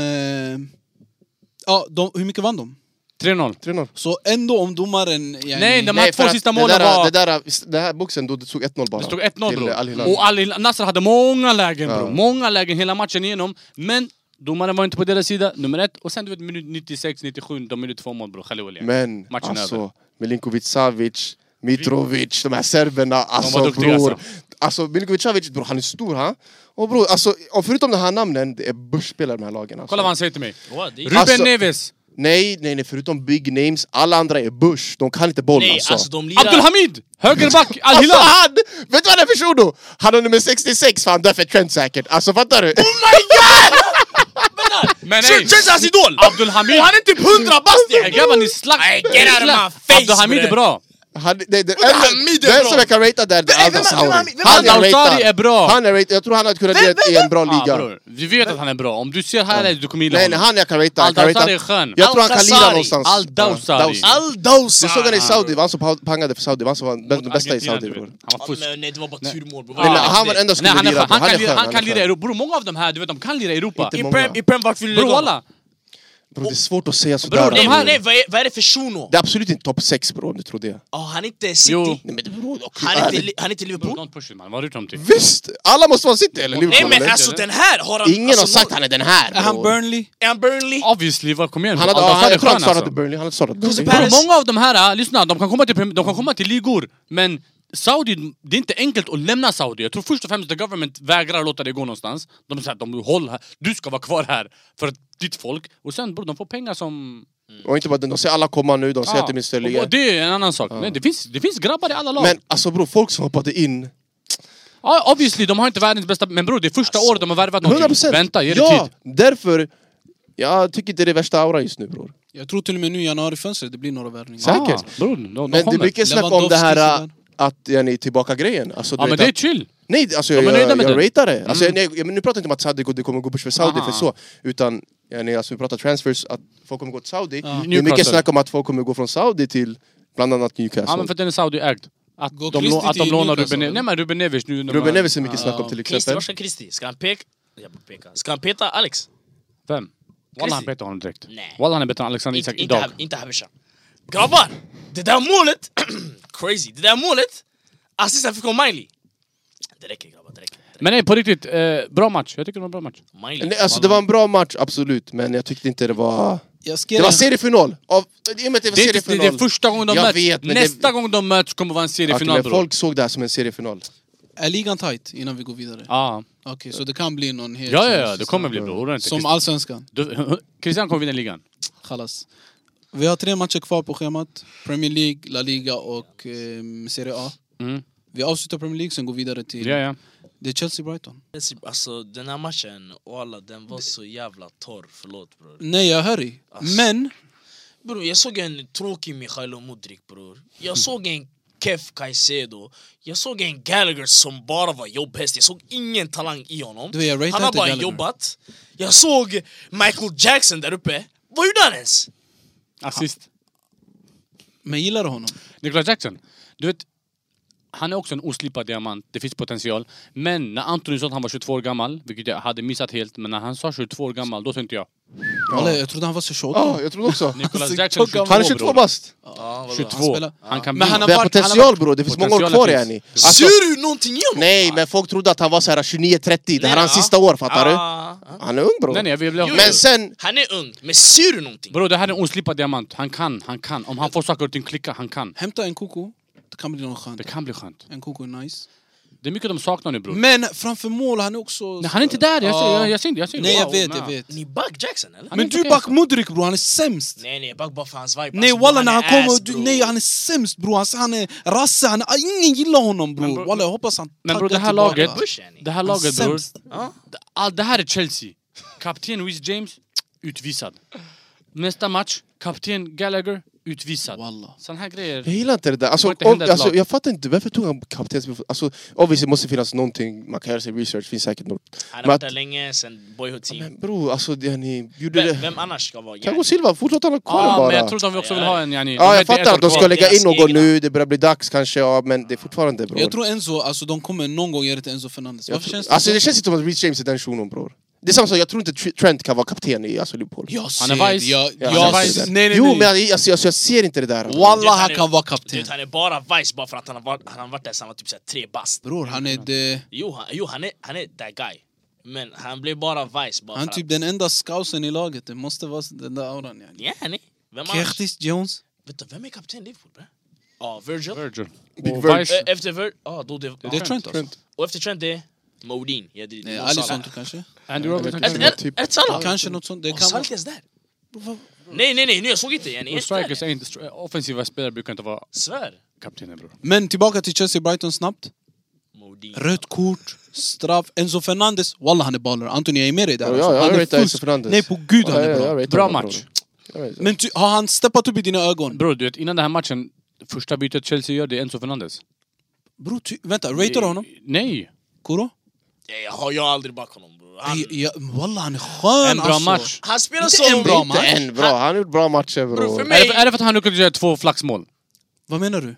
S1: Ja, de, hur mycket vann de?
S2: 3-0.
S3: 3-0.
S1: Så ändå om domaren... eh, yani-
S2: Nej, de här
S3: Nej, för
S2: två
S3: att
S2: sista
S3: det
S2: målen
S3: där,
S2: var...
S3: Det där, det här boxen då, det stod 1-0 bara.
S2: det stod 1-0
S3: till Al
S2: bror.
S3: Hilal.
S2: Och Al Nasser hade många lägen bror.
S3: Ja.
S2: Många lägen hela matchen igenom. Men domaren var inte på deras sida, nummer ett. Och sen du vet minut 96, 97, de gjorde två mål bror. Khalil Olien.
S3: Men
S2: Matchen över.
S3: alltså, Milinkovic Savic, Mitrovic, de här serberna, alltså
S2: duktiga,
S3: bror.
S2: alltså.
S3: Alltså Milinkovic Savic, bror han är stor han. Och bror, alltså, och förutom de här namnen, det är börsspelare de här lagen. Alltså.
S2: Kolla vad han säger till mig.
S4: Vad, det är-
S2: Ruben
S3: Alltså-
S2: Neves,
S3: Nej, nej, nej, förutom big names, alla andra är börs, de kan inte boll
S4: nej,
S3: alltså.
S4: alltså de lirar...
S2: Abdul Hamid, högerback, Al
S3: Alltså
S2: Hilal.
S3: han! Vet du vad han är för shuno? Han har nummer 66 för han dör för trend säkert. Alltså fattar du?
S2: Men nej!
S3: Alltså,
S4: Känns hans idol!
S2: Abdul Hamid!
S4: Och han är typ 100 bast
S2: Nej,
S4: yani!
S2: Grabbar ni slack!
S4: Nej, get out of my
S2: slack.
S4: face,
S2: Abdul Hamid är
S4: bre.
S2: bra!
S3: Han, nej, den
S4: Hamid är
S3: den
S4: bra.
S3: som jag kan ratea där, det är
S4: vem- vem-
S3: Al Sauri.
S4: vem- vem-
S3: Han
S2: Al Sauri
S3: ratad.
S2: är bra.
S3: Han är ratad. Jag tror han hade kunnat ge i en bra
S2: Ja,
S3: liga.
S2: Ah, bror, vi vet att han är bra. Om du ser highlights du kommer gilla
S3: Nej, nej,
S2: honom.
S3: han jag kan rata.
S2: Al
S3: jag kan rata.
S2: Dawsari är skön.
S3: Jag tror han kan lira
S4: Al-Dawsari.
S3: någonstans.
S2: Al-Dawsari.
S3: Ja, Dawsari.
S4: Aldous!
S3: Du
S2: Ah.
S3: såg han i Saudi, var han som pa- pangade för Saudi, var han som var den bästa i
S2: Argentina,
S3: Saudi
S2: du vet.
S3: bror.
S2: Han var fusk.
S4: eh, Nej, nej, det var bara turmål bror.
S2: Nej, men
S3: han var den enda
S2: Ah,
S3: som
S2: Nej, han,
S3: kunde
S2: är
S3: lira.
S2: skön. han
S3: Han är
S2: kan lira,
S3: skön,
S2: han
S3: han
S2: kan
S3: är
S2: lira
S3: skön.
S2: Europa. Bror, många av de här, du vet, de kan lira Europa.
S3: Inte många.
S4: Ibrahim, Ibrahim vart fyller
S2: Bror,
S4: du
S2: alla.
S3: Bror det är svårt att säga sådär.
S2: Bror, de
S4: Nej,
S2: här-
S3: bror.
S4: nej, vad är, vad är det för shuno?
S3: Det är absolut inte topp 6 bror om du tror det.
S4: Ja, han är inte
S2: Jo.
S4: City.
S3: Nej men bror, okej,
S4: Han är inte,
S3: ärligt.
S4: li- han är inte Liverpool.
S2: Don't push it man, vad har du dem till?
S3: Visst! Alla måste vara City eller
S4: Nej
S3: Liverpool
S4: men
S3: eller?
S4: alltså den här har han...
S3: Ingen
S4: alltså,
S3: har sagt
S4: någon-
S3: han är den här
S1: Är han
S3: bror.
S1: Burnley?
S4: Är han Burnley?
S2: Obviously, vad kom igen.
S3: Han hade,
S2: Al
S3: ja, han,
S2: Dawsari
S3: jag tror han
S2: skön,
S3: startade Burnley, han hade startat Burnley.
S4: Paris.
S2: Bror, många av de här, eh, lyssna, de kan komma till, prim- de kan komma till ligor, men Saudi, det är inte enkelt att lämna Saudi. Jag tror först och främst the government vägrar låta dig gå någonstans. De säger att de håll här, du ska vara kvar här för ditt folk. Och sen bror, de får pengar som...
S3: Och inte bara den, de ser alla komma nu, de ser att det är min
S2: och, och
S3: stöliga.
S2: det är en annan sak. Nej, det, finns, det finns grabbar i alla lag.
S3: Men alltså bror, folk som hoppade in
S2: Ja, obviously, de har inte världens bästa... Men bror, det är första året de har värvat någonting.
S3: 100 procent!
S2: Vänta, ge det
S3: ja,
S2: tid.
S3: därför... Jag tycker inte det är värsta aura just nu bror.
S1: Jag tror till och med nu i januarifönstret det blir några värvningar.
S3: Säkert.
S2: bror, de, de
S3: Men det är
S2: kommer.
S3: mycket snack om det
S1: Lewandowski
S3: här äh,
S1: sådär.
S3: att ja, ni tillbaka grejen. Alltså, du
S2: Ja,
S3: vet
S2: men det är
S3: att-
S2: chill.
S3: Nej, alltså,
S2: De är
S3: jag,
S2: nöjda
S3: jag,
S2: med det. Mm.
S3: ratear det. Alltså, nej, jag, men nu pratar jag inte om att Saudi går- det kommer gå bort för Saudi
S2: Aha.
S3: för så. Utan ja, nej, alltså, vi pratar transfers, att folk kommer gå till Saudi. Det är
S2: Newcastle.
S3: mycket snack om att folk kommer gå från Saudi till bland annat Newcastle.
S2: Ja, men för att den är Saudi-ägd. Att
S1: Går
S2: de,
S1: Christie
S2: lå- att de
S1: till
S2: lånar
S1: Newcastle,
S2: Ruben Neves.
S4: alltså.
S1: eller?
S2: Nej men Ruben Neves nu. när
S3: Ruben
S2: man-
S3: Neves är mycket snack om till
S4: Kristi,
S3: exempel.
S4: vart ska Kristi? Ska han peka? Jag bara peka. Ska han peta Alex?
S2: Vem? Walla han
S4: Christie.
S2: petar honom direkt.
S4: Nej.
S2: Walla han är bättre än Alexander
S4: Inte,
S2: Isak
S4: inte,
S2: idag.
S4: Hab- inte Habesha. Grabbar! Det där målet, crazy, det där målet, assisten fick hon Miley. Det räcker grabbar, det räcker. Det
S2: Men nej, på riktigt, eh, bra match. Jag tycker det var en bra match.
S4: räcker. Miley.
S3: Nej, Alltså det var en bra match, absolut, men jag tyckte inte det var...
S1: Jag skrev
S3: Det var seriefinal! Av, I och med att det var
S2: Det är, inte, det,
S3: seriefinal.
S2: det är första gången de
S3: Jag
S2: möts.
S3: vet, men det-
S2: Nästa gång de möts kommer vara en
S3: Okej,
S2: seriefinal
S3: men
S2: bror.
S3: folk såg det här som en seriefinal.
S1: är ligan tight innan vi går vidare?
S2: Ja.
S1: Okej, så det kan bli någon helt...
S2: ja, ja, ja, det kommer bli bra. Oroa dig inte.
S1: Som allsvenskan,
S2: Du- Christian kommer vinna ligan.
S1: chalas. Vi har tre matcher kvar på schemat. Premier League, La Liga och ehm, Serie A.
S2: Mm.
S1: Vi avslutar Premier League, sen går vidare till...
S2: Ja, ja.
S1: Det är Chelsea-Brighton.
S4: Alltså den här matchen, walla, den var så jävla torr, förlåt bror.
S1: Nej, jag hör dig.
S4: Ass.
S1: Men...
S4: Bror, jag såg en tråkig Michailo Mudrik bror.
S1: Mm.
S4: Jag såg en Kef Caicedo. Jag såg en Gallagher som bara var jobbhäst. Jag såg ingen talang i honom.
S1: Du, jag ratear
S4: han har
S1: inte
S4: bara
S1: Gallagher.
S4: jobbat. Jag såg Michael Jackson där uppe. Vad gjorde han ens?
S2: Assist.
S1: Men gillar du honom?
S2: Nicholas Jackson. Du vet, han är också en oslipad diamant. Det finns potential. Men när Anthony sa att han var 22 år gammal, vilket jag hade missat helt, men när han sa 22 år gammal, då tänkte jag
S1: Eller, jag trodde han var så tjock.
S3: Ja, jag trodde också.
S2: Nicholas
S1: Alltså,
S2: Jackson
S1: tjock gammal.
S3: Han är
S2: 22
S3: 22
S2: bror.
S3: bast!
S4: Ja, vadå?
S2: 22.
S1: spelar-
S2: Han kan
S1: Men
S2: bli...
S1: han har
S3: Vi har
S1: varit-
S3: potential bror, det finns många år
S2: Potentialen
S3: kvar
S2: finns.
S3: yani. Alltså,
S4: Ser du någonting i honom?
S3: nej, men folk trodde att han var så här 29-30, det här är hans
S4: Ja.
S3: sista år fattar du?
S4: Ah, ah.
S3: Han är ung bror.
S2: Nej, nej, jag vill
S4: Jo,
S3: Men
S4: jo.
S3: sen,
S4: Han är ung, men ser du någonting?
S2: Bro, det här är en oslipad diamant. Han kan, han kan. Om han får saker och ting klicka, han kan.
S1: Hämta en koko. Det kan bli någon skönt.
S2: Det kan bli skönt.
S1: En koko är nice.
S2: Det är mycket de saknar nu bror.
S1: Men framför mål, han är också...
S2: Nej, han är inte där, jag ser,
S1: Ja.
S2: jag, jag ser inte. Jag ser,
S1: Nej, jag
S2: wow,
S1: vet, jag
S2: nej.
S1: vet.
S4: Ni back Jackson eller?
S2: Han är
S1: Men
S2: inte
S1: du
S2: okej,
S1: back
S2: alltså.
S1: Mudrik bror, han är sämst!
S4: Nej nej, back bara för hans vibe.
S1: Nej
S4: Alltså,
S1: walla när han
S4: är
S1: kommer,
S4: ass,
S1: du,
S4: bro.
S1: nej han är sämst bror, alltså, han är rasse, han är, ingen gillar honom
S2: Men
S1: bror.
S2: bror-
S1: Walla jag hoppas han
S2: Men bror,
S1: taggar
S2: det här
S1: tillbaka.
S2: laget-
S4: Bush yani.
S2: Det här
S1: Han är
S2: laget bror.
S1: sämst.
S4: Ja.
S2: All, det här är Chelsea. Kapten Reece James, utvisad. Nästa match, kapten Gallagher, utvisad.
S1: Walla.
S2: Såna här grejer.
S3: jag gillar inte det där. Alltså,
S2: Får inte hända
S3: om,
S2: ett
S3: alltså,
S2: lag.
S3: jag fattar inte, varför tog han kaptensbefordran? Alltså, obviously måste det finnas någonting, man kan göra sin research, finns säkert något.
S4: Han har
S3: Men
S4: varit
S3: att-
S4: där länge, sen boyhood team.
S3: Men bror, alltså det ni gjorde
S4: Vem,
S3: det...
S4: vem annars ska vara
S3: Thiago
S4: yani?
S3: Silva, fortsätt hålla kvar
S2: Ja, men
S3: bara.
S2: jag tror de också vill ha en yani.
S3: Ja,
S2: de
S3: jag
S2: vet det är ett
S3: fattar att de
S2: år
S3: ska
S2: kvar.
S3: lägga in
S4: Deras
S3: någon
S4: egna.
S3: nu, det börjar bli dags kanske, ja, men det är fortfarande bror.
S1: Jag tror Enzo, alltså de kommer någon gång ge det till Enzo Fernandez.
S3: Jag
S1: Varför
S3: tror-
S1: känns det
S3: alltså
S1: så?
S3: det känns inte som att Reece James är den shunon bror. Det är samma sak, jag tror inte Tr- Trent kan vara kapten i alltså, Liverpool.
S1: Jag
S2: Han är
S1: ser det,
S2: vice.
S1: jag,
S3: Ja,
S1: jag,
S2: han
S1: ser-
S2: är vice.
S1: nej nej
S3: jo
S1: nej.
S3: men jag- alltså, alltså, jag ser inte det där. bror.
S1: Walla
S4: Han
S1: han
S4: är-
S1: kan vara
S4: Du
S1: kapten.
S4: vet, han är bara vice bara för att han har varit, han har varit där sen han var typ såhär tre bast.
S1: Bror han är det,
S4: Jo, han, jo han, är, han är that guy. Men han blev bara vice bara
S1: han är
S4: för
S1: typ
S2: Alltså.
S1: den enda scousen i laget, det måste vara den där auran
S4: att...
S1: yani.
S4: Ja, han är. Vem annars?
S1: Kertis Jones.
S4: Vet du, vem är kapten i Liverpool bre? Ja, Virgil.
S2: Virgil.
S3: Big
S2: Och
S3: Virg.
S2: Vice-
S4: Eh, Efter Virgil, ja då det...
S1: Det är
S4: ja.
S1: Trent alltså.
S4: Och efter Trent det är Modin. Ja, det, det,
S1: Nej,
S4: det-
S1: Alisson
S4: Salah.
S1: kanske?
S2: Andy Robertson.
S1: Eh,
S3: Jag
S4: Är
S3: vet
S4: det-
S3: inte.
S2: kanske.
S4: är-
S3: Typ.
S4: är det Salah?
S1: Kanske något sånt. Det
S4: Och
S1: kan
S2: Alltså.
S1: vara...
S4: Salkes där? Nej, nej, nej, nu jag såg inte yani.
S1: eh,
S2: Och Strikers är inte... stri- Offensiva spelare brukar inte vara
S4: Svär.
S2: kaptener bror.
S1: Men tillbaka till Chelsea-Brighton snabbt.
S4: Modin.
S1: Rött kort, straff. Enzo Fernandes, walla han är baller. Antoni, jag är med dig där.
S3: Ja,
S1: alltså.
S3: jag
S1: han
S3: ratear Enzo
S1: full-
S3: Fernandes.
S1: Nej, på gud han
S3: Ja,
S1: är
S3: ja,
S1: bra.
S3: jag vet
S2: Bra
S3: honom,
S2: match.
S3: bror. Jag vet.
S1: Men ty, har han steppat upp i dina ögon?
S2: Bror, du vet innan den här matchen, första bytet Chelsea gör det är Enzo Fernandez.
S1: Bro, ty, vänta, ratear du honom?
S2: Nej!
S1: Kuro?
S4: Ja, Jag har jag har aldrig back honom bror. Han-
S1: Ej, Ja, walla han är skön
S2: En bra
S1: alltså.
S2: match.
S4: Han spelar
S1: Inte
S4: som...
S1: en bra
S3: Inte
S1: match.
S3: än bra, han har gjort bra matcher
S4: Bror,
S3: bror.
S4: för
S2: Är
S4: mig...
S2: det, är det för att han lyckades göra två flaxmål?
S1: Vad menar du?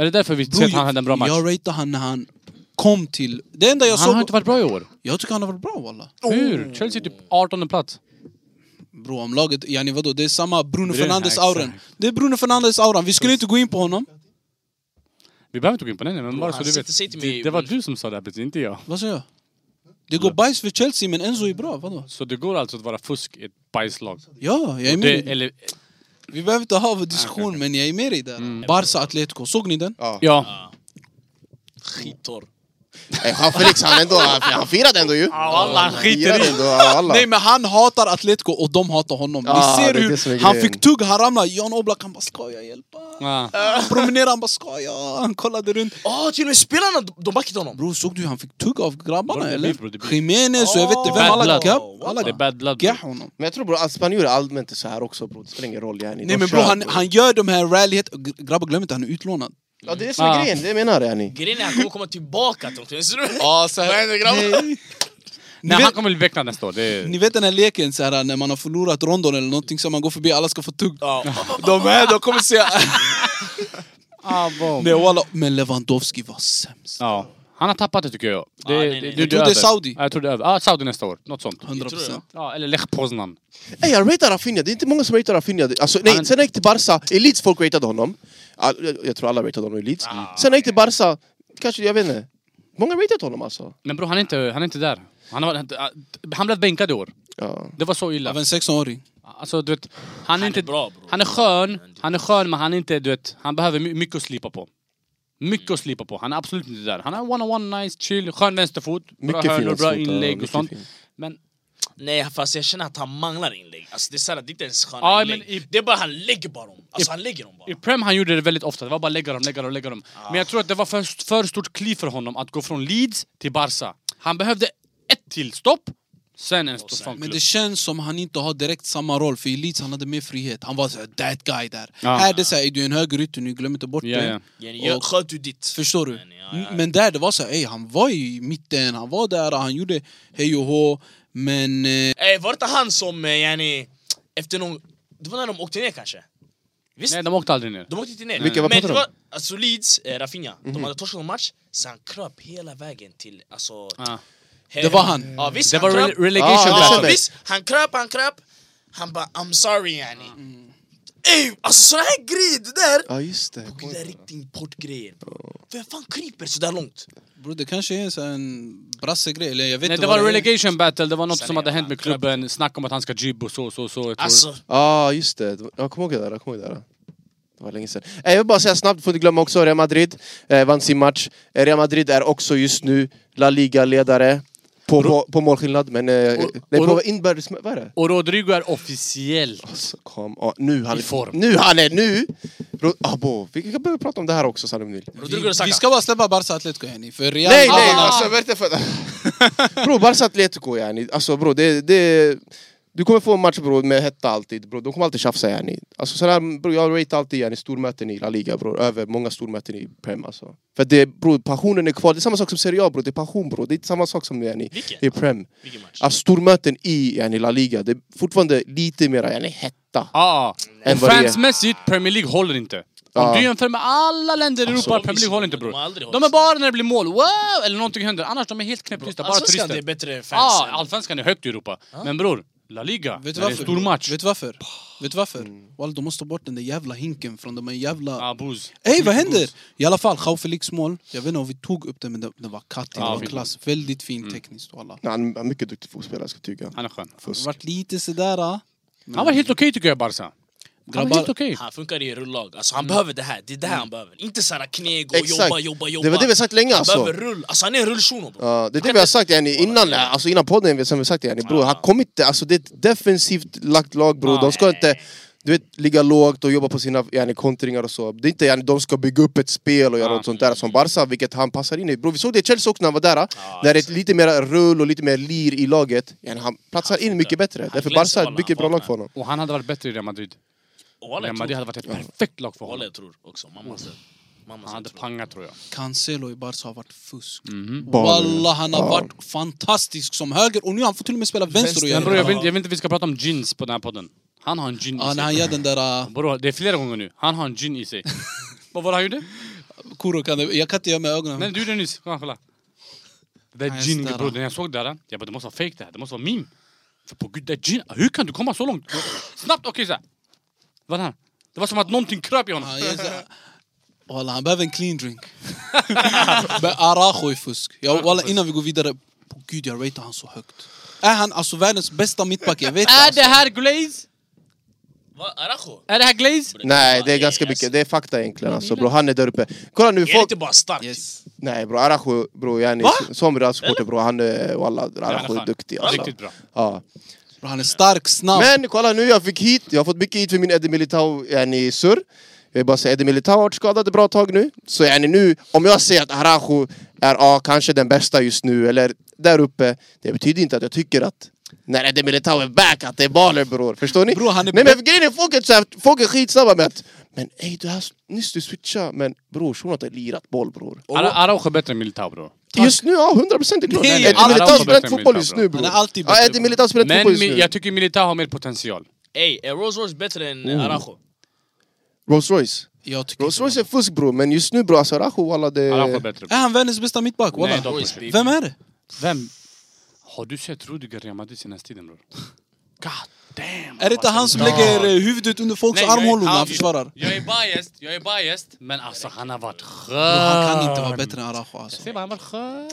S2: Är det därför vi ser att han hade en bra match?
S1: jag ratear han när han kom till... Det enda jag
S2: Han har
S1: såg...
S2: inte varit bra i år.
S1: Jag tycker han har varit bra walla.
S2: Hur? Chelsea är typ 18 plats.
S1: Bro, om laget, yani vadå, det är samma Bruno
S2: Bruno,
S1: Fernandes-auran.
S2: exakt.
S1: Det är Bruno Fernandes-auran, vi skulle inte gå in på honom.
S2: Vi behöver inte gå in på den, men bara så
S4: han
S2: du
S4: sitter- sitter
S2: vet.
S4: med
S2: Det,
S4: i-
S2: det var du som sa det här precis, inte jag.
S1: Vad säger jag? Det går bajs för Chelsea men Enzo är bra, vadå?
S2: Så det går alltså att vara fusk i ett bajslag?
S1: Ja, jag är med dig.
S2: Det, Ah, eller,
S1: Vi behöver inte ha en diskussion men jag är med dig där.
S2: Mm.
S1: Barca Atletico, såg ni den?
S3: Ja.
S2: ja.
S4: Skittorr.
S3: Eh, Jean Felix han ändå, han, han firade ändå ju.
S2: Alla han
S3: Firade ändå, ja, alla.
S1: Nej men han hatar Atletico och de hatar honom.
S3: Ah,
S1: ni ser
S3: det är det som är
S1: hur han
S3: grejen.
S1: fick tugg, han ramlade. Jan Oblak han bara ska jag hjälpa?
S2: Ah.
S1: Promenerade han bara ska jag? Han kollade runt.
S4: Åh, Ah, till och med spelarna de- de backade honom.
S1: Bror såg du hur han fick tugg av
S2: Bro,
S1: grabbarna
S2: det
S1: eller?
S2: blir, bro, det blir.
S1: Jiménez och jag vet inte
S4: Oh,
S1: vem.
S2: bad
S1: Alla
S2: luck.
S1: gav alla
S2: Det är
S1: gav-
S2: bad blood.
S1: gav
S2: bror.
S1: honom.
S3: Men jag tror bror, att spanjorer allmänt är så här också bror. Det spelar ingen roll yani.
S1: Nej
S3: De
S1: men
S3: kör,
S1: bror han, han gör de här rallyet. Grabbar glöm inte han är utlånad.
S3: Ja det är som är
S2: Ah.
S3: grejen, det menar jag yani.
S4: Grejen är han kommer komma tillbaka till omklädningsrummet.
S1: Ja, så Ni
S2: Nej,
S1: vet,
S2: han kommer bli väcknad nästa år. Det är...
S1: ni vet den här leken så här, när man har förlorat rondon eller någonting så man går förbi alla ska få tugg.
S4: Ja.
S1: De här, de kommer säga...
S2: Ah,
S1: Nej, walla. Men Lewandowski var sämst.
S2: ja. Han har tappat det tycker jag. Det,
S4: nej, nej.
S1: Jag tror det är
S2: över.
S1: Saudi.
S2: Ja, jag tror det är över. Ja, Saudi nästa år. Något sånt.
S1: 100 procent.
S2: Ja, eller Lech Poznan.
S3: Ey, jag ratear Rafinha, det är inte många som ratear Rafinha. Alltså, nej,
S2: Han-
S3: Sen jag gick till Barca, i Leeds folk ratade honom. All, jag, jag tror alla ratade honom i Leeds. Sen jag gick till Barca, kanske, jag vet inte. Många ratade honom alltså.
S2: Men bror, han är inte, han är inte där. Han, har, han blev bänkad i år.
S3: Ja.
S2: Det var så illa.
S1: Av en 16-åring.
S2: Alltså, du vet, han, är inte,
S4: bra, bror.
S2: han är skön, han är skön men han är inte, du vet, han behöver my- mycket att slipa på. Mycket att slipa på. Han är absolut inte där. Han har one-on-one, nice, chill, skön vänsterfot. Bra
S3: Mycket
S2: hörnor,
S3: fina
S2: bra
S3: skott, ja,
S2: inlägg och
S3: mycket
S2: sånt.
S3: fina.
S2: Men
S4: Nej, fast jag känner att han manglar inlägg. Alltså, det är såhär, det är inte ens sköna
S2: Ja,
S4: inlägg.
S2: men i-
S4: Det är bara han lägger bara dem. Alltså, han lägger dem bara.
S2: i Prem han gjorde det väldigt ofta. Det var bara lägga dem, lägga dem, lägga dem.
S4: Ah.
S2: Men jag tror att det var för, för stort kliv för honom att gå från Leeds till Barca. Han behövde ett till stopp, sen en
S4: sen-
S2: sån
S1: Men
S2: klubb.
S1: det känns som han inte har direkt samma roll, för i Leeds han hade mer frihet. Han var såhär, that guy där.
S2: Ja.
S1: Här det är såhär, är du en högerytter nu, glöm inte bort
S2: Ja,
S1: det.
S2: ja.
S4: Jenny, jag-
S1: Och-
S4: Sköt du ditt.
S1: Förstår du?
S4: Men, ja, ja.
S1: Men där det var såhär, ey, han var i mitten, han var där, han gjorde hej och hå. Men eh,
S4: Eh, var det inte han som, eh, yani, efter någon... Det var när de åkte ner kanske? Visst?
S2: Nej, de åkte aldrig ner.
S4: De åkte inte ner.
S3: Vilka, vad
S4: Men
S3: pratar
S4: det
S3: du
S4: var
S3: om? Mhm.
S4: alltså Leeds, eh, Rafinha, de hade torskat en match, så han kröp hela vägen till... Alltså,
S2: Ja.
S4: he-
S1: Det var han.
S4: Ja, visst,
S2: Ah. Det
S4: han
S2: var
S4: kröp.
S2: rele- relegation.
S3: Ja,
S2: match.
S4: ja, alltså,
S3: December.
S4: visst, han kröp, han kröp. Han bara I'm sorry yani.
S2: Ah.
S4: Ey, alltså såna här grejer, det där!
S3: ja, just det.
S4: Det där är riktigt importgrejer. bro. Vem fan kryper sådär långt?
S2: Ah.
S1: bro, det kanske är en, sån- en brassegrej, eller jag vet
S2: Nej,
S1: inte
S2: det
S1: vad
S2: var relegation battle, det var något
S4: Sen
S2: som
S4: är
S2: hade
S4: jag
S2: hänt med
S4: trött.
S2: klubben, snack om att han ska jibba och så, så, så. Jag tror.
S4: Alltså,
S3: Ja, ah, just det. Det var- Jag kommer ihåg det där. Jag kommer ihåg det där. Det var länge sedan. Eh, Jag vill bara säga snabbt, får inte glömma också, Real Madrid eh, vann sin match. Eh, Real Madrid är också just nu La Liga-ledare. På, må, på målskillnad, men... Eh,
S2: Och-
S3: nej,
S2: och-
S3: på inbördes... Vad är det?
S2: Och Rodrigo är officiell.
S3: Alltså, kom, ja, nu han
S2: I form.
S3: Nu han är nu! Ro- Abo, vi kan börja prata om det här också Salim Nil.
S4: Rodrigo
S1: Vi,
S4: Saka.
S1: vi ska bara släppa Barca Atletico yani, för Real...
S3: Nej, nej,
S2: Ah!
S3: alltså vad är det för... bro, Barca Atletico yani. Alltså bro, det, det... Du kommer få en match bro, med hetta alltid bro. De kommer alltid tjafsa yani. Alltså sån här, bro, jag ratear alltid yani stormöten i La Liga bro. Över många stormöten i Prem alltså. För det, bro, passionen är kvar. Det är samma sak som Serie A bro. Det är passion bro. Det är inte samma sak som yani
S4: Vilken?
S3: i Prem.
S4: vilken
S2: Ah,
S4: match?
S3: Alltså stormöten i yani La Liga. Det är fortfarande lite mera yani hetta.
S2: Ja.
S3: Än vad det är.
S2: Fansmässigt, Premier League håller inte. Om
S3: Ja.
S2: du jämför med alla länder i Europa,
S4: Alltså,
S2: Premier League håller inte
S4: de har aldrig
S2: bror.
S4: hållit
S2: De är
S4: sig.
S2: bara när det blir mål, wow! Eller någonting händer. Annars de är helt knäpptysta, bara
S1: alltså,
S4: Allsvenskan det är
S2: turister. Ah,
S4: bättre fans.
S2: Ja,
S4: än-
S2: allsvenskan är högt i Europa. Men bror, La Liga,
S1: Vet du
S2: när det är en
S1: varför?
S2: stor
S1: bro?
S2: match. Mm.
S1: Vet du varför? Vet du varför? Walla, de måste ta bort den där jävla hinken från de här jävla...
S2: Ja, booze.
S1: Ey vad händer? I alla fall, Jao Felix mål. Jag vet inte om vi tog upp den men den, den var kattig,
S2: Ja, Mm.
S1: den var
S2: fint.
S1: klass. Väldigt fin tekniskt walla.
S3: Nej, han är mycket duktig fotbollsspelare, ska jag tycka.
S2: Han är skön.
S1: Det
S3: Fusk.
S1: vart lite sådär... ah.
S2: Han var helt okej tycker jag, Barca. Han var
S1: Grabbar-
S2: helt okej.
S4: Han funkar i rullag. Alltså,
S2: Mm.
S4: han behöver det här. Det är det här han behöver. Inte såhär kneg och
S3: Exakt.
S4: jobba, jobba, jobba.
S3: Det var det vi sagt länge
S4: Han
S3: alltså.
S4: behöver rull. Alltså, han är en rullshuno bror.
S3: Ja, det är det vi har sagt yani, innan, alltså, innan podden, vi- som vi har sagt yani, bror. Han kom inte, alltså, det är ett defensivt lagt lag bror. De ska inte du vet, ligga lågt och jobba på sina yani, kontringar och så. Det är inte yani, de ska bygga upp ett spel och göra
S2: Ja.
S3: något sånt där som Barca, vilket han passar in i. Bror vi såg det i Chelsea också när han var där. där det är lite mer rull och lite mer lir i laget. Yani, han platsar in mycket bättre. Därför
S4: glänser,
S3: Barca är
S4: wallah,
S3: ett mycket bra
S4: han
S3: lag för honom.
S2: Och han hade varit bättre i Real Madrid.
S4: Och alla
S2: Real
S1: liksom.
S4: tror-
S2: Madrid hade varit ett perfekt lag för
S4: Walla
S2: honom.
S4: jag tror också, mamma sa Mamma
S2: Han
S4: sa
S2: hade
S1: liksom.
S4: tror.
S2: pangat tror jag.
S1: Cancelo i Barca har varit fusk.
S2: Mhm.
S3: Bara-
S1: Walla, han har
S3: Ja.
S1: varit fantastisk som höger och nu han får till och med spela vänster och
S4: Vänster.
S2: Men bror, jag,
S1: göra
S2: vill, jag vill inte vi ska prata om gins på den här podden. Han har en gin
S1: Ja,
S2: i
S1: när
S2: sig.
S1: han gör den där... Uh,
S2: Bror, det är flera gånger nu. Han har en gin i sig. Vad var det han gjorde?
S1: Kuro kan det, jag kan inte göra med ögonen.
S2: Nej, du gjorde det nyss. Kolla, kolla. Det där
S1: Nej,
S2: gin,
S1: just där.
S2: bror. När jag såg det där, jag bara det måste vara fake det här. Det måste vara meme. För på gud, det där gin. Hur kan du komma så långt? Snabbt, okej såhär. Vad är det här? Det var som att någonting kröp i honom.
S1: Han gör så här. Walla, han behöver en clean drink. Men Arajo är fusk. Jag, walla, innan vi går vidare, på gud jag ratear han så högt. Är han alltså världens bästa mittback? Jag vet
S2: Är
S1: alltså.
S2: det här glaze?
S4: Va, Arajo?
S2: Är det här glaze?
S3: Nej, det är ganska
S4: Alltså,
S3: mycket. Det är fakta egentligen alltså. Bror han är där uppe. Kolla nu,
S4: Är det
S3: folk...
S4: inte bara stark? typ?
S1: Yes.
S3: Nej bror, Arajo bror, yani,
S4: Va?
S3: som Real-supporter bror, han är, wallah, Arajo är
S2: fan.
S3: duktig alltså.
S2: Riktigt bra.
S3: Ja.
S1: Bro, Han är stark, snabb.
S3: Men kolla nu, jag fick hit, jag har fått mycket hit för min Eddie Militao, yani surr. Jag vill bara säga, Eddie Militao har varit skadad ett bra tag nu. Så yani nu, om jag säger att Arajo är ja, kanske den bästa just nu, eller där uppe. Det betyder inte att jag tycker att när Eddie Militao är back, att det är baller bror. Förstår ni?
S1: Bror, han är
S3: Nej men
S1: bä-
S3: grejen är, folk är, så här, folk är skitsnabba med att men ey, du har nyss du switchade, men bror, shunon har lirat boll bror.
S2: Ara- Araujo är bättre än Militao bror.
S3: Just nu, ja 100 procent är klart.
S1: Nej,
S3: Eddie
S1: alla
S3: Militao
S2: har
S3: spelar inte
S2: bättre
S3: fotboll
S2: Militao,
S3: just nu
S1: bro.
S3: bror.
S1: Han är alltid
S3: Ja,
S1: bättre,
S3: Eddie
S1: bro.
S3: Militao spelar inte
S2: Men
S3: fotboll just
S2: Mi-
S3: nu.
S2: jag tycker Militao har mer potential.
S4: Ey, är Rolls Royce bättre än Arajo?
S3: Rolls Royce.
S1: Jag tycker
S3: Rolls
S1: inte om
S3: Royce är fusk bror, men just nu bror alltså Rajo walla det...
S2: Araujo är bättre.
S1: honom. Är han världens bästa mittback?
S2: Nej,
S1: Walla.
S2: dock
S4: Royce,
S2: inte.
S1: Vem är det?
S2: Vem? Har du sett Rudiger Yamadi senaste tiden bror? God damn!
S1: Är det inte han som lägger eh, huvudet under folks armhålor när han försvarar?
S2: Jag är biased, jag är biased. Men alltså han har varit
S1: Men
S2: skön.
S1: Han kan inte vara bättre än Araujo alltså.
S2: Se vad han var skön.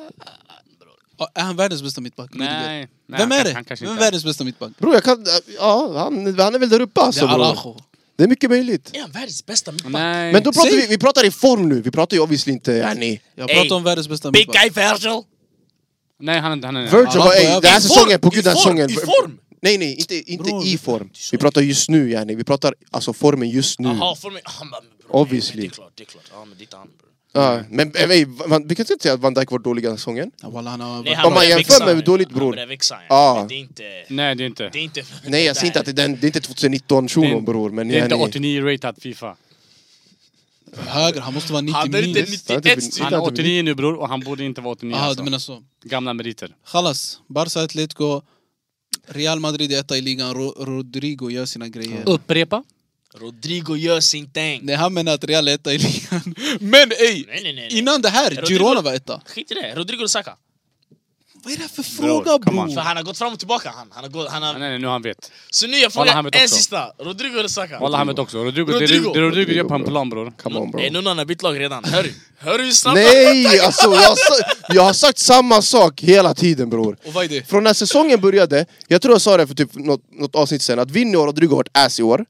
S1: Ja, Är han världens bästa mittback? Rudiger?
S2: Nej. nej,
S1: Vem
S2: han
S1: är
S2: kanske-
S1: det?
S2: han kanske
S1: Vem är
S2: inte
S1: världens bästa mittback?
S3: Bror jag kan... Ja, han, han är väl där uppe
S1: Det
S3: alltså
S1: är
S3: bror.
S1: Araujo.
S3: Det är mycket möjligt.
S4: Är han världens bästa mittback?
S2: Nej.
S3: Men då pratar
S1: Säg-
S3: vi, vi pratar i form nu, vi pratar ju obviously inte yani...
S1: Jag
S4: Ey,
S1: pratar om världens bästa
S4: Big
S1: mittback.
S4: guy Virgil!
S2: Nej, han är inte... Han är,
S3: Virgil var ej,
S1: Araujo,
S3: den här
S1: i
S3: säsongen, på
S4: form,
S3: gud
S4: i
S3: den här
S4: form,
S3: säsongen...
S4: i form!
S3: Nej nej, inte, inte
S1: Bror,
S3: i form. Vi pratar just nu yani, vi pratar alltså formen just nu.
S4: Jaha, för mig... Han bara, men bro,
S3: Obviously.
S4: Men det är klart, det är klart. Ja, men det är inte han bror.
S3: Ja, men eh, ey, Van- vi kan inte säga att Van Dijk var dålig den här säsongen.
S1: Ja, walla, han har-
S4: Nej,
S3: Om man
S4: börjar
S3: jämför
S4: växa,
S3: med
S4: men-
S3: dåligt,
S4: Han
S3: bror.
S4: börjar växa,
S3: Ja.
S4: ja. Men det är inte...
S2: Nej, det är inte.
S4: Det är inte...
S3: Nej jag säger inte att det är, den, det är inte 2019
S2: Det
S3: shunon
S2: är-
S3: bror, men
S2: Det är inte
S3: yani...
S2: 89-ratad Fifa.
S1: Höger, han måste vara
S4: Hade det
S1: 90
S4: inte
S1: minus.
S4: 91 stycken...
S2: Han är 89 nu bror och han borde inte vara 89
S1: Jaha,
S2: alltså.
S1: du menar så.
S2: Gamla meriter.
S1: Chalas, Barca, Atletico, Real Madrid är etta i ligan, Ro- Rodrigo gör sina grejer.
S2: Upprepa.
S4: Rodrigo gör sin thing.
S1: Nej, han menar att Real är etta i ligan. Men ey!
S4: Nej, nej, nej. nej.
S1: Innan det här,
S4: Rodrigo-
S1: Girona var etta.
S4: Skit i det. Rodrigo Saka.
S1: Vad är det här för fråga
S2: come
S1: bror?
S2: on.
S4: För han har gått fram och tillbaka han. Han har gått, han
S2: Nej,
S4: har...
S2: nej, nu han vet.
S4: Så nu jag
S2: Walla,
S4: frågar
S2: han vet
S4: en
S2: också.
S4: sista. Rodrigo eller Saka?
S2: Walla han vet också. Rodrigo, det
S4: Rodrigo.
S2: Rodrigo, det Rodrigo gör
S3: Rodrigo,
S2: på en
S3: bro.
S2: plan bror.
S3: Come on bro.
S4: Är någon annan bytt lag redan? Hör du? Hör du hur snabbt
S3: Nej, alltså jag har, sa- jag har sagt samma sak hela tiden bror.
S1: Och vad är det?
S3: Från när säsongen började, jag tror jag sa det för typ något, något avsnitt sen, att Vinny och Rodrigo har varit ass i år.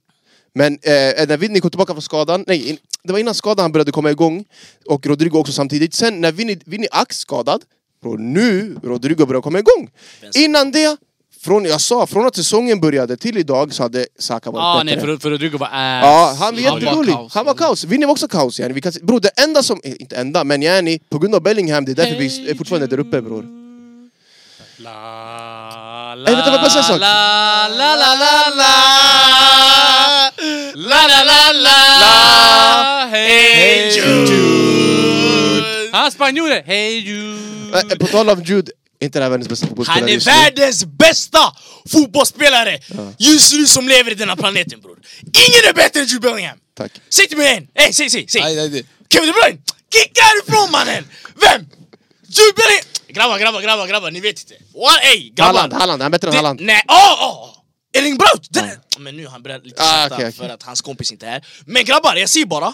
S3: Men eh, när Vinny kom tillbaka från skadan, nej in, det var innan skadan han började komma igång, och Rodrigo också samtidigt. Sen när Vinny, Vinny ax skadad, bror nu Rodrigo börjar komma igång. Innan det, från, jag sa, från att säsongen började till idag så hade Saka varit
S2: Ah,
S3: bättre.
S2: nej, för, för Rodrigo var ass.
S3: Ja, han var
S1: Han var
S3: jättedålig.
S1: kaos.
S3: Han var kaos. Vinny var också kaos. Yani. Vi kan, se- bror, det enda som... eh, Inte enda, men yani, på grund av Bellingham, det är därför vi är fortfarande där uppe bror. Eh,
S2: La, la,
S3: Ey, vänta, vänta, säg en sak.
S2: La, la, la, la, la. La, la, la, la. Hey Jude. Han spanjorer. Hey Jude.
S3: Äh, på tal om Jude, inte det här världens bästa fotbollsspelare
S4: Han är
S3: just nu.
S4: världens bästa fotbollsspelare just nu som lever i denna planeten bror. Ingen är bättre än Jude Bellingham!
S3: Tack.
S4: Säg till mig en! Hey, säg, säg, säg!
S1: Nej, nej, nej.
S4: Kevin De Bruyne! Kicka härifrån mannen! Vem? Jude Bellingham! Grabbar, grabbar, grabbar, grabbar, ni vet inte. What? Ey, grabbar!
S3: Halland, Halland, han är bättre än
S4: Det-
S3: Halland.
S4: Nej, åh! åh, åh. Erling Braut! Det- Men nu han börjar lite
S3: Ah,
S4: sakta
S3: okej, okej.
S4: för att hans kompis inte är här. Men grabbar, jag säger bara.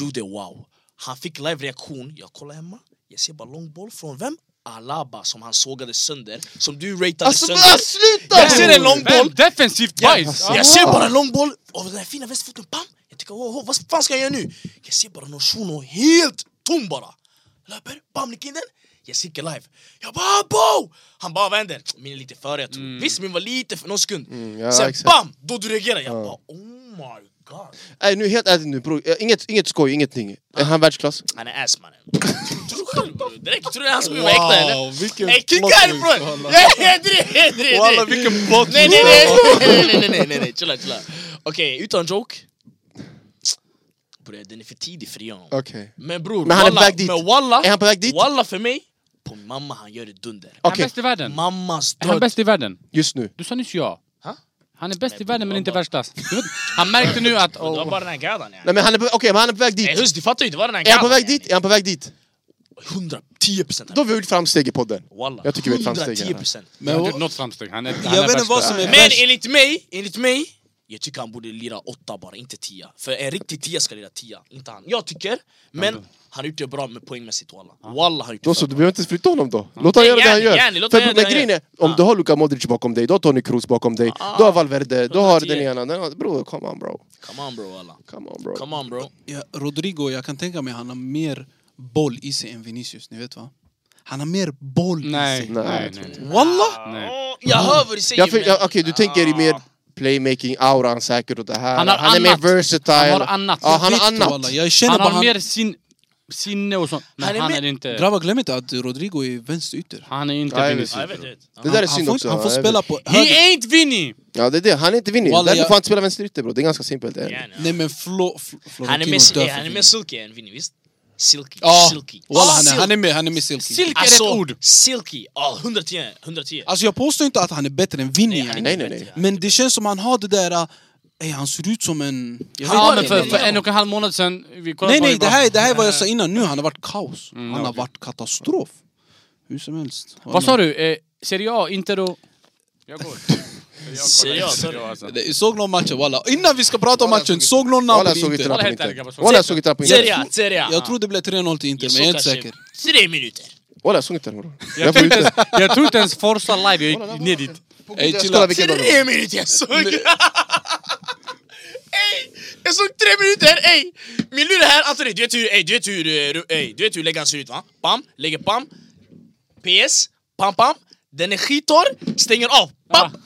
S4: Jude, wow. Han fick live-reaktion. Jag kollar hemma. Jag ser bara långboll från vem? Alaba som han sågade sönder. Som du ratade
S3: Alltså
S4: sönder.
S3: ah, sluta!
S4: Jag ser en lång boll.
S2: Vem? Defensivt bajs.
S4: Jag ser bara en lång boll av den här fina vänsterfoten, bam! Jag tycker oh, oh, vad fan ska jag göra nu? Jag ser bara någon shuno helt tom bara Löper, bam, nickar in den Jag sitter live Jag bara "Ah, bo! Han bara vad händer? Min är lite före jag tror Visst min var lite för någon sekund
S3: Mm, ja,
S4: Sen
S3: exakt.
S4: bam! Då du reagerar jag bara oh my god
S3: Nej, nu helt ärligt nu bror. Eh, Inget, inget skoj, ingenting. Är han världsklass?
S4: Han är ass mannen Tror du själv bror? Direkt, tror du hans min var äkta eller?
S1: vilken
S4: Ey kicka
S1: plot twist,
S4: härifrån!
S1: walla.
S4: Nej, Hedri, Hedri,
S1: Walla,
S4: Hedri!
S1: vilken plot
S4: Nej nej nej nej nej nej nej nej chilla chilla Okej utan joke Bre den är för tidig för honom
S3: Okej.
S4: Men bror
S3: Men han är på
S4: walla,
S3: väg dit.
S4: men walla,
S3: Är han på väg dit?
S4: walla för mig På min mamma han gör ett dunder
S2: Han är
S3: Okej.
S2: bäst i världen.
S4: Mammas
S2: Är han
S4: död
S2: bäst i världen?
S3: Just nu.
S2: Du sa nyss ja.
S4: Ha?
S2: Han är bäst
S4: Nej,
S2: i världen men inte
S4: bara-
S2: världsklass. Du vet, Han märkte nu att...
S4: Det var
S2: Oh,
S4: bara den här gadan ja
S3: Nej men han är på, okej, men han är på väg dit.
S4: Ey hus du fattar ju inte vad den här
S3: Är han på
S4: gadan
S3: väg dit? Är han på väg dit?
S4: 110%
S3: Då har vi gjort framsteg i podden.
S4: Walla
S3: Jag tycker vi är ett framsteg,
S4: 110%
S1: Men,
S2: han har gjort något framsteg. Han är, han är
S1: jag vet
S2: bäst
S1: inte vad
S2: där.
S1: som är
S4: Men
S1: värst.
S4: enligt mig, enligt mig jag tycker han borde lira åtta bara, inte tia. För en riktig tia ska lira tia, inte han. Jag tycker, men han har gjort det bra med poängmässigt walla. Walla han har gjort
S3: Då
S4: det
S3: så,
S4: för
S3: du
S4: bra.
S3: behöver inte flytta honom då. Låt han
S4: Nej,
S3: göra det han
S4: gärna,
S3: gör.
S4: gärna, låt
S3: För,
S4: han göra
S3: men
S4: det han
S3: grejen är,
S4: gör.
S3: om
S4: Ja.
S3: du har Luka Modric bakom dig, du har Tony Kroos bakom dig,
S4: Ah.
S3: du har Valverde, du har den
S4: 110.
S3: ena. Den, andra. bro, come on bro.
S4: Come on bro walla.
S3: Come on bro.
S4: Come on bro.
S1: Ja, Rodrigo, jag kan tänka mig han har mer boll i sig än Vinicius, ni vet va? Han har mer boll i
S2: Nej,
S1: sig.
S3: Nej,
S2: nej,
S3: jag tror
S2: nej.
S1: Walla!
S2: Nej.
S4: Åh, Jag hör vad du säger
S3: Jag för-
S4: men-
S3: jag- Okej, du tänker i mer playmaking-auran säkert och det här.
S2: Han har
S3: är mer
S2: annat.
S3: versatile.
S2: Han har annat.
S3: Ja, han
S1: Vet
S3: har
S1: du,
S3: annat.
S1: walla, Jag känner
S2: Han
S1: bara
S2: har
S1: han...
S2: mer sin, sinne och sånt. Men
S4: Han
S2: han
S4: är
S2: är,
S4: med-
S2: inte...
S1: Grabbar, glöm inte att Rodrigo är vänsterytter.
S2: Han är inte
S3: Nej, jag vet
S4: Ja, jag vet,
S2: Vinicius.
S4: jag vet. Ja.
S3: Det där är
S1: Han,
S3: synd
S1: får,
S3: också.
S1: han får
S3: ja, jag
S1: spela
S3: vet.
S1: på
S2: He
S1: höger...
S2: ain't Vinny!
S3: Ja, det är det. Han är inte vinnig.
S1: Walla,
S3: Därför
S1: jag-
S3: får han inte spela vänsterytter bror. Det är ganska simpelt. det är det.
S4: Gärna.
S1: Nej men Flo, Flo, Florentino
S4: Han är mer,
S1: dör
S4: eh,
S1: för
S4: han är mer
S1: Vinicius.
S4: silky än Vinny visst? Silky,
S1: Ja,
S4: silky.
S1: walla,
S4: Ah,
S1: han, är,
S4: silky.
S1: han är med, han är med silky.
S2: Silk är ett
S4: Alltså,
S2: ord.
S4: silky. Ah, Ja, 110. 110.
S1: Ah, Alltså jag påstår inte att han är bättre än Vinny.
S4: Nej, han är
S1: yani.
S3: Nej,
S4: inte
S3: nej, nej.
S4: bättre.
S1: Men det känns som han har det där... äh, Ey, han ser ut som en... Jag vet
S2: Ja
S1: inte.
S2: men för, för en och en halv månad sedan, vi kollade
S1: nej
S2: på
S1: nej, det
S2: bara-
S1: här, det här är vad jag sa innan. Nu han har varit kaos.
S3: Mm,
S1: han har
S2: okej.
S1: varit katastrof. Hur som helst.
S2: Vad sa du? Eh, Serie A, inte då... Jag går.
S4: Serie A, sorry.
S1: Det- Såg någon matchen walla? Innan vi ska prata om matchen, såg någon
S3: Walla
S1: Napoli
S3: såg inte
S1: Inter?
S2: Walla
S3: Napoli
S2: helt ärligt, grabbar,
S3: Inter.
S2: så-
S3: Walla såg inte Napoli
S4: Serie
S3: Inter.
S4: A, Serie A.
S1: Jag tror det blev 3-0 till Inter, men jag är inte
S4: Så kanske
S1: säker.
S4: Tre minuter.
S3: Walla såg inte den.
S2: Jag
S3: Jag får
S2: tror inte
S3: inte.
S2: ens, jag tror inte ens Forza live, jag gick ner dit.
S1: Ey,
S3: Jag
S1: chilla.
S3: kollar vilken dag det var.
S4: Tre minuter jag såg! Ey! Jag såg tre minuter, ey! Min lur här, Anthony, du vet hur, ey, du vet hur, eh, ru- ey, du vet hur läggan ser ut va? Bam, lägger bam, PS, pam pam, den är skittorr, stänger av,
S2: Ah.
S4: bam!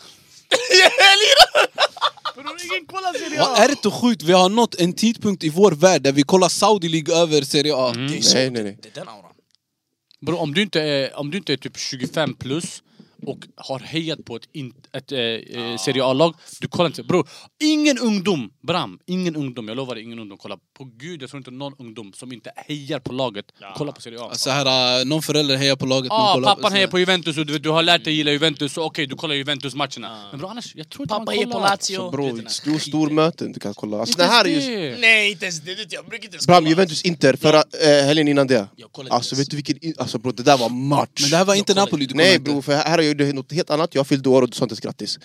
S4: Jag lirar!
S1: Vad är det så sjukt? Vi har nått en tidpunkt i vår värld där vi kollar Saudi League över Serie A.
S4: Det är så-
S3: Nej, nej, nej.
S4: Det är den auran.
S2: Bro, om du inte är, om du inte är typ 25 plus och har hejat på ett, in, ett eh, eh, Serie A-lag, du kollar inte. Bro, ingen ungdom, Bram, ingen ungdom, jag lovar dig, ingen ungdom kollar. På gud, jag tror inte någon ungdom som inte hejar på laget kollar på Serie A.
S3: Alltså,
S1: Så här, äh, någon förälder hejar på laget. någon
S2: ah,
S1: kollar-
S2: pappan hejar på Juventus och du, vet, du har lärt dig gilla Juventus, så okej, du kollar Juventus-matcherna. Men bro, annars, jag tror inte
S4: Pappa
S2: man
S4: är
S2: kollar.
S4: på
S3: Så
S4: Lazio. Du vet den
S3: Alltså, bror,
S4: här.
S3: stor, stor möten du kan kolla. Alltså
S2: Inte
S3: det här är
S2: ens
S3: ju...
S2: det.
S4: Nej, inte ens det, det. Jag brukar inte ens
S3: Bram,
S4: kolla.
S3: Juventus-Inter förra eh, helgen innan det.
S4: Jag kollar inte
S3: Alltså
S4: ens.
S3: vet du vilken... in- Alltså bror, det där var match.
S1: Men det här var
S4: Jag
S1: inte
S4: kollar
S1: Napoli du kollar
S3: Nej
S1: inte.
S3: bror, för här har jag gjort något helt annat. Jag fyllde år och du sa inte ens grattis.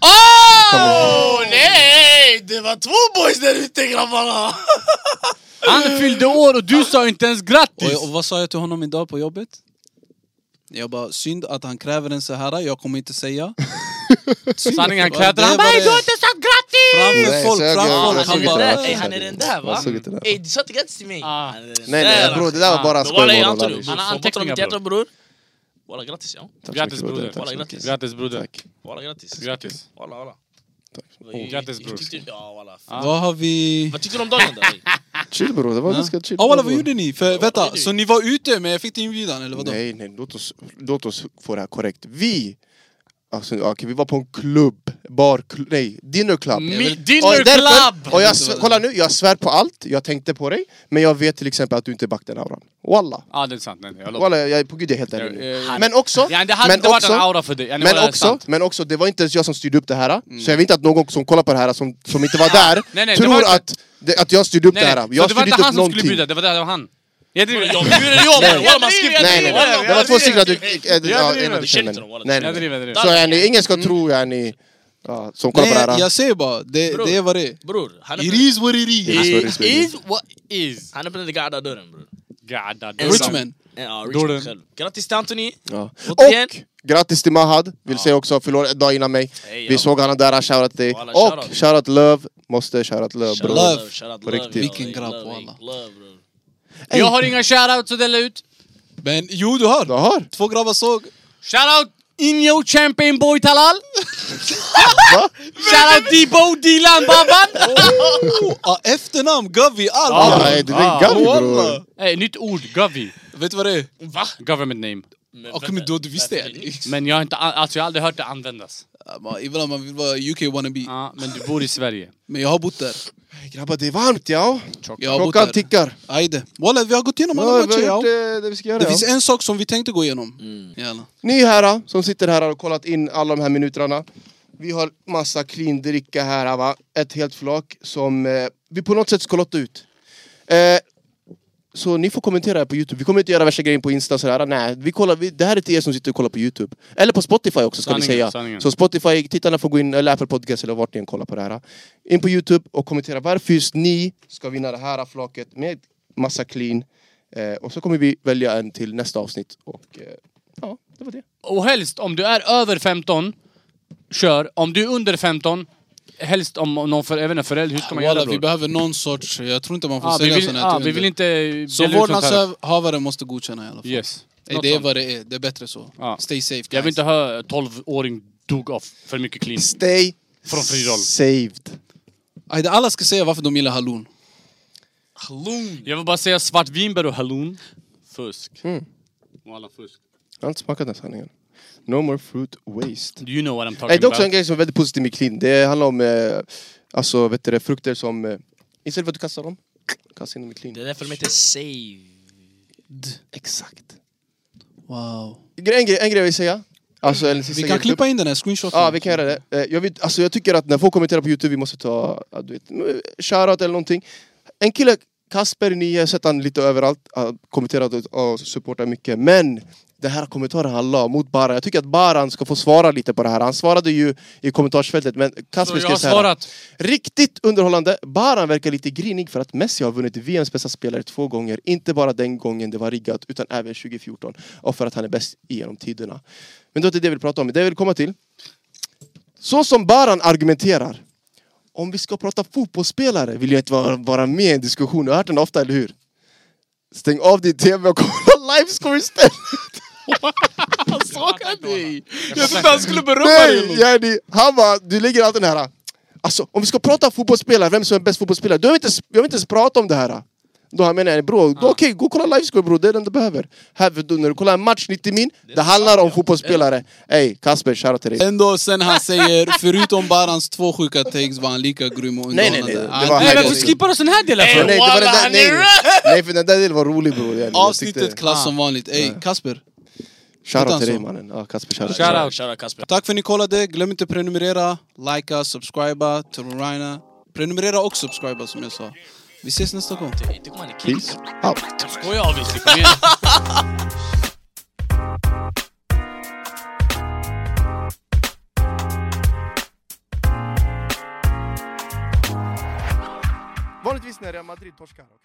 S4: Åh! Nej! Det var två boys där ute grabbarna!
S2: Han fyllde år och du sa inte ens
S1: Och,
S2: grattis!
S1: jag- och vad sa jag till honom idag på jobbet? Jag bara, synd att han kräver en så här, jag kommer inte säga. Synd.
S2: Sanningen, han
S1: Det
S2: kläder han.
S1: var
S2: Nej,
S1: det.
S2: du har inte sagt grattis!
S1: Framför
S3: Nej,
S1: folk,
S3: så jag-
S1: framför
S3: jag- jag
S1: folk.
S4: Han
S1: Han
S4: är den
S3: såg inte det
S1: bara,
S3: där.
S4: där, ey, han är den där va?
S3: Jag såg inte det.
S4: Ey du sa inte grattis till mig!
S2: Ah.
S4: Han är den
S3: Nej nej
S4: där.
S3: bror, det där var bara
S4: Men walla ey
S3: skoj. walla,
S4: Anthony,
S3: walla.
S4: man
S2: Han har
S4: har anteckningar
S2: anteckningar,
S4: bror. hjärta bror. Walla grattis ja.
S3: Tack så
S2: Grattis,
S3: mycket, broder.
S2: broder.
S3: Tack så
S4: Walla,
S3: mycket.
S4: grattis.
S2: Grattis broder.
S3: Tack.
S4: Walla grattis.
S2: Grattis.
S4: Walla walla.
S2: Oh, grattis, bror.
S4: Jag tyckte- Ja walla. fan.
S1: "Äh, vad har vi...
S4: Vad tyckte du om dagen då? ey?
S3: Chill bror, det var
S1: Ja.
S3: ganska chill.
S1: Ja walla, vad
S3: bror.
S1: gjorde ni? För,
S4: vad
S1: vänta,
S4: gjorde
S1: så
S4: vi?
S1: ni var ute men jag fick inte inbjudan eller vadå?
S3: Nej, nej, låt oss, låt oss få det här korrekt. Vi... Alltså, ja, okej, vi var på en klubb, bar, kl- nej, dinner club.
S2: Mi-
S3: Jag vet-
S2: dinner
S3: och därför-
S2: club!
S3: Och jag, svär- kolla nu, jag svär på allt, jag tänkte på dig, men jag vet till exempel att du inte back den auran. Walla.
S2: Ja ah, det är sant, nej, nej, jag lovar.
S3: Walla, jag är på gud, jag är helt ärlig
S2: Jag-
S3: nu.
S2: jag-
S3: Men också...
S2: Eh, Ja, det hade
S3: men
S2: inte varit
S3: också-
S2: en aura för dig. Ja, det
S3: Men
S2: var
S3: också,
S2: sant. Mm.
S3: men också, det var inte ens jag som styrde upp det här, så jag vill inte att någon som kollar på det här som, som inte var där
S2: Nej, nej, det
S3: tror
S2: var inte-
S3: att, det, att jag styrde upp
S2: Nej,
S3: det här.
S2: nej.
S3: Jag
S2: Så
S3: har
S2: det var
S3: styrt
S2: inte han
S3: upp
S2: som skulle
S3: någonting.
S2: bjuda, det var, det var han. Jag driver.
S4: Jag bjuder dig om
S3: Nej.
S4: mannen, walla man skriver
S3: Nej, nej,
S4: Walla,
S3: nej. Det var
S4: walla,
S3: två stycken att du...
S4: skriver.
S3: eh, ja,
S2: driver.
S3: en av
S4: Du känner
S3: du känner.
S4: inte dem, walla.
S3: Nej,
S2: Jag
S3: nej,
S2: driver, jag
S3: nej.
S2: driver.
S3: Så yani, ingen ska tro yani... Ja, som kollar
S1: Nej,
S3: på det här.
S1: jag säger bara, det,
S4: Bror.
S1: det är vad det är.
S4: Bror, han
S1: It
S4: öppnade-
S1: is what it is.
S3: It is
S2: Is
S3: what it is.
S2: what is.
S4: han öppnade gada dörren bror.
S2: Gadda,
S4: Ensam.
S1: Richmond.
S4: Ja,
S2: Dörren.
S4: Richmond själv. Grattis till Anthony!
S3: Ja.
S4: Återigen.
S3: Och grattis till Mahad, vill säga också, förlorade en dag innan mig.
S4: Hej, ja.
S3: Vi såg honom där, han shoutout till dig.
S4: Walla,
S3: Och
S4: shoutout.
S3: shoutout Love, måste shoutout Love
S4: Shout out
S3: bror.
S1: Love.
S4: shout out
S3: På
S4: love,
S3: riktigt.
S4: ja,
S1: Vilken grabb,
S4: love,
S1: walla.
S4: love, bror.
S2: Jag har inga shoutouts att dela ut.
S1: Men jo, du hör.
S3: Du har?
S1: Två grabbar såg.
S2: Shoutout Inyo Champion Boy Talal. Shoutout Debo Dilan Baban.
S1: Ah, efternamn, Gavi,
S3: Ja,
S1: allt.
S3: nej, det är gammalt bror.
S1: Walla.
S2: Eh, nytt ord, Gavi.
S1: Vet du vad det är?
S4: Va?
S2: Government name.
S4: Men
S1: Okej,
S4: vänta,
S1: men då, du visste
S4: varför är
S1: det.
S2: Men jag har, inte, an- alltså, jag har aldrig hört det användas.
S1: Ja, man- Även om man vill vara UK wannabe.
S2: Ja, men du bor i Sverige.
S1: Men jag har bott där.
S3: Grabbar, det är varmt ja.
S1: Jag har bott
S3: Klockan
S1: där.
S3: tickar.
S1: Ajde. Walla, vi har gått igenom alla
S3: Ja,
S1: matcher.
S3: vi har gjort
S1: Ja.
S3: eh, det vi ska göra.
S1: Det
S3: ja.
S1: finns en sak som vi tänkte gå igenom.
S2: Mm.
S1: Jalla.
S3: Ni här som sitter här och kollat in alla de här minuterna. Vi har massa clean dricka här, va? ett helt flak som eh, vi på något sätt ska lotta ut. Eh, så ni får kommentera här på Youtube. Vi kommer inte göra värsta grejen på Insta och sådär. Nej, vi kollar, vi, det här är till er som sitter och kollar på Youtube. Eller på Spotify också ska
S2: Sanningen,
S3: vi säga.
S2: sanningen.
S3: Så Spotify-tittarna får gå in, eller Apple Podcast eller vart ni än kollar på det här. In på Youtube och kommentera varför just ni ska vinna det här flaket med massa clean. Eh, och så kommer vi välja en till nästa avsnitt. Och eh, ja, det var det.
S2: Och helst om du är över 15, kör. Om du är under 15, helst om någon för, även en förälder. Hur ska man
S1: Walla,
S2: göra
S1: vi
S2: bror?
S1: behöver någon sorts... Jag tror inte man får
S2: Ah, vi,
S1: sälja
S2: vill,
S1: såna
S2: ah,
S1: här
S2: vi
S1: till
S2: vill
S1: under.
S2: inte... eh,
S1: Så
S2: dela ut sånt här.
S1: vårdnadshavare måste godkänna i alla fall.
S2: Yes.
S1: Nej,
S2: Något
S1: det är
S2: sånt.
S1: vad det är. Det är bättre så.
S2: Ja.
S1: Stay safe guys.
S2: Jag vill inte höra 12-åring dog av för mycket clean.
S3: Stay
S2: Från Fridol.
S3: saved.
S1: Ajde, alla ska säga varför de gillar hallon.
S4: Hallon!
S2: Jag vill bara säga svartvinbär och hallon. Fusk.
S3: Mm.
S2: Walla, fusk.
S3: Jag har inte smakat den här sanningen. No more fruit waste.
S2: Do you know what I'm talking
S3: Nej, det är också en
S2: about?
S3: grej som är väldigt positiv med clean. Det handlar om eh, alltså, vet du, det, frukter som... Eh, istället för att du kastar dem, kasta in dem i
S4: Det
S3: clean.
S4: är därför de heter save.
S3: Exakt.
S1: Wow.
S3: En grej, en grej jag vill säga. Alltså, eller sista
S1: Vi kan
S3: grupp.
S1: klippa in den här screenshoten.
S3: Ja, vi kan göra det. Eh, Jag, vet, alltså, jag tycker att när folk kommenterar på Youtube, vi måste ta ja, du vet, m- shoutout eller någonting. En kille, Kasper, ni har sett han lite överallt, han kommenterat och- och supportat mycket. Men det här kommentaren han la mot Baran, jag tycker att Baran ska få svara lite på det här. Han svarade ju i kommentarsfältet, men
S2: Så
S3: Kasper
S2: jag har
S3: skrev så här.
S2: svarat.
S3: Riktigt underhållande. Baran verkar lite grinig för att Messi har vunnit VMs bästa spelare två gånger. Inte bara den gången det var riggat, utan även 2014. Och för att han är bäst genom tiderna. Men det är inte det vi vill prata om. Det jag vill komma till. Så som Baran argumenterar. Om vi ska prata fotbollsspelare vill jag inte vara, vara med i en diskussion. Du har hört den ofta, eller hur? Stäng av din TV och kolla livescore istället.
S4: Han sågar
S2: inte honom.
S4: dig!
S1: Jag trodde han skulle berömma dig.
S3: Nej, yani, han bara, du lägger allt den här. Alltså, om vi ska prata fotbollsspelare, vem som är bäst fotbollsspelare, då har vi inte, vi har inte ens pratat om det här. Då han menar jag, bro, då, okej, gå och kolla livescore bror, det är det du behöver. Här, för då, när du kollar en match 90 min, det handlar om fotbollsspelare. Ey, Kasper, shoutout till dig.
S1: Ändå sen han säger, förutom Barans två sjuka takes var han lika grym och Ah,
S3: Nej, nej, nej.
S1: underhållande.
S3: Det
S1: Han-
S3: var
S2: Nej,
S3: här
S2: varför
S3: jag-
S2: skippar du den här delen
S4: Nej,
S2: för?
S3: nej, det var den
S4: walla,
S3: där,
S4: han är
S3: nej,
S4: rätt!
S3: nej, för den där delen var rolig bror. Yani, jag tyckte- Ah.
S1: Avsnittet klass som vanligt. Ey, Kasper.
S3: Shoutout till
S1: Utan
S3: dig
S1: så.
S3: mannen. Ja, Kasper, shoutout.
S2: Alltså. Shout- Shoutout.
S4: Shoutout Kasper.
S1: Tack för att ni kollade. Glöm inte prenumerera, likea, subscriba, turorina. Prenumerera och subscriba som jag sa. Vi ses nästa gång.
S4: Jag tycker man är kiss.
S3: Peace out.
S2: Skoja obviously, kom igen.
S3: Vanligtvis när Real Madrid torskar.